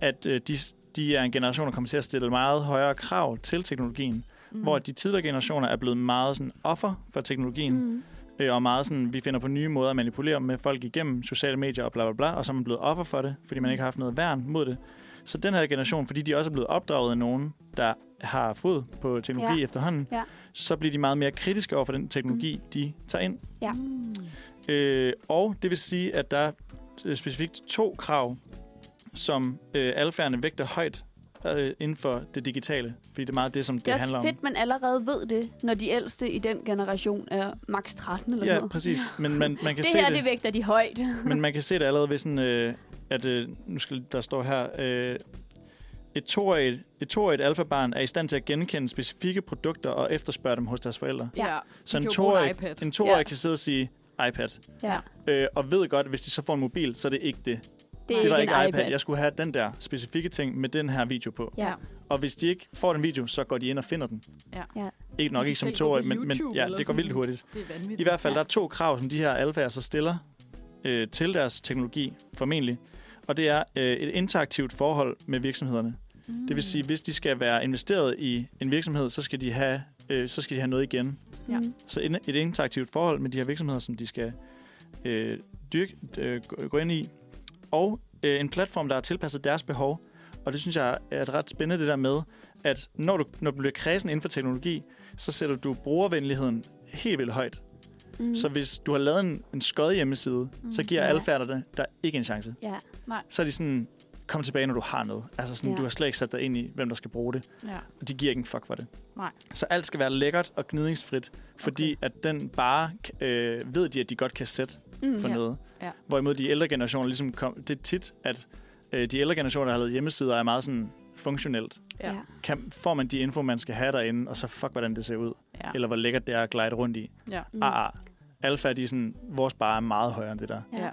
Speaker 2: at øh, de, de er en generation, der kommer til at stille meget højere krav til teknologien. Mm. Hvor de tidligere generationer er blevet meget sådan, offer for teknologien,
Speaker 4: Mm.
Speaker 2: øh, og meget sådan, vi finder på nye måder at manipulere med folk igennem sociale medier og bla bla bla, og så er man blevet offer for det, fordi
Speaker 4: Mm.
Speaker 2: man ikke har haft noget værn mod det. Så den her generation, fordi de også er blevet opdraget af nogen, der har fod på teknologi ja.
Speaker 4: Ja.
Speaker 2: efterhånden,
Speaker 4: Ja.
Speaker 2: så bliver de meget mere kritiske over for den teknologi, mm. de tager ind.
Speaker 4: Ja.
Speaker 2: Øh, og det vil sige, at der er øh, specifikt to krav, som øh, alfærerne vægter højt øh, inden for det digitale, fordi det er meget det, som det,
Speaker 4: Det er
Speaker 2: handler
Speaker 4: også
Speaker 2: om.
Speaker 4: fedt, man allerede ved det, når de ældste i den generation er maks 13 eller
Speaker 2: Ja,
Speaker 4: sådan noget.
Speaker 2: præcis. Men man, man kan
Speaker 4: Det
Speaker 2: se
Speaker 4: her,
Speaker 2: det.
Speaker 4: det vægter de højt.
Speaker 2: Men man kan se det allerede ved sådan, øh, at øh, nu skal der stå her, øh, Et toårigt, et toårigt alfabarn er i stand til at genkende specifikke produkter og efterspørge dem hos deres forældre.
Speaker 4: Ja.
Speaker 2: Så
Speaker 3: de
Speaker 2: en
Speaker 3: kan jo bruge en
Speaker 2: toårig,
Speaker 3: iPad.
Speaker 2: en toårig
Speaker 4: Ja.
Speaker 2: ja. kan sidde og sige iPad.
Speaker 4: ja.
Speaker 2: Øh, og ved godt, at hvis de så får en mobil, så er det ikke det.
Speaker 4: Det er
Speaker 2: Det var
Speaker 4: ikke
Speaker 2: ikke
Speaker 4: en
Speaker 2: iPad.
Speaker 4: iPad.
Speaker 2: Jeg skulle have den der specifikke ting med den her video på.
Speaker 4: Ja.
Speaker 2: Og hvis de ikke får den video, så går de ind og finder den.
Speaker 3: Ja.
Speaker 4: Ja.
Speaker 2: Ikke nok
Speaker 3: kan
Speaker 2: ikke som
Speaker 3: selv gå på
Speaker 2: toårig, men, men
Speaker 3: YouTube
Speaker 2: ja,
Speaker 3: eller
Speaker 2: det går
Speaker 3: sådan
Speaker 2: vildt
Speaker 3: noget.
Speaker 2: hurtigt.
Speaker 3: Det er vanvittigt.
Speaker 2: I hvert fald,
Speaker 4: Ja.
Speaker 2: der er to krav, som de her alfaer så stiller øh, til deres teknologi, formentlig. Og det er øh, et interaktivt forhold med virksomhederne. Mm. Det vil sige, hvis de skal være investeret i en virksomhed, så skal de have, øh, så skal de have noget igen.
Speaker 3: Ja.
Speaker 4: Mhm.
Speaker 2: Så en- et interaktivt forhold med de her virksomheder, som de skal øh, dyrke, øh, gå- gå ind i. Og øh, en platform, der er tilpasset deres behov. Og det synes jeg er et ret spændende, det der med, at når du, når du bliver kredsen inden for teknologi, så sætter du brugervenligheden helt vildt højt.
Speaker 4: Mm.
Speaker 2: Så hvis du har lavet en, en skød hjemmeside, mm, så giver
Speaker 4: Ja.
Speaker 2: ja. alfærderne der ikke en chance.
Speaker 4: Ja.
Speaker 2: Så er de sådan, kom tilbage, når du har noget. Altså sådan,
Speaker 4: Ja.
Speaker 2: ja. du har slet ikke sat dig ind i, hvem der skal bruge det.
Speaker 3: Ja.
Speaker 2: Og de giver ikke en fuck for det.
Speaker 3: Nej.
Speaker 2: Så alt skal være lækkert og gnidningsfrit, fordi okay. at den bare øh, ved de, at de godt kan sætte
Speaker 4: Mm.
Speaker 2: for
Speaker 3: Ja.
Speaker 2: ja. noget.
Speaker 3: Ja.
Speaker 2: Hvorimod de ældre generationer ligesom kom, det er tit, at øh, de ældre generationer, der har lavet hjemmesider, er meget sådan funktionelt.
Speaker 4: Ja.
Speaker 3: Ja.
Speaker 4: ja.
Speaker 2: Kan, får man de info, man skal have derinde, og så fuck, hvordan det ser ud.
Speaker 3: Ja.
Speaker 2: Eller hvor lækkert det er at glide rundt i.
Speaker 3: Ja.
Speaker 4: Mm.
Speaker 2: Ah, ah. Alfa, de er sådan, vores bare er meget højere end det der.
Speaker 4: Ja.
Speaker 3: ja.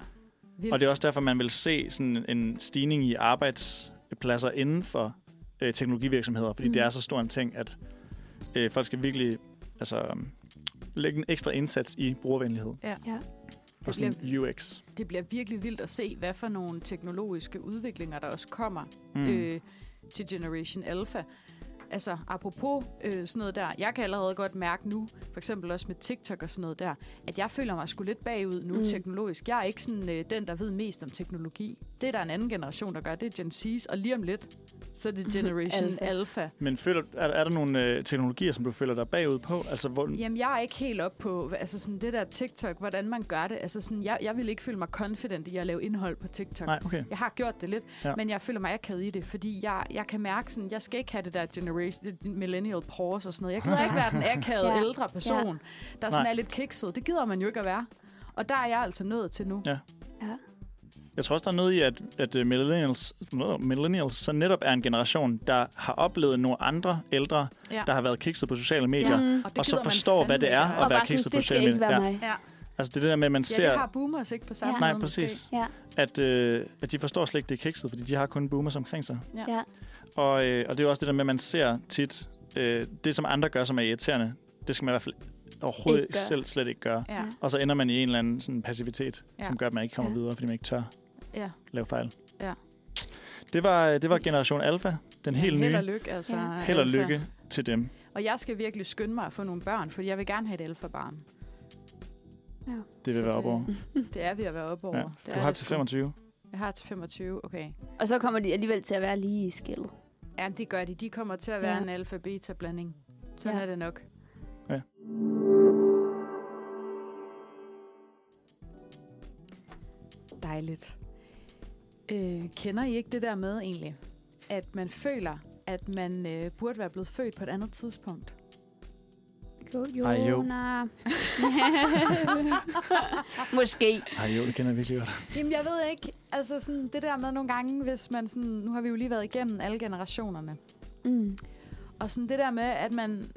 Speaker 2: Og det er også derfor, man vil se sådan en stigning i arbejdspladser inden for øh, teknologivirksomheder, fordi
Speaker 4: Mm.
Speaker 2: mm. det er så stor en ting, at øh, folk skal virkelig altså, øhm, lægge en ekstra indsats i brugervenlighed
Speaker 4: Ja.
Speaker 2: og sådan UX.
Speaker 3: Det bliver virkelig vildt at se, hvad for nogle teknologiske udviklinger, der også kommer
Speaker 2: Mm.
Speaker 3: øh, til Generation Alpha. Altså, apropos øh, sådan noget der, jeg kan allerede godt mærke nu, for eksempel også med TikTok og sådan noget der, at jeg føler mig sgu lidt bagud nu
Speaker 4: Mm.
Speaker 3: mm. teknologisk. Jeg er ikke sådan øh, den, der ved mest om teknologi. Det er der en anden generation, der gør. Det er Gen Z's, og lige om lidt, så er det Generation
Speaker 4: Alpha.
Speaker 3: Alpha. Alpha.
Speaker 2: Men føler, er, er der nogle øh, teknologier, som du føler dig bagud på? Altså, hvor,
Speaker 3: Jamen, jeg er ikke helt op på altså sådan det der TikTok, hvordan man gør det. Altså sådan, jeg, jeg vil ikke føle mig confident i at lave indhold på TikTok.
Speaker 2: Nej, okay.
Speaker 3: Jeg har gjort det lidt, ja.
Speaker 2: Ja.
Speaker 3: men jeg føler mig akavet i det, fordi jeg, jeg kan mærke sådan, jeg skal ikke have det der generation, det millennial pause og sådan noget. Jeg gider ikke være den akavede
Speaker 4: Ja.
Speaker 3: ja. ældre person, der sådan
Speaker 2: Nej.
Speaker 3: er lidt kikset. Det gider man jo ikke at være. Og der er jeg altså nået til nu.
Speaker 2: Ja.
Speaker 4: ja.
Speaker 2: Jeg tror også, der er noget i, at, at øh, millennials, nå, millennials så netop er en generation, der har oplevet nogle andre ældre,
Speaker 3: Ja.
Speaker 2: ja. der har været kikset på sociale medier,
Speaker 4: Mm.
Speaker 3: det
Speaker 2: og så
Speaker 3: gider man
Speaker 2: forstår, hvad
Speaker 3: fandme
Speaker 2: det er
Speaker 3: ikke
Speaker 2: at
Speaker 4: Og
Speaker 2: være
Speaker 4: bare sådan,
Speaker 2: kikset på
Speaker 4: det skal
Speaker 2: sociale
Speaker 4: ikke
Speaker 2: medier.
Speaker 4: være
Speaker 2: Ja.
Speaker 4: mig.
Speaker 3: Ja.
Speaker 2: Altså det er det der med, at man ser...
Speaker 3: ja, det har boomers ikke på samme
Speaker 4: Ja.
Speaker 3: måde.
Speaker 2: Nej,
Speaker 3: måske.
Speaker 2: præcis.
Speaker 4: Ja.
Speaker 2: At, øh, at de forstår slet ikke, det er kikset, fordi de har kun boomers omkring sig.
Speaker 3: Ja.
Speaker 4: Ja.
Speaker 2: Og, øh, og det er jo også det der med, at man ser tit, øh, det som andre gør, som er irriterende, det skal man i hvert fald overhovedet
Speaker 4: Ikke
Speaker 2: ikke
Speaker 4: gøre.
Speaker 2: selv slet ikke gøre.
Speaker 3: Ja.
Speaker 2: Og så ender man i en eller anden sådan passivitet,
Speaker 3: Ja.
Speaker 2: ja. som gør, at man ikke kommer
Speaker 4: Ja.
Speaker 2: ja. videre, fordi man ikke tør
Speaker 3: Ja.
Speaker 2: lave fejl.
Speaker 3: Ja.
Speaker 2: Det var, øh, det var Generation Alpha, den helt
Speaker 3: Held
Speaker 2: nye.
Speaker 3: og lykke, altså.
Speaker 4: Ja.
Speaker 2: Held og
Speaker 3: alfa.
Speaker 2: lykke til dem.
Speaker 3: Og jeg skal virkelig skynde mig at få nogle børn, for jeg vil gerne have et alfa-barn.
Speaker 4: Mm.
Speaker 2: Det
Speaker 3: Så
Speaker 2: vil være
Speaker 3: det-
Speaker 2: op over.
Speaker 3: Det er ved at være oppe over.
Speaker 2: Ja.
Speaker 3: Det
Speaker 2: Du
Speaker 3: er
Speaker 2: har
Speaker 3: det
Speaker 2: til
Speaker 3: sgu.
Speaker 2: 25.
Speaker 3: Jeg har til 25, okay.
Speaker 4: Og så kommer de alligevel til at være lige i skældet.
Speaker 3: Ja, det gør de. De kommer til at være
Speaker 4: Ja.
Speaker 3: ja. en alfa-beta-blanding. Sådan
Speaker 4: Ja.
Speaker 3: ja. er det nok.
Speaker 2: Ja.
Speaker 3: Dejligt. Øh, kender I ikke det der med egentlig, at man føler, at man øh, burde være blevet født på et andet tidspunkt?
Speaker 4: Jo, jo,
Speaker 2: Ej, jo.
Speaker 4: nej. Måske.
Speaker 2: Ej, jo, det kender jeg virkelig godt.
Speaker 3: Jamen, jeg ved ikke. Altså, sådan, det der med nogle gange, hvis man sådan... Nu har vi jo lige været igennem alle generationerne.
Speaker 4: Mm.
Speaker 3: Og sådan det der med, at man...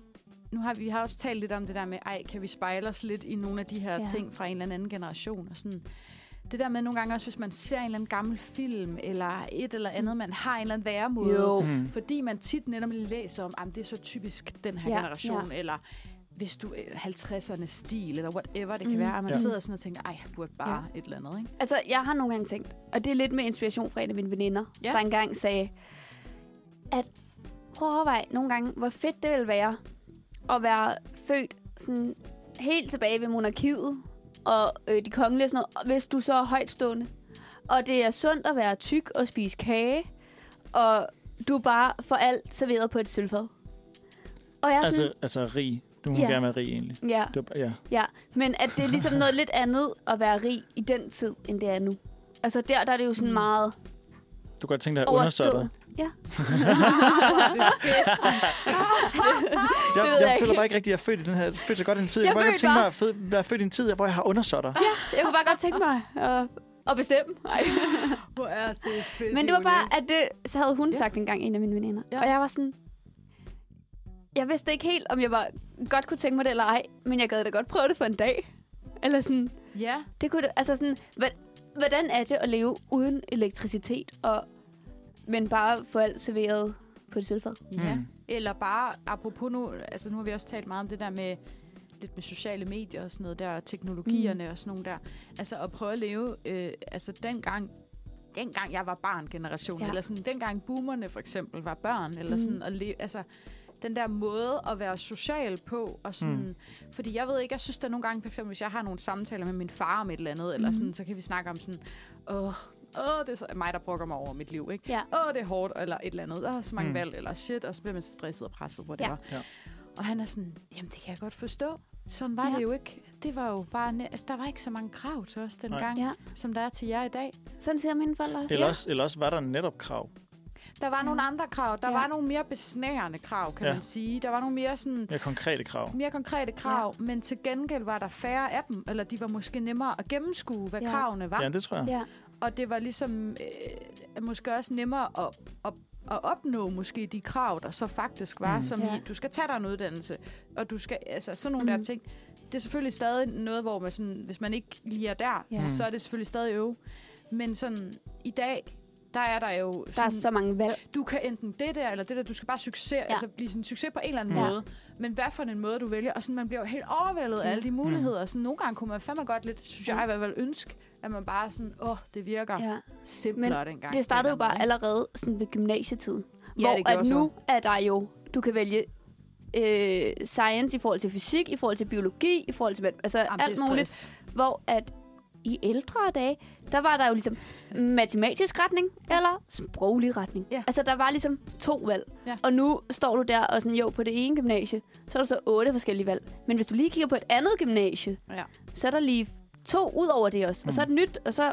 Speaker 3: Nu har vi vi har også talt lidt om det der med, ej, kan vi spejle os lidt i nogle af de her
Speaker 4: Ja.
Speaker 3: ja. ting fra en eller anden generation? Og sådan. Det der med nogle gange også, hvis man ser en eller anden gammel film, eller et eller andet, man har en eller anden væremåde.
Speaker 4: Jo.
Speaker 2: Mm.
Speaker 3: Fordi man tit netop læser om, at det er så typisk den her
Speaker 4: Ja,
Speaker 3: ja, generation, ja. eller hvis du øh, 50'erne stil, eller whatever det kan
Speaker 4: Mm.
Speaker 3: mm. være, at man
Speaker 2: Ja.
Speaker 3: ja. sidder sådan og tænker, ej, jeg burde bare ja. et eller andet, ikke?
Speaker 4: Altså, jeg har nogle gange tænkt, og det er lidt med inspiration fra en af mine veninder, ja.
Speaker 3: Ja.
Speaker 4: der engang sagde, at prøv at overveje nogle gange, hvor fedt det ville være at være født sådan helt tilbage ved monarkiet og øh, de kongelige og sådan noget, hvis du så er højtstående. Og det er sundt at være tyk og spise kage, og du er bare for alt serveret på et sølvfad. Og jeg er sådan,
Speaker 2: Altså, altså rig. Du må
Speaker 4: Ja.
Speaker 2: gerne være rig, egentlig.
Speaker 4: ja,
Speaker 2: Det var, ja.
Speaker 4: ja, men at det er ligesom noget lidt andet at være rig i den tid, end det er nu. Altså der, der er det jo sådan meget
Speaker 2: Du kan godt tænke dig at undersøge dig.
Speaker 4: overstået. Ja.
Speaker 2: Jeg,
Speaker 4: ved jeg
Speaker 2: jeg,
Speaker 4: ikke.
Speaker 2: føler bare ikke rigtigt, at jeg er født i den her... Født så godt en tid.
Speaker 4: Jeg
Speaker 2: Jeg, jeg kunne
Speaker 4: ved
Speaker 2: godt tænke
Speaker 4: bare-
Speaker 2: mig at fød- være født i en tid, hvor jeg har undersøgt dig.
Speaker 4: Jeg kunne bare godt tænke mig at og bestemme. Ej.
Speaker 3: Hvor er det fedt.
Speaker 4: Men det var bare, at det, så havde hun
Speaker 3: Ja.
Speaker 4: ja. sagt engang, en af mine veninder.
Speaker 3: Ja.
Speaker 4: Ja. Og jeg var sådan... Jeg vidste ikke helt, om jeg var, godt kunne tænke mig det eller ej, men jeg gad da godt prøve det for en dag. Eller sådan,
Speaker 3: Ja.
Speaker 4: det kunne da- altså sådan, hvad, hvordan er det at leve uden elektricitet, og, men bare få alt serveret på et sølvfad?
Speaker 3: ja.
Speaker 2: Mm.
Speaker 3: Eller bare, apropos nu, altså nu har vi også talt meget om det der med lidt med sociale medier og sådan noget der, og teknologierne mm. og sådan nogle der. Altså at prøve at leve, øh, altså dengang, dengang jeg var barn-generationen, ja.
Speaker 4: Ja.
Speaker 3: eller sådan dengang boomerne for eksempel var børn, eller mm.
Speaker 4: Mm.
Speaker 3: sådan at leve, altså den der måde at være social på, og sådan, mm. fordi jeg ved ikke, jeg synes der nogle gange, for eksempel hvis jeg har nogle samtaler med min far om et eller andet, eller
Speaker 4: Mhm.
Speaker 3: sådan, så kan vi snakke om sådan, åh, åh, det er så mig, der brokker mig over mit liv, ikke?
Speaker 4: Ja.
Speaker 3: åh, det er hårdt, eller et eller andet, der er så mange
Speaker 2: Mm.
Speaker 3: mm. valg, eller shit, og så bliver man stresset og presset, whatever.
Speaker 2: Ja. Ja.
Speaker 3: Og han er sådan, jamen det kan jeg godt forstå. Sådan var ja.
Speaker 4: Ja.
Speaker 3: det jo ikke. Det var jo bare, næ- altså der var ikke så mange krav til os dengang, ja.
Speaker 4: Ja.
Speaker 3: som der er til jer i dag.
Speaker 4: Sådan siger mine forældre også.
Speaker 2: Eller, også, eller også var der netop krav.
Speaker 3: Der var nogle
Speaker 4: Ja.
Speaker 3: andre krav, der ja.
Speaker 4: Ja.
Speaker 3: var nogle mere besnærende krav, kan ja.
Speaker 2: Ja.
Speaker 3: man sige. Der var nogle mere sådan
Speaker 2: Ja, konkrete krav.
Speaker 3: mere konkrete krav, ja. men til gengæld var der færre af dem, eller de var måske nemmere at gennemskue, hvad ja.
Speaker 4: Ja.
Speaker 3: kravene var.
Speaker 2: Ja, det tror jeg.
Speaker 4: Ja.
Speaker 3: Og det var ligesom øh, måske også nemmere at, at, at opnå måske de krav, der så faktisk var,
Speaker 2: Mm.
Speaker 3: mm. som ja.
Speaker 4: Ja.
Speaker 3: i, du skal tage dig en uddannelse, og du skal, altså sådan nogle mm. der
Speaker 4: Mm.
Speaker 3: ting. Det er selvfølgelig stadig noget, hvor man sådan, hvis man ikke lige er der,
Speaker 4: Ja.
Speaker 3: ja. så er det selvfølgelig stadig øve. Men sådan, i dag, der er der jo sådan,
Speaker 4: Der er så mange valg.
Speaker 3: du kan enten det der, eller det der, du skal bare succes, ja. altså blive sådan en succes på en eller anden
Speaker 4: Ja.
Speaker 3: ja. måde. Men hvad for en måde, du vælger, og sådan, man bliver jo helt overvældet
Speaker 4: Mm.
Speaker 3: af alle de muligheder. Sådan, nogle gange kunne man fandme godt lidt, synes jeg i hvert fald, ønske, at man bare sådan, åh, oh, det virker
Speaker 4: Ja.
Speaker 3: simplere dengang.
Speaker 4: Det startede jo
Speaker 3: dengang,
Speaker 4: bare
Speaker 3: ikke?
Speaker 4: allerede sådan ved gymnasietiden.
Speaker 3: Ja,
Speaker 4: hvor
Speaker 3: det gjorde
Speaker 4: at
Speaker 3: så.
Speaker 4: nu er der jo, du kan vælge øh, science i forhold til fysik, i forhold til biologi, i forhold til mat- altså
Speaker 3: Jamen,
Speaker 4: Jamen,
Speaker 3: det er
Speaker 4: alt muligt.
Speaker 3: stress.
Speaker 4: Hvor at i ældre dage, der var der jo ligesom matematisk retning eller sproglig retning.
Speaker 3: Ja.
Speaker 4: Altså der var ligesom to valg.
Speaker 3: Ja.
Speaker 4: Og nu står du der og sådan, jo, på det ene gymnasie, så er der så otte forskellige valg. Men hvis du lige kigger på et andet gymnasie,
Speaker 3: Ja.
Speaker 4: så er der lige to ud over det også. Mm. Og så er det nyt, og så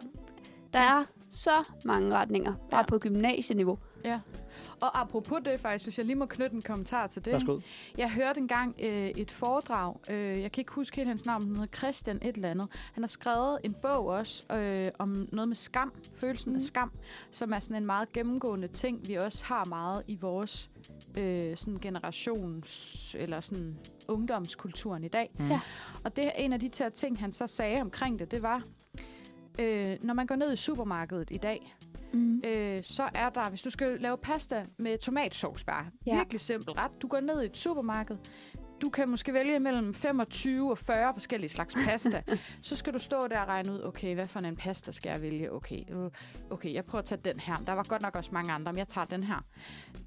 Speaker 4: der er så mange retninger, bare
Speaker 3: Ja.
Speaker 4: ja. på gymnasieniveau.
Speaker 3: Og apropos det faktisk, hvis jeg lige må knytte en kommentar til det.
Speaker 2: Værsgo.
Speaker 3: Jeg hørte engang øh, et foredrag, øh, jeg kan ikke huske helt hans navn, men han hedder Christian et eller andet. Han har skrevet en bog også øh, om noget med skam, følelsen mm. af skam, som er sådan en meget gennemgående ting, vi også har meget i vores øh, sådan generations, eller sådan ungdomskulturen i dag.
Speaker 2: Mm.
Speaker 4: Ja.
Speaker 3: Og det er en af de der ting, han så sagde omkring det, det var, øh, når man går ned i supermarkedet i dag,
Speaker 4: Mm.
Speaker 3: øh, så er der, hvis du skal lave pasta med tomatsovs bare, ja.
Speaker 4: Ja.
Speaker 3: virkelig simpel ret. Du går ned i et supermarked, du kan måske vælge mellem 25 og 40 forskellige slags pasta. så skal du stå der og regne ud, okay, hvad for en pasta skal jeg vælge? Okay, øh, okay, jeg prøver at tage den her. Der var godt nok også mange andre, men jeg tager den her.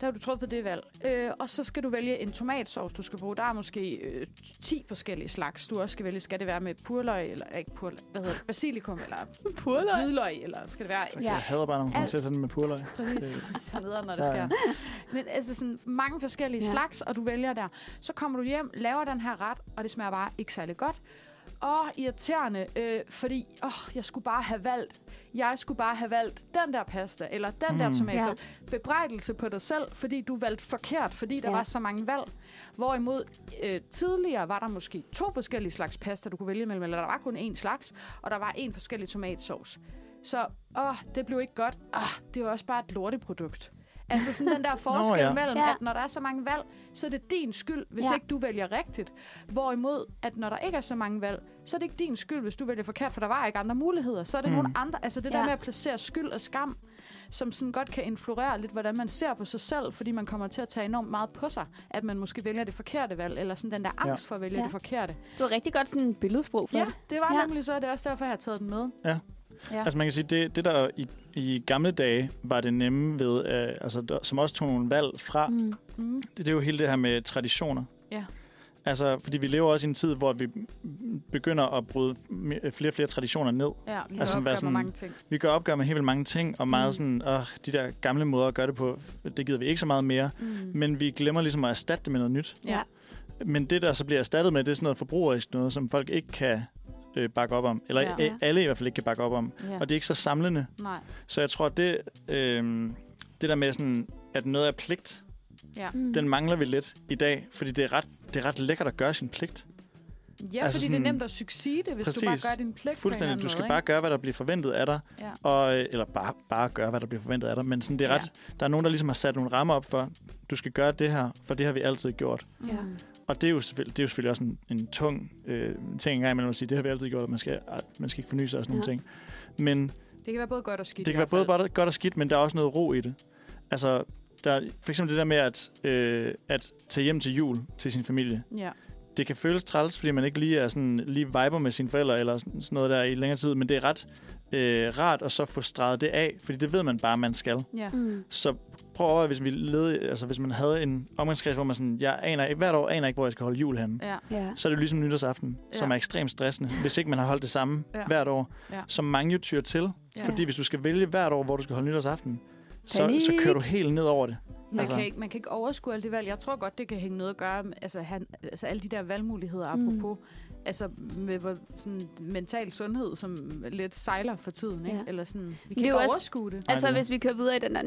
Speaker 3: Der har du truffet det valg. Øh, og så skal du vælge en tomatsovs, du skal bruge. Der er måske øh, 10 forskellige slags, du også skal vælge. Skal det være med purløg, eller ikke purløg, hvad hedder det, basilikum, eller hvidløg, eller skal det være
Speaker 2: Ja. Jeg hader bare, når man kommer
Speaker 3: Alt-
Speaker 2: til at tage den med purløg.
Speaker 3: Præcis. Så nederen, når det
Speaker 2: Ja,
Speaker 3: sker.
Speaker 2: ja.
Speaker 3: Men altså sådan mange forskellige ja.
Speaker 4: Ja.
Speaker 3: slags, og du vælger der. Så kommer du hjem, laver den her ret, og det smager bare ikke særlig godt. Og irriterende, øh, fordi åh, jeg skulle bare have valgt. Jeg skulle bare have valgt den der pasta, eller den mm. der
Speaker 2: Mm.
Speaker 3: tomatsauce. Ja. Bebrejdelse på dig selv, fordi du valgte forkert, fordi der ja.
Speaker 4: Ja.
Speaker 3: var så mange valg. Hvorimod øh, tidligere var der måske to forskellige slags pasta, du kunne vælge mellem, eller der var kun én slags, og der var én forskellig tomatsauce. Så åh, det blev ikke godt. Åh, det var også bare et lorteprodukt. Altså sådan den der forskel Nå,
Speaker 2: ja.
Speaker 3: ja. mellem, ja.
Speaker 4: Ja.
Speaker 3: at når der er så mange valg, så er det din skyld, hvis ja.
Speaker 4: Ja.
Speaker 3: ikke du vælger rigtigt. Hvorimod, at når der ikke er så mange valg, så er det ikke din skyld, hvis du vælger forkert, for der var ikke andre muligheder. Så er det mm. nogle andre. Altså det ja. der
Speaker 4: Ja.
Speaker 3: med at placere skyld og skam, som sådan godt kan influere lidt, hvordan man ser på sig selv, fordi man kommer til at tage enormt meget på sig, at man måske vælger det forkerte valg, eller sådan den der angst ja. for at vælge ja.
Speaker 4: Ja.
Speaker 3: det forkerte.
Speaker 4: Du har rigtig godt sådan billedsprog for
Speaker 3: Ja,
Speaker 4: det.
Speaker 3: det var ja.
Speaker 4: Ja.
Speaker 3: nemlig så, og det er også derfor, jeg har taget den med.
Speaker 2: Altså man kan sige, det, det der i, i gamle dage var det nemme ved, øh, altså, der, som også tog nogle valg fra, mm.
Speaker 4: Mm.
Speaker 3: Mm.
Speaker 2: det, det er jo hele det her med traditioner.
Speaker 3: Ja.
Speaker 2: Altså, fordi vi lever også i en tid, hvor vi begynder at bryde me- flere og flere traditioner ned.
Speaker 3: Ja, vi
Speaker 2: Altså,
Speaker 3: altså,
Speaker 2: hvad
Speaker 3: opgør sådan...
Speaker 2: sådan-
Speaker 3: mange ting.
Speaker 2: Vi gør opgør med helt vildt mange ting, og meget mm. sådan, åh, de der gamle måder at gøre det på, det gider vi ikke så meget mere.
Speaker 3: Mm.
Speaker 2: Men vi glemmer ligesom at erstatte det med noget nyt.
Speaker 3: Ja.
Speaker 2: Men det, der så bliver erstattet med, det er sådan noget forbrugerisk noget, som folk ikke kan øh, bakke op om. Eller
Speaker 3: Ja.
Speaker 2: ja. alle i hvert fald ikke kan bakke op om.
Speaker 3: Ja.
Speaker 2: Ja. Og det er ikke så samlende.
Speaker 3: Nej.
Speaker 2: Så jeg tror, det, øh, det der med, sådan, at noget er pligt,
Speaker 4: Mm.
Speaker 2: den mangler vi lidt i dag, fordi det er ret, det er ret lækkert at gøre sin pligt.
Speaker 3: Ja,
Speaker 2: Altså
Speaker 3: altså fordi sådan,
Speaker 2: sådan-
Speaker 3: det er nemt at succeede, hvis præcis, du
Speaker 2: Præcis.
Speaker 3: bare gør din pligt
Speaker 2: Fuldstændig.
Speaker 3: på
Speaker 2: Du
Speaker 3: en
Speaker 2: skal
Speaker 3: eller
Speaker 2: bare
Speaker 3: anden
Speaker 2: gøre, hvad der bliver forventet af dig.
Speaker 3: måde, ikke?
Speaker 2: Og, eller bare, bare gøre, hvad der bliver forventet af dig. Men sådan, det er
Speaker 3: Ja.
Speaker 2: ret, der er nogen, der ligesom har sat nogle rammer op for, du skal gøre det her, for det har vi altid gjort.
Speaker 4: Ja.
Speaker 2: Og det er jo selvfølgelig, det er jo selvfølgelig også en, en tung øh, ting engang imellem at sige, det har vi altid gjort, og man skal, ej, man skal ikke forny sig og sådan ja.
Speaker 4: Ja.
Speaker 2: nogle ting. Men
Speaker 3: Ja. Det kan være både godt og skidt.
Speaker 2: det
Speaker 3: i
Speaker 2: kan være
Speaker 3: hvert fald.
Speaker 2: både godt- godt og skidt, men der er også noget ro i det. Altså, der, er for eksempel det der med at, øh, at tage hjem til jul til sin familie.
Speaker 3: Ja.
Speaker 2: Det kan føles træls, fordi man ikke lige er sådan, lige viber med sine forældre eller sådan sådan noget der i længere tid, men det er ret øh, rart at så få streget det af, fordi det ved man bare, man skal.
Speaker 3: ja.
Speaker 4: Mm.
Speaker 2: Så prøv at overveje, hvis, vi led, altså, hvis man havde en omgangskreds, hvor man sådan, jeg aner, ikke- hvert år aner ikke, hvor jeg skal holde jul henne
Speaker 3: ja.
Speaker 4: Ja.
Speaker 2: så er det jo ligesom nytårsaften, ja.
Speaker 3: Ja.
Speaker 2: som er ekstremt stressende, hvis ikke man har holdt det samme
Speaker 3: Ja.
Speaker 2: ja. hvert år,
Speaker 3: Ja.
Speaker 2: ja. som mange jo tyr til.
Speaker 3: Ja.
Speaker 2: Ja. Fordi hvis du skal vælge hvert år, hvor du skal holde nytårsaften, så,
Speaker 4: Panik.
Speaker 2: så kører du helt ned over det.
Speaker 3: Man,
Speaker 2: Altså-
Speaker 3: kan ikke, man kan ikke overskue alt det valg. Jeg tror godt, det kan hænge noget at gøre med altså, han, altså, alle de der valgmuligheder,
Speaker 4: Mm.
Speaker 3: apropos. Altså med hvor, sådan, mental sundhed, som lidt sejler for tiden. Ikke?
Speaker 4: Ja.
Speaker 3: Eller sådan, vi
Speaker 4: er
Speaker 3: kan ikke
Speaker 4: jo også-
Speaker 3: overskue det.
Speaker 4: Altså,
Speaker 2: det er-
Speaker 4: hvis vi kører videre i den der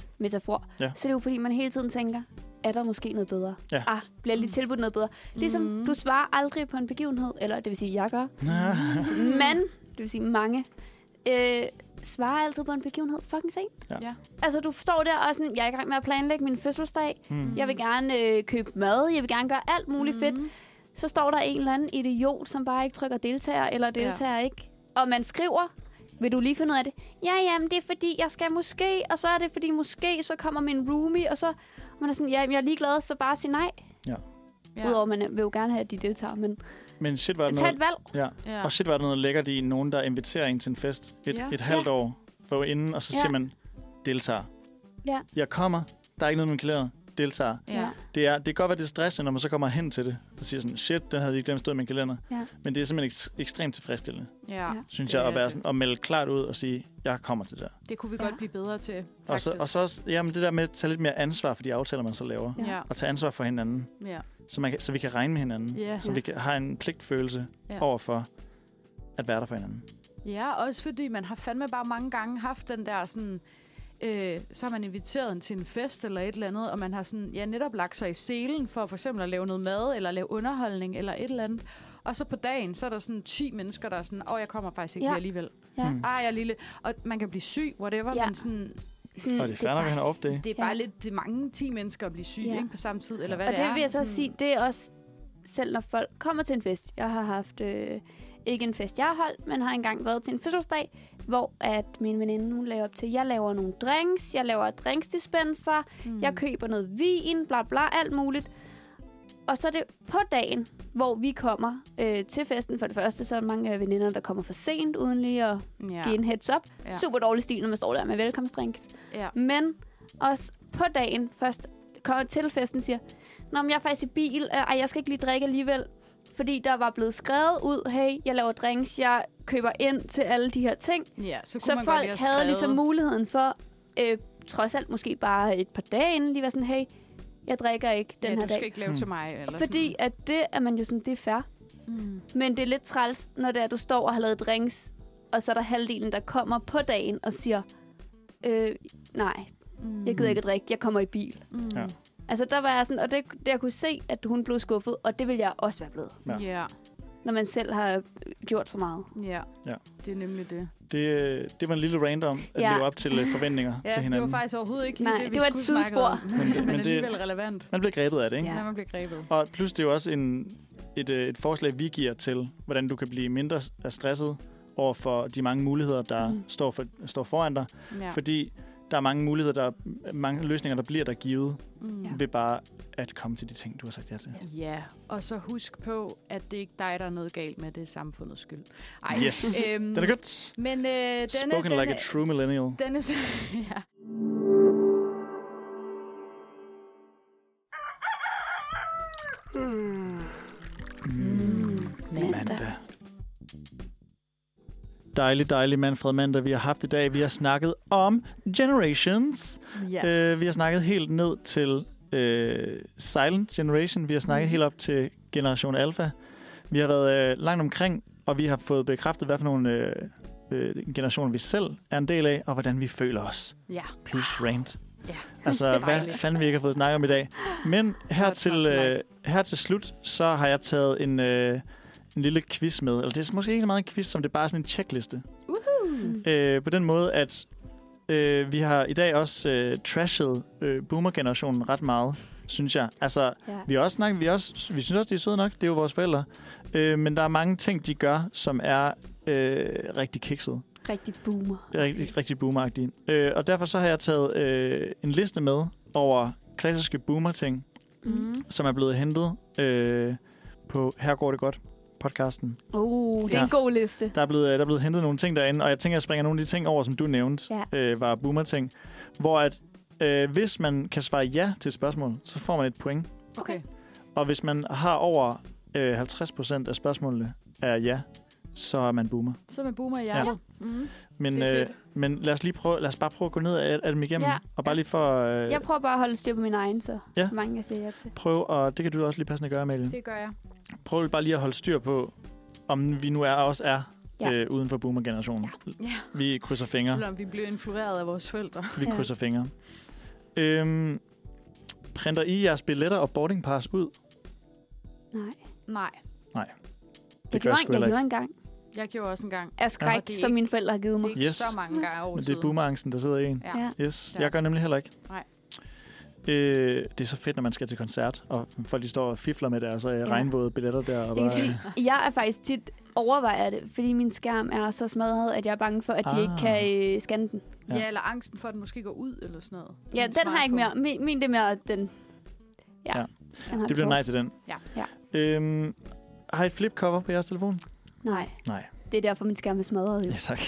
Speaker 4: nytårsmetafor,
Speaker 2: Ja.
Speaker 4: ja. så er det jo fordi, man hele tiden tænker, er der måske noget bedre?
Speaker 2: Ja.
Speaker 4: Ah, bliver jeg lige tilbudt noget bedre? Ligesom
Speaker 3: Mhm.
Speaker 4: mm. du svarer aldrig på en begivenhed, eller det vil sige, jeg gør,
Speaker 2: Ja.
Speaker 4: men, det vil sige mange, øh, svarer altid på en begivenhed fucking sent.
Speaker 2: Ja.
Speaker 3: Ja.
Speaker 4: Altså, du står der og sådan, jeg er i gang med at planlægge min fødselsdag,
Speaker 2: Mm.
Speaker 4: jeg vil gerne øh, købe mad, jeg vil gerne gøre alt muligt mm. fedt.
Speaker 3: Mm-hmm.
Speaker 4: Så står der en eller anden idiot, som bare ikke trykker deltager, eller deltager ja. ikke. Og man skriver, vil du lige finde ud af det? Ja, jamen, det er fordi, jeg skal måske, og så er det fordi, måske, så kommer min roomie, og så og man er sådan, ja, jeg er ligeglad, så bare sig nej. Ja. Udover, man øh, vil jo gerne have, at de deltager, men
Speaker 2: Men shit var, der
Speaker 4: tag et
Speaker 2: noget,
Speaker 4: valg.
Speaker 2: ja.
Speaker 3: Ja.
Speaker 2: Og shit var der noget lækkert i nogen, der inviterer en til en fest et,
Speaker 3: Ja.
Speaker 2: ja. et halvt
Speaker 4: Ja.
Speaker 2: år for inden, og så
Speaker 4: Ja.
Speaker 2: siger man, deltager.
Speaker 4: Ja.
Speaker 2: Jeg kommer, der er ikke noget med min kalender, deltager.
Speaker 3: Ja.
Speaker 2: Det, er, det kan godt være, det er stressende, når man så kommer hen til det, og siger sådan, shit, den havde jeg lige glemt stod i min kalender.
Speaker 4: Ja.
Speaker 2: Men det er simpelthen ek- ekstremt tilfredsstillende,
Speaker 3: Ja. ja.
Speaker 4: Ja.
Speaker 2: synes
Speaker 3: Det
Speaker 2: jeg, at,
Speaker 3: er
Speaker 2: være
Speaker 3: det.
Speaker 2: sådan, at melde klart ud og sige, jeg kommer til det her.
Speaker 3: Det kunne vi
Speaker 4: Ja.
Speaker 3: godt blive bedre til, faktisk.
Speaker 2: Og så, og så også, jamen det der med at tage lidt mere ansvar for de aftaler, man så laver.
Speaker 3: Ja.
Speaker 2: Og tage ansvar for hinanden,
Speaker 3: Ja.
Speaker 2: så, man kan, så vi kan regne med hinanden.
Speaker 3: Ja.
Speaker 2: Så vi kan, har en pligtfølelse
Speaker 3: Ja. Mm.
Speaker 2: ja. over for at være der for hinanden.
Speaker 3: Ja, også fordi man har fandme bare mange gange haft den der sådan... Øh, så har man inviteret en til en fest eller et eller andet, og man har sådan, ja, netop lagt sig i selen for for eksempel at lave noget mad, eller lave underholdning, eller et eller andet. Og så på dagen, så er der sådan 10 mennesker, der er sådan, åh, jeg kommer faktisk ikke
Speaker 4: Ja.
Speaker 3: ja. alligevel.
Speaker 4: Ja.
Speaker 2: Mm.
Speaker 3: Ej, jeg er lille. Og man kan blive syg, whatever, ja.
Speaker 4: Ja.
Speaker 3: men sådan,
Speaker 4: Sådan,
Speaker 2: Og det er fair, når vi har en off day.
Speaker 3: det er bare
Speaker 4: Ja.
Speaker 3: lidt det er mange 10 mennesker at blive syg,
Speaker 4: Ja.
Speaker 3: ikke? På samme tid, eller hvad
Speaker 4: og
Speaker 3: det,
Speaker 4: det
Speaker 3: er.
Speaker 4: vil jeg så
Speaker 3: sådan,
Speaker 4: sige, det er også, selv når folk kommer til en fest. Jeg har haft, øh, ikke en fest jeg har holdt, men har engang været til en fødselsdag, hvor at min veninde, hun lagde op til, jeg laver nogle drinks, jeg laver drinksdispenser,
Speaker 3: Hmm.
Speaker 4: mm. jeg køber noget vin, bla bla, alt muligt. Og så er det på dagen, hvor vi kommer øh, til festen. For det første, så er der mange af veninderne, der kommer for sent, uden lige at
Speaker 3: Ja.
Speaker 4: give en heads up.
Speaker 3: Ja.
Speaker 4: Ja. Super dårlig stil, når man står der med velkomstdrinks.
Speaker 3: Ja.
Speaker 4: Men også på dagen først kommer til festen og siger, Nå, men jeg er faktisk i bil, øh, ej, jeg skal ikke lige drikke alligevel. Fordi der var blevet skrevet ud, hey, jeg laver drinks, jeg køber ind til alle de her ting.
Speaker 3: ja, så, kunne
Speaker 4: Så
Speaker 3: man godt
Speaker 4: folk
Speaker 3: lige
Speaker 4: havde
Speaker 3: have skrevet-
Speaker 4: ligesom muligheden for, øh, trods alt måske bare et par dage inden, lige være sådan, hey, jeg drikker ikke den
Speaker 3: ja,
Speaker 4: her
Speaker 3: du skal
Speaker 4: dag.
Speaker 3: ikke lave
Speaker 2: Mm.
Speaker 3: til mig. Eller
Speaker 4: Fordi at det er man jo sådan, det er fair.
Speaker 3: sådan. Mm.
Speaker 4: Men det er lidt træls, når det er, at du står og har lavet drinks, og så er der halvdelen, der kommer på dagen og siger, øh, nej,
Speaker 3: Mm.
Speaker 4: jeg gider ikke at drikke, jeg kommer i bil.
Speaker 3: Mm.
Speaker 2: Ja.
Speaker 4: Altså, der var jeg sådan, og det, det jeg kunne se, at hun blev skuffet, og det ville jeg også være blevet,
Speaker 2: Ja.
Speaker 3: ja.
Speaker 4: når man selv har øh, gjort så meget.
Speaker 3: Ja.
Speaker 2: Ja.
Speaker 3: det er nemlig det.
Speaker 2: Det, øh, det var en lille random at
Speaker 4: Ja.
Speaker 2: ja. leve op til øh, forventninger
Speaker 3: Ja,
Speaker 2: til
Speaker 3: det
Speaker 2: hinanden.
Speaker 3: var faktisk overhovedet ikke lige
Speaker 4: Nej,
Speaker 3: det, vi
Speaker 4: det var et
Speaker 3: skulle snakke om.
Speaker 2: Men det-
Speaker 3: men,
Speaker 2: men det-
Speaker 3: alligevel relevant,
Speaker 2: Man bliver grebet af det, ikke?
Speaker 3: ja.
Speaker 4: Ja.
Speaker 3: når man bliver grebet.
Speaker 2: Og plus det er jo også en, et, øh, et forslag, vi giver til, hvordan du kan blive mindre s- stresset over for de mange muligheder, der
Speaker 4: Mm.
Speaker 2: mm. står, for, står foran dig.
Speaker 3: Ja.
Speaker 2: Ja. Fordi der er mange muligheder, der mange løsninger, der bliver der givet
Speaker 3: Mm.
Speaker 4: Ja.
Speaker 2: ved bare at komme til de ting, du har sagt ja til.
Speaker 3: ja, og så husk på, at det er ikke dig, der er noget galt med, det er samfundets skyld.
Speaker 2: Yes.
Speaker 3: øhm,
Speaker 2: Den er købt.
Speaker 3: Men øh, denne,
Speaker 2: Spoken
Speaker 3: denne,
Speaker 2: like a true millennial.
Speaker 3: denne, ja.
Speaker 2: Mandag. Dejlig, dejlig Manfred mandag, vi har haft i dag. Vi har snakket om Generations.
Speaker 3: Yes.
Speaker 2: Øh, vi har snakket helt ned til øh, Silent Generation. Vi har snakket
Speaker 3: Mhm.
Speaker 2: mm. helt op til Generation Alpha. Vi har været øh, langt omkring, og vi har fået bekræftet, hvad for nogle øh, øh, generationer vi selv er en del af, og hvordan vi føler os.
Speaker 3: Ja.
Speaker 2: Plus rant.
Speaker 3: Ja.
Speaker 2: Altså, hvad
Speaker 3: Dejligt.
Speaker 2: fanden vi ikke har fået snakket om i dag. Men her
Speaker 3: Godt,
Speaker 2: til,
Speaker 3: godt,
Speaker 2: øh, her til slut, så har jeg taget en, øh, en lille quiz med. Eller det er måske ikke så meget en quiz, som det er bare sådan en checkliste. Uh-huh. Øh, på den måde, at øh, vi har i dag også øh, trashet øh, boomer-generationen ret meget, synes jeg. Altså,
Speaker 4: Ja.
Speaker 2: vi, har også snakket, vi, har også, vi synes også, de er søde nok. Det er jo vores forældre. Øh, men der er mange ting, de gør, som er øh, rigtig kiksede.
Speaker 4: Rigtig boomer.
Speaker 2: Rigtig, rigtig boomeragtige. Øh, og derfor så har jeg taget øh, en liste med over klassiske boomer-ting,
Speaker 4: Mm.
Speaker 2: som er blevet hentet øh, på Her går det godt podcasten.
Speaker 4: Oh, det er
Speaker 2: Ja.
Speaker 4: en god liste.
Speaker 2: Der er, blevet, øh, der er blevet hentet nogle ting derinde, og jeg tænker, at jeg springer nogle af de ting over, som du nævnte,
Speaker 4: Ja.
Speaker 2: øh, var boomer-ting, hvor at, øh, hvis man kan svare ja til et spørgsmål, så får man et point.
Speaker 4: Okay.
Speaker 2: Og hvis man har over øh, 50% af spørgsmålene er ja, så er man boomer.
Speaker 3: Så er man boomer i hjertet.
Speaker 4: Mm.
Speaker 2: Men,
Speaker 3: Det er
Speaker 2: øh, men lad os lige prøve, lad os bare prøve at gå ned ad, ad dem igennem,
Speaker 4: Ja.
Speaker 2: og bare lige for øh,
Speaker 4: Jeg prøver bare at holde styr på min egen, så
Speaker 2: Ja.
Speaker 4: ja. mange jeg siger ja til.
Speaker 2: prøve, og det kan du også lige passende gøre, Amalie.
Speaker 3: Det gør jeg.
Speaker 2: prøv bare lige at holde styr på, om vi nu er også er ja.
Speaker 4: Ja.
Speaker 2: øh, uden for boomer-generationen.
Speaker 3: Ja.
Speaker 2: Vi krydser fingre.
Speaker 3: Selvom vi bliver influeret af vores forældre.
Speaker 2: Vi
Speaker 4: Ja.
Speaker 2: krydser fingre. Øhm, printer I jeres billetter og boarding pass ud? Det,
Speaker 4: Nej.
Speaker 3: Nej,
Speaker 4: Jeg
Speaker 2: gør jeg
Speaker 4: gjorde,
Speaker 2: sgu
Speaker 4: jeg
Speaker 2: heller ikke.
Speaker 4: gjorde engang.
Speaker 3: jeg gjorde også engang.
Speaker 4: Af skræk,
Speaker 3: det er
Speaker 4: som
Speaker 3: ikke-
Speaker 4: mine forældre har givet
Speaker 3: Det er
Speaker 4: mig.
Speaker 3: ikke
Speaker 2: Yes.
Speaker 3: så mange gange år
Speaker 2: Men det er
Speaker 3: siden.
Speaker 2: boomerangsten, der sidder i en.
Speaker 3: Ja.
Speaker 4: Ja.
Speaker 2: Yes,
Speaker 3: Ja.
Speaker 2: jeg gør nemlig heller ikke.
Speaker 3: Nej.
Speaker 2: Øh, det er så fedt, når man skal til koncert, og folk de står og fifler med deres øh, regnvåde billetter der. Og
Speaker 4: Jeg
Speaker 2: bare, øh,
Speaker 4: kan sige, jeg er faktisk tit overvejer det, fordi min skærm er så smadret, at jeg er bange for, at de ikke
Speaker 2: Ah.
Speaker 4: kan øh, scanne den.
Speaker 2: Ja.
Speaker 3: Ja. ja, eller angsten for, at den måske går ud eller sådan noget.
Speaker 4: Ja,
Speaker 3: Min
Speaker 4: den har jeg ikke mere.
Speaker 3: smartphone.
Speaker 4: Min, min det er mere at den.
Speaker 2: Ja.
Speaker 4: Ja. ja. Den har
Speaker 2: det bliver
Speaker 4: på.
Speaker 2: nice i den.
Speaker 3: Ja.
Speaker 2: Ja. Øhm, har I et flipcover på jeres telefon?
Speaker 4: Nej,
Speaker 2: Nej.
Speaker 4: det er derfor, min skærm er smadret. Jo.
Speaker 2: Ja, tak.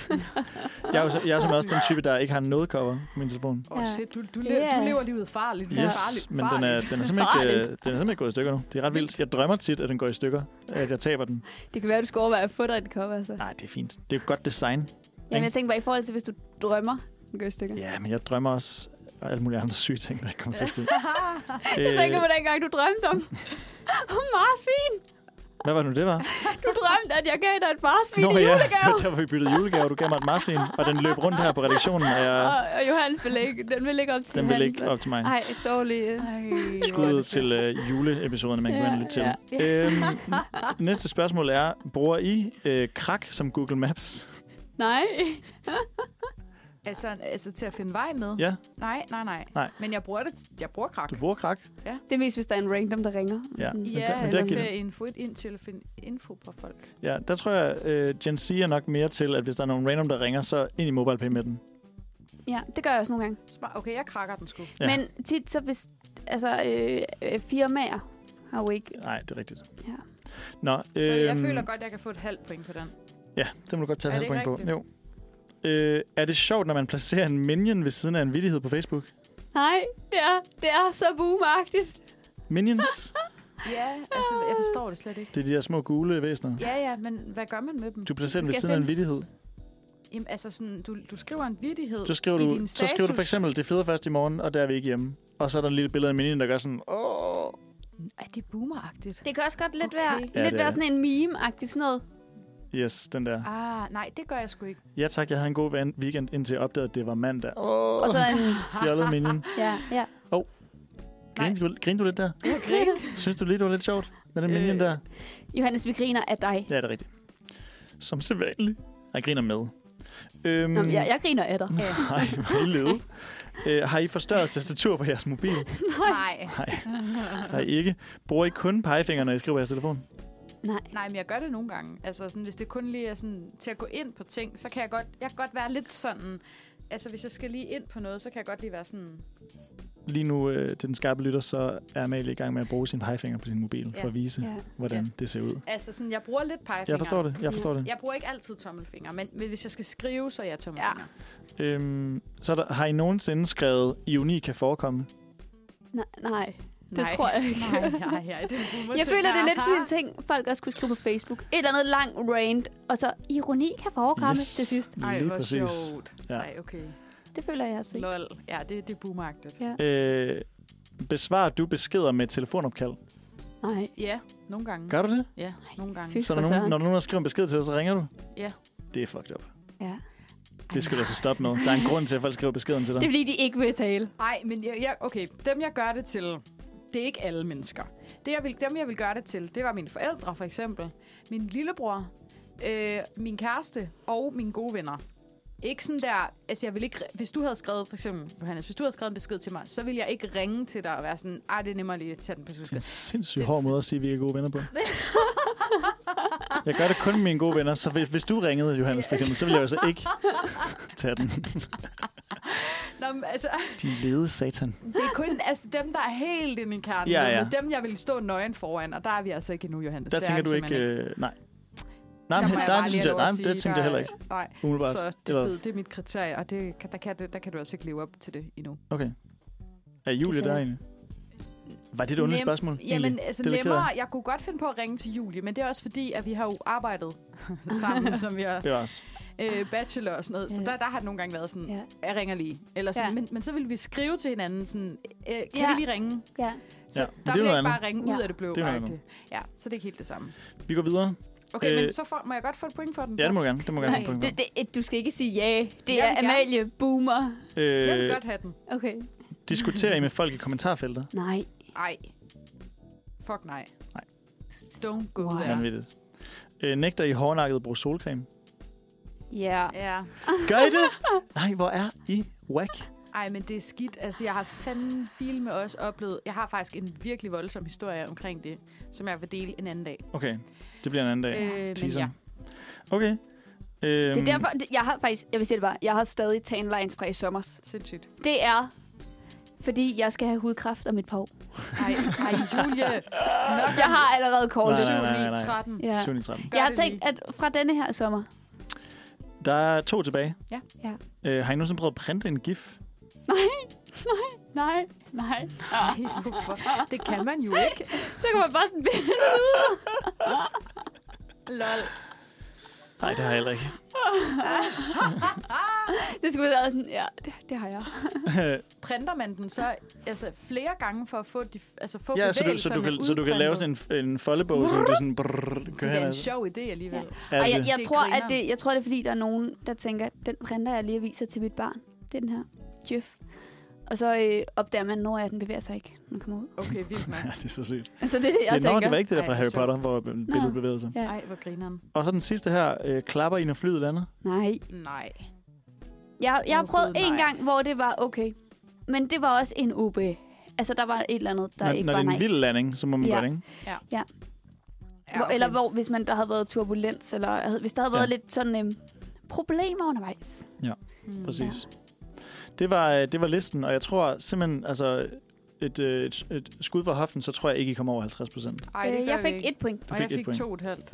Speaker 2: jeg er jo så, jeg er som også den type, der ikke har noget cover på min telefon.
Speaker 3: Åh, oh,
Speaker 4: Ja.
Speaker 3: shit, du, du, le-
Speaker 4: Ja.
Speaker 3: du lever livet farligt.
Speaker 2: Yes,
Speaker 3: Ja. farligt.
Speaker 2: men den er, den, er simpelthen ikke, øh, den er simpelthen ikke gået i stykker nu. Det er ret vildt. Jeg drømmer tit, at den går i stykker. At jeg taber den.
Speaker 4: Det kan være, du skal overveje at få dig et cover. Så.
Speaker 2: Nej, det er fint. Det er et godt design.
Speaker 4: Jamen, jeg tænker bare, i forhold til, hvis du drømmer, den går i stykker.
Speaker 2: Ja, men jeg drømmer også og alle mulige andre syge ting, der kommer til at ske.
Speaker 4: Jeg tænker
Speaker 2: øh,
Speaker 4: på den gang, du drømte om. Om marsvin!
Speaker 2: hvad var det nu, det var?
Speaker 4: Du drømte, at jeg gav dig et marsvin i
Speaker 2: ja, det
Speaker 4: julegave.
Speaker 2: var derfor, vi byttede julegave. Du gav mig et marsvin, og den løb rundt her på redaktionen, og jeg,
Speaker 4: Og, og Johannes vil ikke, den vil ikke op til
Speaker 2: den vil
Speaker 4: Johannes.
Speaker 2: ikke op til mig.
Speaker 4: Ej, dårlig. øh.
Speaker 3: Ej, hvor er
Speaker 2: Skud
Speaker 3: det fedt.
Speaker 2: til øh, juleepisoderne, man kan gå ind og lytte til.
Speaker 4: Ja,
Speaker 2: Øhm, næste spørgsmål er, bruger I øh, krak som Google Maps?
Speaker 4: Nej.
Speaker 3: Altså, altså til at finde vej
Speaker 4: Mm.
Speaker 3: med?
Speaker 2: Ja.
Speaker 3: Nej, nej, nej.
Speaker 2: Nej.
Speaker 3: Men jeg bruger det. Jeg bruger krak.
Speaker 2: Du bruger krak?
Speaker 4: Det er mest, hvis der er en random, der ringer.
Speaker 2: Ja.
Speaker 4: Sådan,
Speaker 2: Men der- men
Speaker 3: Ja,
Speaker 2: der
Speaker 3: eller
Speaker 2: giver
Speaker 3: der en fod ind til at finde info på folk.
Speaker 2: Ja, der tror jeg, uh, Gen Z er nok mere til, at hvis der er nogen random, der ringer, så ind i MobilePay med den.
Speaker 4: ja, det gør jeg også nogle gange.
Speaker 3: Smart. Okay, jeg krakker den sgu.
Speaker 2: Ja.
Speaker 4: Ja. Men tit så hvis... Altså, øh, øh, firmaer har jo ikke...
Speaker 2: Nej, det er rigtigt.
Speaker 4: Ja.
Speaker 2: Nå, øhm,
Speaker 3: Så jeg føler godt, at jeg kan få et halvt point på den.
Speaker 2: Ja, det må du godt tage
Speaker 3: Er
Speaker 2: et
Speaker 3: det
Speaker 2: halvt point
Speaker 3: ikke
Speaker 2: på. Jo. Øh, er det sjovt, når man placerer en minion ved siden af en vittighed på Facebook?
Speaker 4: Nej, det er, det er så boomagtigt.
Speaker 2: Minions,
Speaker 3: Ja, altså, jeg forstår det slet ikke.
Speaker 2: det er de der små gule væsener.
Speaker 3: Ja, ja, men hvad gør man med dem?
Speaker 2: Du placerer den ved
Speaker 4: Skal jeg
Speaker 2: siden af en vittighed.
Speaker 3: Jamen, altså sådan, du, du skriver en vittighed
Speaker 2: Så skriver,
Speaker 3: i
Speaker 2: du,
Speaker 3: din
Speaker 2: så
Speaker 3: status.
Speaker 2: skriver du for eksempel, det er fede først i morgen, og der er vi ikke hjemme. Og så er der et lille billede af en minion, der gør sådan, åh,
Speaker 3: Er det boomeragtigt?
Speaker 4: Det kan også godt lidt
Speaker 3: Okay.
Speaker 4: okay. være,
Speaker 3: Ja,
Speaker 4: lidt
Speaker 2: det er
Speaker 4: være
Speaker 2: det.
Speaker 4: sådan en meme-agtig sådan noget.
Speaker 2: yes, den der.
Speaker 3: Ah, nej, det gør jeg sgu ikke.
Speaker 2: Ja tak, jeg havde en god van- weekend, indtil jeg opdagede, at det var mandag.
Speaker 4: Oh. Og så en...
Speaker 2: Fjollet minion.
Speaker 4: Ja, ja.
Speaker 2: Grinte du, grinte du lidt der?
Speaker 3: Jeg grinte.
Speaker 2: Synes du lige, det var lidt sjovt med den
Speaker 3: Øh.
Speaker 2: minion der?
Speaker 4: Johannes, vi griner af dig.
Speaker 2: Ja, det er rigtigt. Som sædvanligt. Jeg griner med. Øhm,
Speaker 4: Nå, men jeg, jeg griner af dig.
Speaker 2: Nej, hvor er I lede. Øh, har I forstørret tastatur på jeres mobil?
Speaker 3: nej.
Speaker 2: Nej, det har I ikke. Bruger I kun pegefinger, når I skriver på jeres telefon?
Speaker 4: Nej.
Speaker 3: Nej, men jeg gør det nogle gange. Altså, sådan, hvis det kun lige er sådan, til at gå ind på ting, så kan jeg godt, jeg kan godt være lidt sådan... Altså, hvis jeg skal lige ind på noget, så kan jeg godt lige være sådan...
Speaker 2: Lige nu, øh, til den skarpe lytter, så er Amalie i gang med at bruge sin pegefinger på sin mobil,
Speaker 3: Ja.
Speaker 2: for at vise,
Speaker 4: Ja.
Speaker 2: hvordan
Speaker 3: Ja.
Speaker 2: det ser ud.
Speaker 3: Altså, sådan, jeg bruger lidt pegefinger.
Speaker 2: Jeg forstår det, jeg forstår det.
Speaker 3: Jeg bruger ikke altid tommelfinger, men, men hvis jeg skal skrive, så er jeg tommelfinger. Ja.
Speaker 2: Øhm, så er der, har I nogensinde skrevet, ironi kan forekomme?
Speaker 4: Nej, nej. Det tror jeg ikke.
Speaker 3: Nej, nej, nej. Det er en
Speaker 4: Jeg føler, det er lidt sådan en ting, folk også kunne skrive på Facebook. Et eller andet lang rant, og så ironi kan forekomme yes. til sidst.
Speaker 3: Ej,
Speaker 2: lige
Speaker 3: hvor
Speaker 2: præcis.
Speaker 3: sjovt.
Speaker 2: Ja.
Speaker 3: Nej, okay.
Speaker 4: Det føler jeg altså ikke.
Speaker 3: Lol. Ja, det, det er boomagtigt.
Speaker 2: Øh, besvarer du beskeder med telefonopkald?
Speaker 4: Nej.
Speaker 3: Ja, nogle gange.
Speaker 2: Gør du det?
Speaker 3: Ja, nogle gange.
Speaker 4: Fy
Speaker 2: Så
Speaker 4: for
Speaker 2: når nogen,
Speaker 4: søren.
Speaker 2: når nogen har skrevet en besked til dig, så ringer du?
Speaker 3: Ja.
Speaker 2: Det er fucked up.
Speaker 4: Ja.
Speaker 2: Det skal du altså stoppe med. Der er en grund til, at folk skriver beskeden til dig.
Speaker 4: Det er fordi, de ikke vil tale.
Speaker 3: Nej, men jeg, jeg, okay, dem jeg gør det til, det er ikke alle mennesker. Det, jeg vil, dem jeg vil gøre det til, det var mine forældre for eksempel. min lillebror, øh, min kæreste og mine gode venner. Ikke sådan der, altså jeg vil ikke, hvis du havde skrevet, for eksempel Johannes, hvis du havde skrevet en besked til mig, så ville jeg ikke ringe til dig og være sådan, ah, det er nemmere lige at tage den på
Speaker 2: Det er en
Speaker 3: besked.
Speaker 2: sindssygt hård måde at sige, at vi er gode venner på. Jeg gør det kun med mine gode venner, så hvis, hvis du ringede, Johannes, for eksempel, så ville jeg jo så ikke tage den.
Speaker 3: Nå, men, altså,
Speaker 2: De lede satan.
Speaker 3: det er kun altså, dem, der er helt inde i kernen.
Speaker 2: Ja,
Speaker 3: Det er
Speaker 2: ja.
Speaker 3: Dem, jeg ville stå nøgen foran, og der er vi altså ikke endnu, Johannes.
Speaker 2: Der
Speaker 3: Det er
Speaker 2: tænker du
Speaker 3: vi altså simpelthen
Speaker 2: ikke... Øh, nej.
Speaker 3: Der
Speaker 2: Nej,
Speaker 3: må
Speaker 2: men,
Speaker 3: jeg
Speaker 2: der,
Speaker 3: bare lige
Speaker 2: synes jeg,
Speaker 3: have lov at
Speaker 2: nej, men
Speaker 3: sige,
Speaker 2: det tænkte jeg heller ikke.
Speaker 3: Nej,
Speaker 2: Umiddelbart.
Speaker 3: så det,
Speaker 2: Eller-
Speaker 3: ved, det er mit kriterie, og det, kan- der, kan, det- der kan du altså ikke leve op til det endnu.
Speaker 2: Okay. Er Julie der
Speaker 4: Desværre.
Speaker 2: egentlig? Var det et underligt
Speaker 3: Altså, Nem-
Speaker 2: spørgsmål?
Speaker 3: Jamen,
Speaker 2: egentlig?
Speaker 3: altså
Speaker 2: Det er jeg lidt ked af.
Speaker 3: nemmere, jeg kunne godt finde på at ringe til Julie, men det er også fordi, at vi har jo arbejdet sammen, som vi har
Speaker 2: Det var også.
Speaker 3: øh, bachelor og sådan noget. Så
Speaker 4: Ja.
Speaker 3: der, der har det nogle gange været sådan,
Speaker 4: Ja.
Speaker 3: jeg ringer lige. Eller sådan,
Speaker 4: Ja.
Speaker 3: men, men så ville vi skrive til hinanden sådan, øh, kan
Speaker 4: Ja.
Speaker 3: vi lige ringe?
Speaker 4: Ja.
Speaker 2: Ja,
Speaker 3: Så ja.
Speaker 2: men det
Speaker 3: der
Speaker 2: er
Speaker 3: vil
Speaker 2: noget
Speaker 3: jeg ikke bare ringe ud
Speaker 4: Ja.
Speaker 3: af det blå.
Speaker 2: Det er noget
Speaker 3: agtigt. Ja, så det er ikke helt det samme.
Speaker 2: Vi går videre.
Speaker 3: Okay,
Speaker 2: Øh,
Speaker 3: men så får, må jeg godt få et point for den?
Speaker 2: Ja,
Speaker 3: så?
Speaker 2: det må du gerne. Det må du gerne.
Speaker 3: Nej,
Speaker 2: få en
Speaker 4: Det, det, du skal ikke sige ja. Det
Speaker 3: Jeg
Speaker 4: er
Speaker 3: vil gerne.
Speaker 4: Amalie Boomer.
Speaker 2: point. Øh,
Speaker 3: Jeg vil godt have den.
Speaker 4: Okay.
Speaker 2: Diskuterer I med folk i kommentarfeltet?
Speaker 4: Nej.
Speaker 3: Ej. Fuck nej.
Speaker 2: Nej.
Speaker 3: Don't go
Speaker 4: Wow.
Speaker 2: Ja.
Speaker 3: there.
Speaker 2: Vanvittigt. Øh, nægter I hårdnakket at bruge solcreme?
Speaker 4: Ja.
Speaker 3: Ja.
Speaker 2: Gør I det? Nej, hvor er I whack?
Speaker 3: Ej, men det er skidt. Altså, jeg har fandme fil med os oplevet. Jeg har faktisk en virkelig voldsom historie omkring det, som jeg vil dele en anden dag.
Speaker 2: Okay, det bliver en anden dag.
Speaker 3: Øh, men
Speaker 2: Teaser.
Speaker 3: ja.
Speaker 2: Okay. Øhm,
Speaker 4: Det er derfor, det- jeg har faktisk, jeg vil sige det bare, jeg har stadig tan lines fra i sommers.
Speaker 3: Sindssygt.
Speaker 4: Det er, fordi jeg skal have hudkræft om et par år.
Speaker 3: Ej, ej Julie. Nok
Speaker 4: Jeg har allerede
Speaker 2: Nej,
Speaker 4: kålet.
Speaker 2: nej, nej,
Speaker 3: 7, 9,
Speaker 2: nej.
Speaker 3: 13.
Speaker 4: Ja.
Speaker 2: 7. 13.
Speaker 3: Gør
Speaker 4: Jeg har
Speaker 3: det
Speaker 4: tænkt,
Speaker 3: lige.
Speaker 4: at fra denne her sommer,
Speaker 2: Der er to tilbage.
Speaker 3: Ja.
Speaker 4: Ja.
Speaker 2: Øh, har I nogensinde prøvet at printe en gif?
Speaker 4: nej, nej, Ah.
Speaker 3: Ej, hvorfor? Det kan man jo ikke.
Speaker 4: så kan man bare sådan billede ud.
Speaker 3: Lol.
Speaker 2: Nej, det har jeg heller ikke.
Speaker 4: Det skulle være sådan, ja, det, det har jeg.
Speaker 3: Printer man den så altså, flere gange for at få, de, altså, få
Speaker 2: ja, så du, så, du kan, så du kan lave sådan en, en foldebog, som du sådan... Brrr, kører altså.
Speaker 3: Det er
Speaker 2: hen
Speaker 3: en
Speaker 2: ad.
Speaker 3: sjov idé alligevel. Ja.
Speaker 2: Er
Speaker 4: Og jeg,
Speaker 2: det-
Speaker 4: jeg,
Speaker 3: Det er
Speaker 4: tror, at
Speaker 3: grineren.
Speaker 4: det, jeg tror, det er fordi, der er nogen, der tænker, den printer jeg lige og viser til mit barn. Det er den her. Jeff. Og så øh, opdager man, når jeg den bevæger sig ikke, når den kommer ud.
Speaker 3: Okay, vildt nok.
Speaker 2: Ja, det er så sygt.
Speaker 4: Altså, det er det, jeg
Speaker 2: det,
Speaker 4: tænker.
Speaker 2: nå, det var ikke det der
Speaker 3: Ej,
Speaker 2: fra Harry
Speaker 3: sjovt.
Speaker 2: Potter, hvor billedet bevægede sig.
Speaker 4: Ja.
Speaker 3: Ej, hvor grineren.
Speaker 2: Og så den sidste her. Øh, klapper I, når flyet lander?
Speaker 4: Nej.
Speaker 3: Nej.
Speaker 4: Jeg, jeg har prøvet
Speaker 3: Overhovedet
Speaker 4: en
Speaker 3: nej.
Speaker 4: gang, hvor det var okay. Men det var også en OB. Altså, der var et eller andet, der
Speaker 2: når,
Speaker 4: ikke
Speaker 2: når
Speaker 4: var
Speaker 2: det er en
Speaker 4: nice.
Speaker 2: vild landing, så må man
Speaker 4: Ja.
Speaker 2: godt, ikke?
Speaker 4: Hvor, Eller hvor, hvis man der havde været turbulens, eller hvis der havde
Speaker 2: Ja.
Speaker 4: været lidt sådan øhm, problemer undervejs.
Speaker 3: Mm.
Speaker 2: Præcis. Det var, øh, det var listen, og jeg tror simpelthen, altså et, øh, et, et skud fra hoften, så tror jeg ikke, I kommer over 50 procent.
Speaker 3: Ej, det
Speaker 4: Øh,
Speaker 3: gør
Speaker 4: jeg
Speaker 3: vi
Speaker 4: fik
Speaker 3: ikke.
Speaker 4: et point.
Speaker 2: Du
Speaker 3: og
Speaker 2: fik
Speaker 3: jeg
Speaker 2: et
Speaker 3: fik
Speaker 2: point.
Speaker 3: to og et halvt.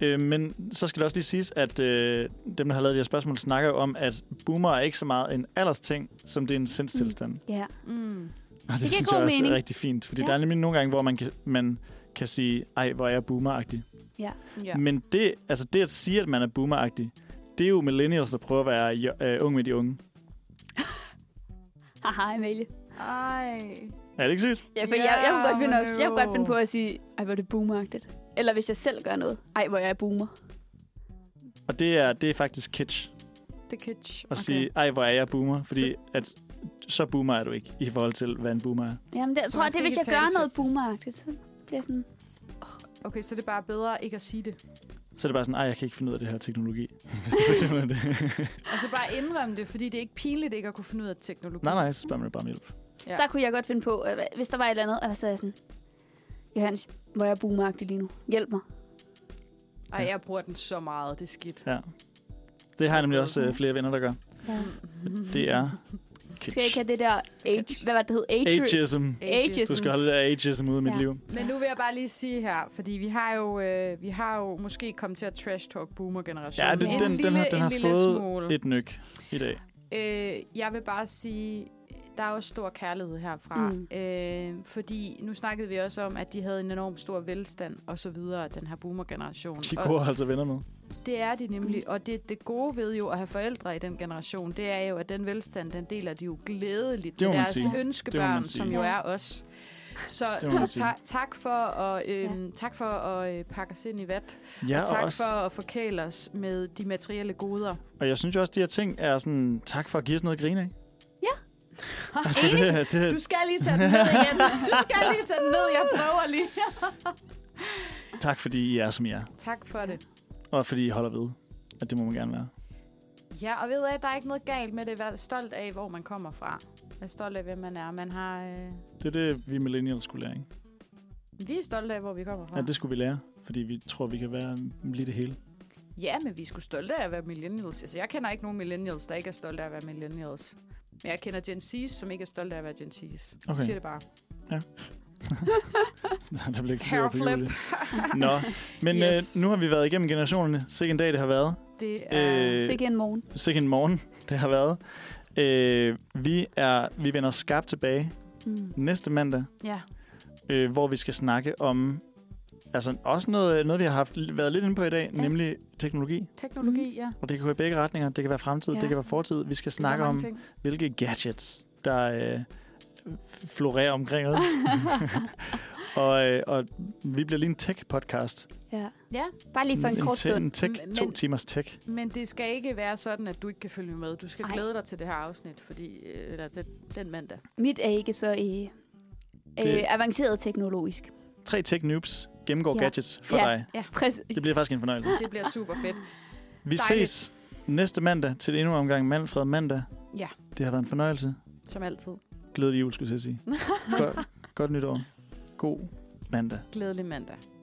Speaker 2: Øh, men så skal det også lige siges, at øh, dem, der har lavet de her spørgsmål, snakker jo om, at boomer er ikke så meget en aldersting, som det er en sindstilstand. Mm.
Speaker 4: Ja.
Speaker 3: Mm.
Speaker 2: Og det,
Speaker 4: giver
Speaker 2: det synes
Speaker 4: god
Speaker 2: jeg også
Speaker 4: mening.
Speaker 2: er rigtig fint, fordi
Speaker 4: Ja.
Speaker 2: ja. der er nemlig nogle gange, hvor man kan, man kan sige, ej, hvor er jeg boomeragtig.
Speaker 3: Ja.
Speaker 2: Ja. Men det, altså det at sige, at man er boomeragtig, det er jo millennials, der prøver at være jo- øh, ung med de unge.
Speaker 4: Haha, Amalie.
Speaker 3: Ej.
Speaker 2: Er det ikke sygt?
Speaker 4: Ja, for
Speaker 3: Ja,
Speaker 4: ja, jeg, jeg, kunne godt finde
Speaker 3: men
Speaker 4: også, jeg kunne godt finde
Speaker 3: jo.
Speaker 4: på at sige, ej, hvor er det boomeragtigt. Eller hvis jeg selv gør noget. Ej, hvor jeg er boomer.
Speaker 2: Og det er, det er faktisk kitsch
Speaker 3: The kitsch.
Speaker 2: at okay. sige, ej, hvor er jeg boomer, fordi så... at så boomer er du ikke i forhold til, hvad en boomer er.
Speaker 4: Jamen, det, jeg
Speaker 3: Så
Speaker 4: tror,
Speaker 3: man
Speaker 4: det
Speaker 3: skal
Speaker 4: er, hvis
Speaker 3: ikke
Speaker 4: jeg gør
Speaker 3: italesætte.
Speaker 4: noget boomeragtigt. Så bliver jeg sådan,
Speaker 3: Okay, så det er bare bedre ikke at sige det.
Speaker 2: Så er det bare sådan, ej, jeg kan ikke finde ud af det her teknologi. Hvis det for eksempel er det.
Speaker 3: Og så bare indrømme det, fordi det er ikke pinligt ikke at kunne finde ud af teknologi.
Speaker 2: nej, nej, så spørger man jo bare om hjælp.
Speaker 3: Ja.
Speaker 4: ja. der kunne jeg godt finde på, at hva- hvis der var et eller andet, og så er jeg sådan, Johannes, hvor er jeg boomeragtig lige nu? Hjælp mig.
Speaker 3: Ej, jeg bruger den så meget. Det er skidt.
Speaker 2: Ja. Det har jeg nemlig også øh, flere venner, der gør.
Speaker 4: Ja.
Speaker 2: Det er kitsch.
Speaker 4: Skal jeg ikke have det der age, hvad var det hed? Age,
Speaker 2: Ageism.
Speaker 4: Ages.
Speaker 2: Du skal holde det der ageism ude af ja. mit
Speaker 4: Ja.
Speaker 2: liv.
Speaker 3: Men nu vil jeg bare lige sige her, fordi vi har jo, øh, vi har jo måske kommet til at trash talk boomer generationen.
Speaker 2: Ja, det,
Speaker 4: Ja.
Speaker 2: den, den, den, har, den har fået
Speaker 3: smule.
Speaker 2: et nyk i dag.
Speaker 3: Øh, jeg vil bare sige, der er også stor kærlighed herfra. Mm.
Speaker 4: Mm.
Speaker 3: Øh, fordi nu snakkede vi også om, at de havde en enorm stor velstand og så videre, den her boomer-generation.
Speaker 2: De
Speaker 3: Og-
Speaker 2: gode at holde sig venner med.
Speaker 3: Det er de nemlig, og det, det gode ved jo at have forældre i den generation, det er jo, at den velstand, den deler de jo glædeligt
Speaker 2: Det må
Speaker 3: med
Speaker 2: man
Speaker 3: deres
Speaker 2: sige. Det må
Speaker 3: ønskebørn,
Speaker 2: man sige.
Speaker 3: som jo
Speaker 4: Ja.
Speaker 3: er os. Så,
Speaker 2: Det må man
Speaker 3: så
Speaker 2: sige.
Speaker 3: ta- tak for at, øhm, tak for at øh, pakke os ind i vat,
Speaker 2: Ja,
Speaker 3: og tak
Speaker 2: og, også,
Speaker 3: for at forkæle os med de materielle goder.
Speaker 2: og jeg synes jo også, at de her ting er sådan, tak for at give os noget at grine af.
Speaker 4: Ja.
Speaker 2: Altså, det, det,
Speaker 3: Du skal lige tage den ned igen. Du skal lige tage den ned, jeg prøver lige.
Speaker 2: Tak fordi I er, som I er.
Speaker 3: Tak for det.
Speaker 2: Og fordi I holder ved, at det må man gerne være.
Speaker 3: Ja, og ved at der er ikke noget galt med det. Vær stolt af, hvor man kommer fra. Vær stolt af, hvem man er. Man har, øh...
Speaker 2: Det er det, vi millennials skulle lære, ikke?
Speaker 3: Vi er stolte af, hvor vi kommer fra.
Speaker 2: Ja, det skulle vi lære. Fordi vi tror, vi kan være lige det hele.
Speaker 3: Ja, men vi er sgu stolte af at være millennials. Altså, jeg kender ikke nogen millennials, der ikke er stolte af at være millennials. Men jeg kender Gen Z's, som ikke er stolte af at være Gen Z's. Okay.
Speaker 2: Okay.
Speaker 3: Siger det bare.
Speaker 2: der blev ikke
Speaker 3: Hair
Speaker 2: klogere på
Speaker 3: flip.
Speaker 2: Julie. Nå, men
Speaker 3: Yes.
Speaker 2: yes. øh, nu har vi været igennem generationerne. Sikke en dag, det har været.
Speaker 3: Det er... Øh...
Speaker 2: Øh,
Speaker 4: Sikke en morgen.
Speaker 2: Sikke en morgen, det har været. Øh, vi, er, vi vender skarpt tilbage
Speaker 4: Mm.
Speaker 2: næste mandag,
Speaker 3: hmm, Ja.
Speaker 2: øh, hvor vi skal snakke om altså også noget, noget vi har haft, været lidt inde på i dag,
Speaker 3: Ja.
Speaker 2: ja. nemlig teknologi.
Speaker 3: Teknologi, ja.
Speaker 2: Og det kan gå i begge retninger. Det kan være fremtid,
Speaker 4: Ja.
Speaker 2: ja. det kan være fortid. Vi skal
Speaker 3: Der er
Speaker 2: snakke
Speaker 3: mange
Speaker 2: om, ting.
Speaker 3: ting.
Speaker 2: hvilke gadgets, der øh, florerer omkring os. og, øh, og vi bliver lige en tech-podcast.
Speaker 4: Ja.
Speaker 3: Ja,
Speaker 4: Bare lige for en,
Speaker 2: en,
Speaker 4: kort
Speaker 2: te-
Speaker 4: stund.
Speaker 2: en tech,
Speaker 3: Men-
Speaker 2: to timers tech.
Speaker 3: men det skal ikke være sådan, at du ikke kan følge med. Du skal
Speaker 4: Ej.
Speaker 3: Ej. glæde dig til det her afsnit, fordi, øh, eller til den mandag.
Speaker 4: Mit er ikke så øh, øh,
Speaker 2: Det-
Speaker 4: avanceret teknologisk.
Speaker 2: Tre tech-noobs gennemgår
Speaker 4: Ja.
Speaker 2: ja. gadgets for
Speaker 4: ja,
Speaker 2: ja. dig.
Speaker 4: Ja, præcis.
Speaker 2: Det bliver faktisk en fornøjelse.
Speaker 3: Det bliver super fedt.
Speaker 2: Vi
Speaker 3: Dejligt.
Speaker 2: ses næste mandag til endnu en omgang Manfred mandag.
Speaker 3: Ja.
Speaker 2: Det har været en fornøjelse.
Speaker 3: Som altid.
Speaker 2: Glædelig jul, skulle jeg til at sige. godt, godt nytår. God mandag.
Speaker 3: Glædelig mandag.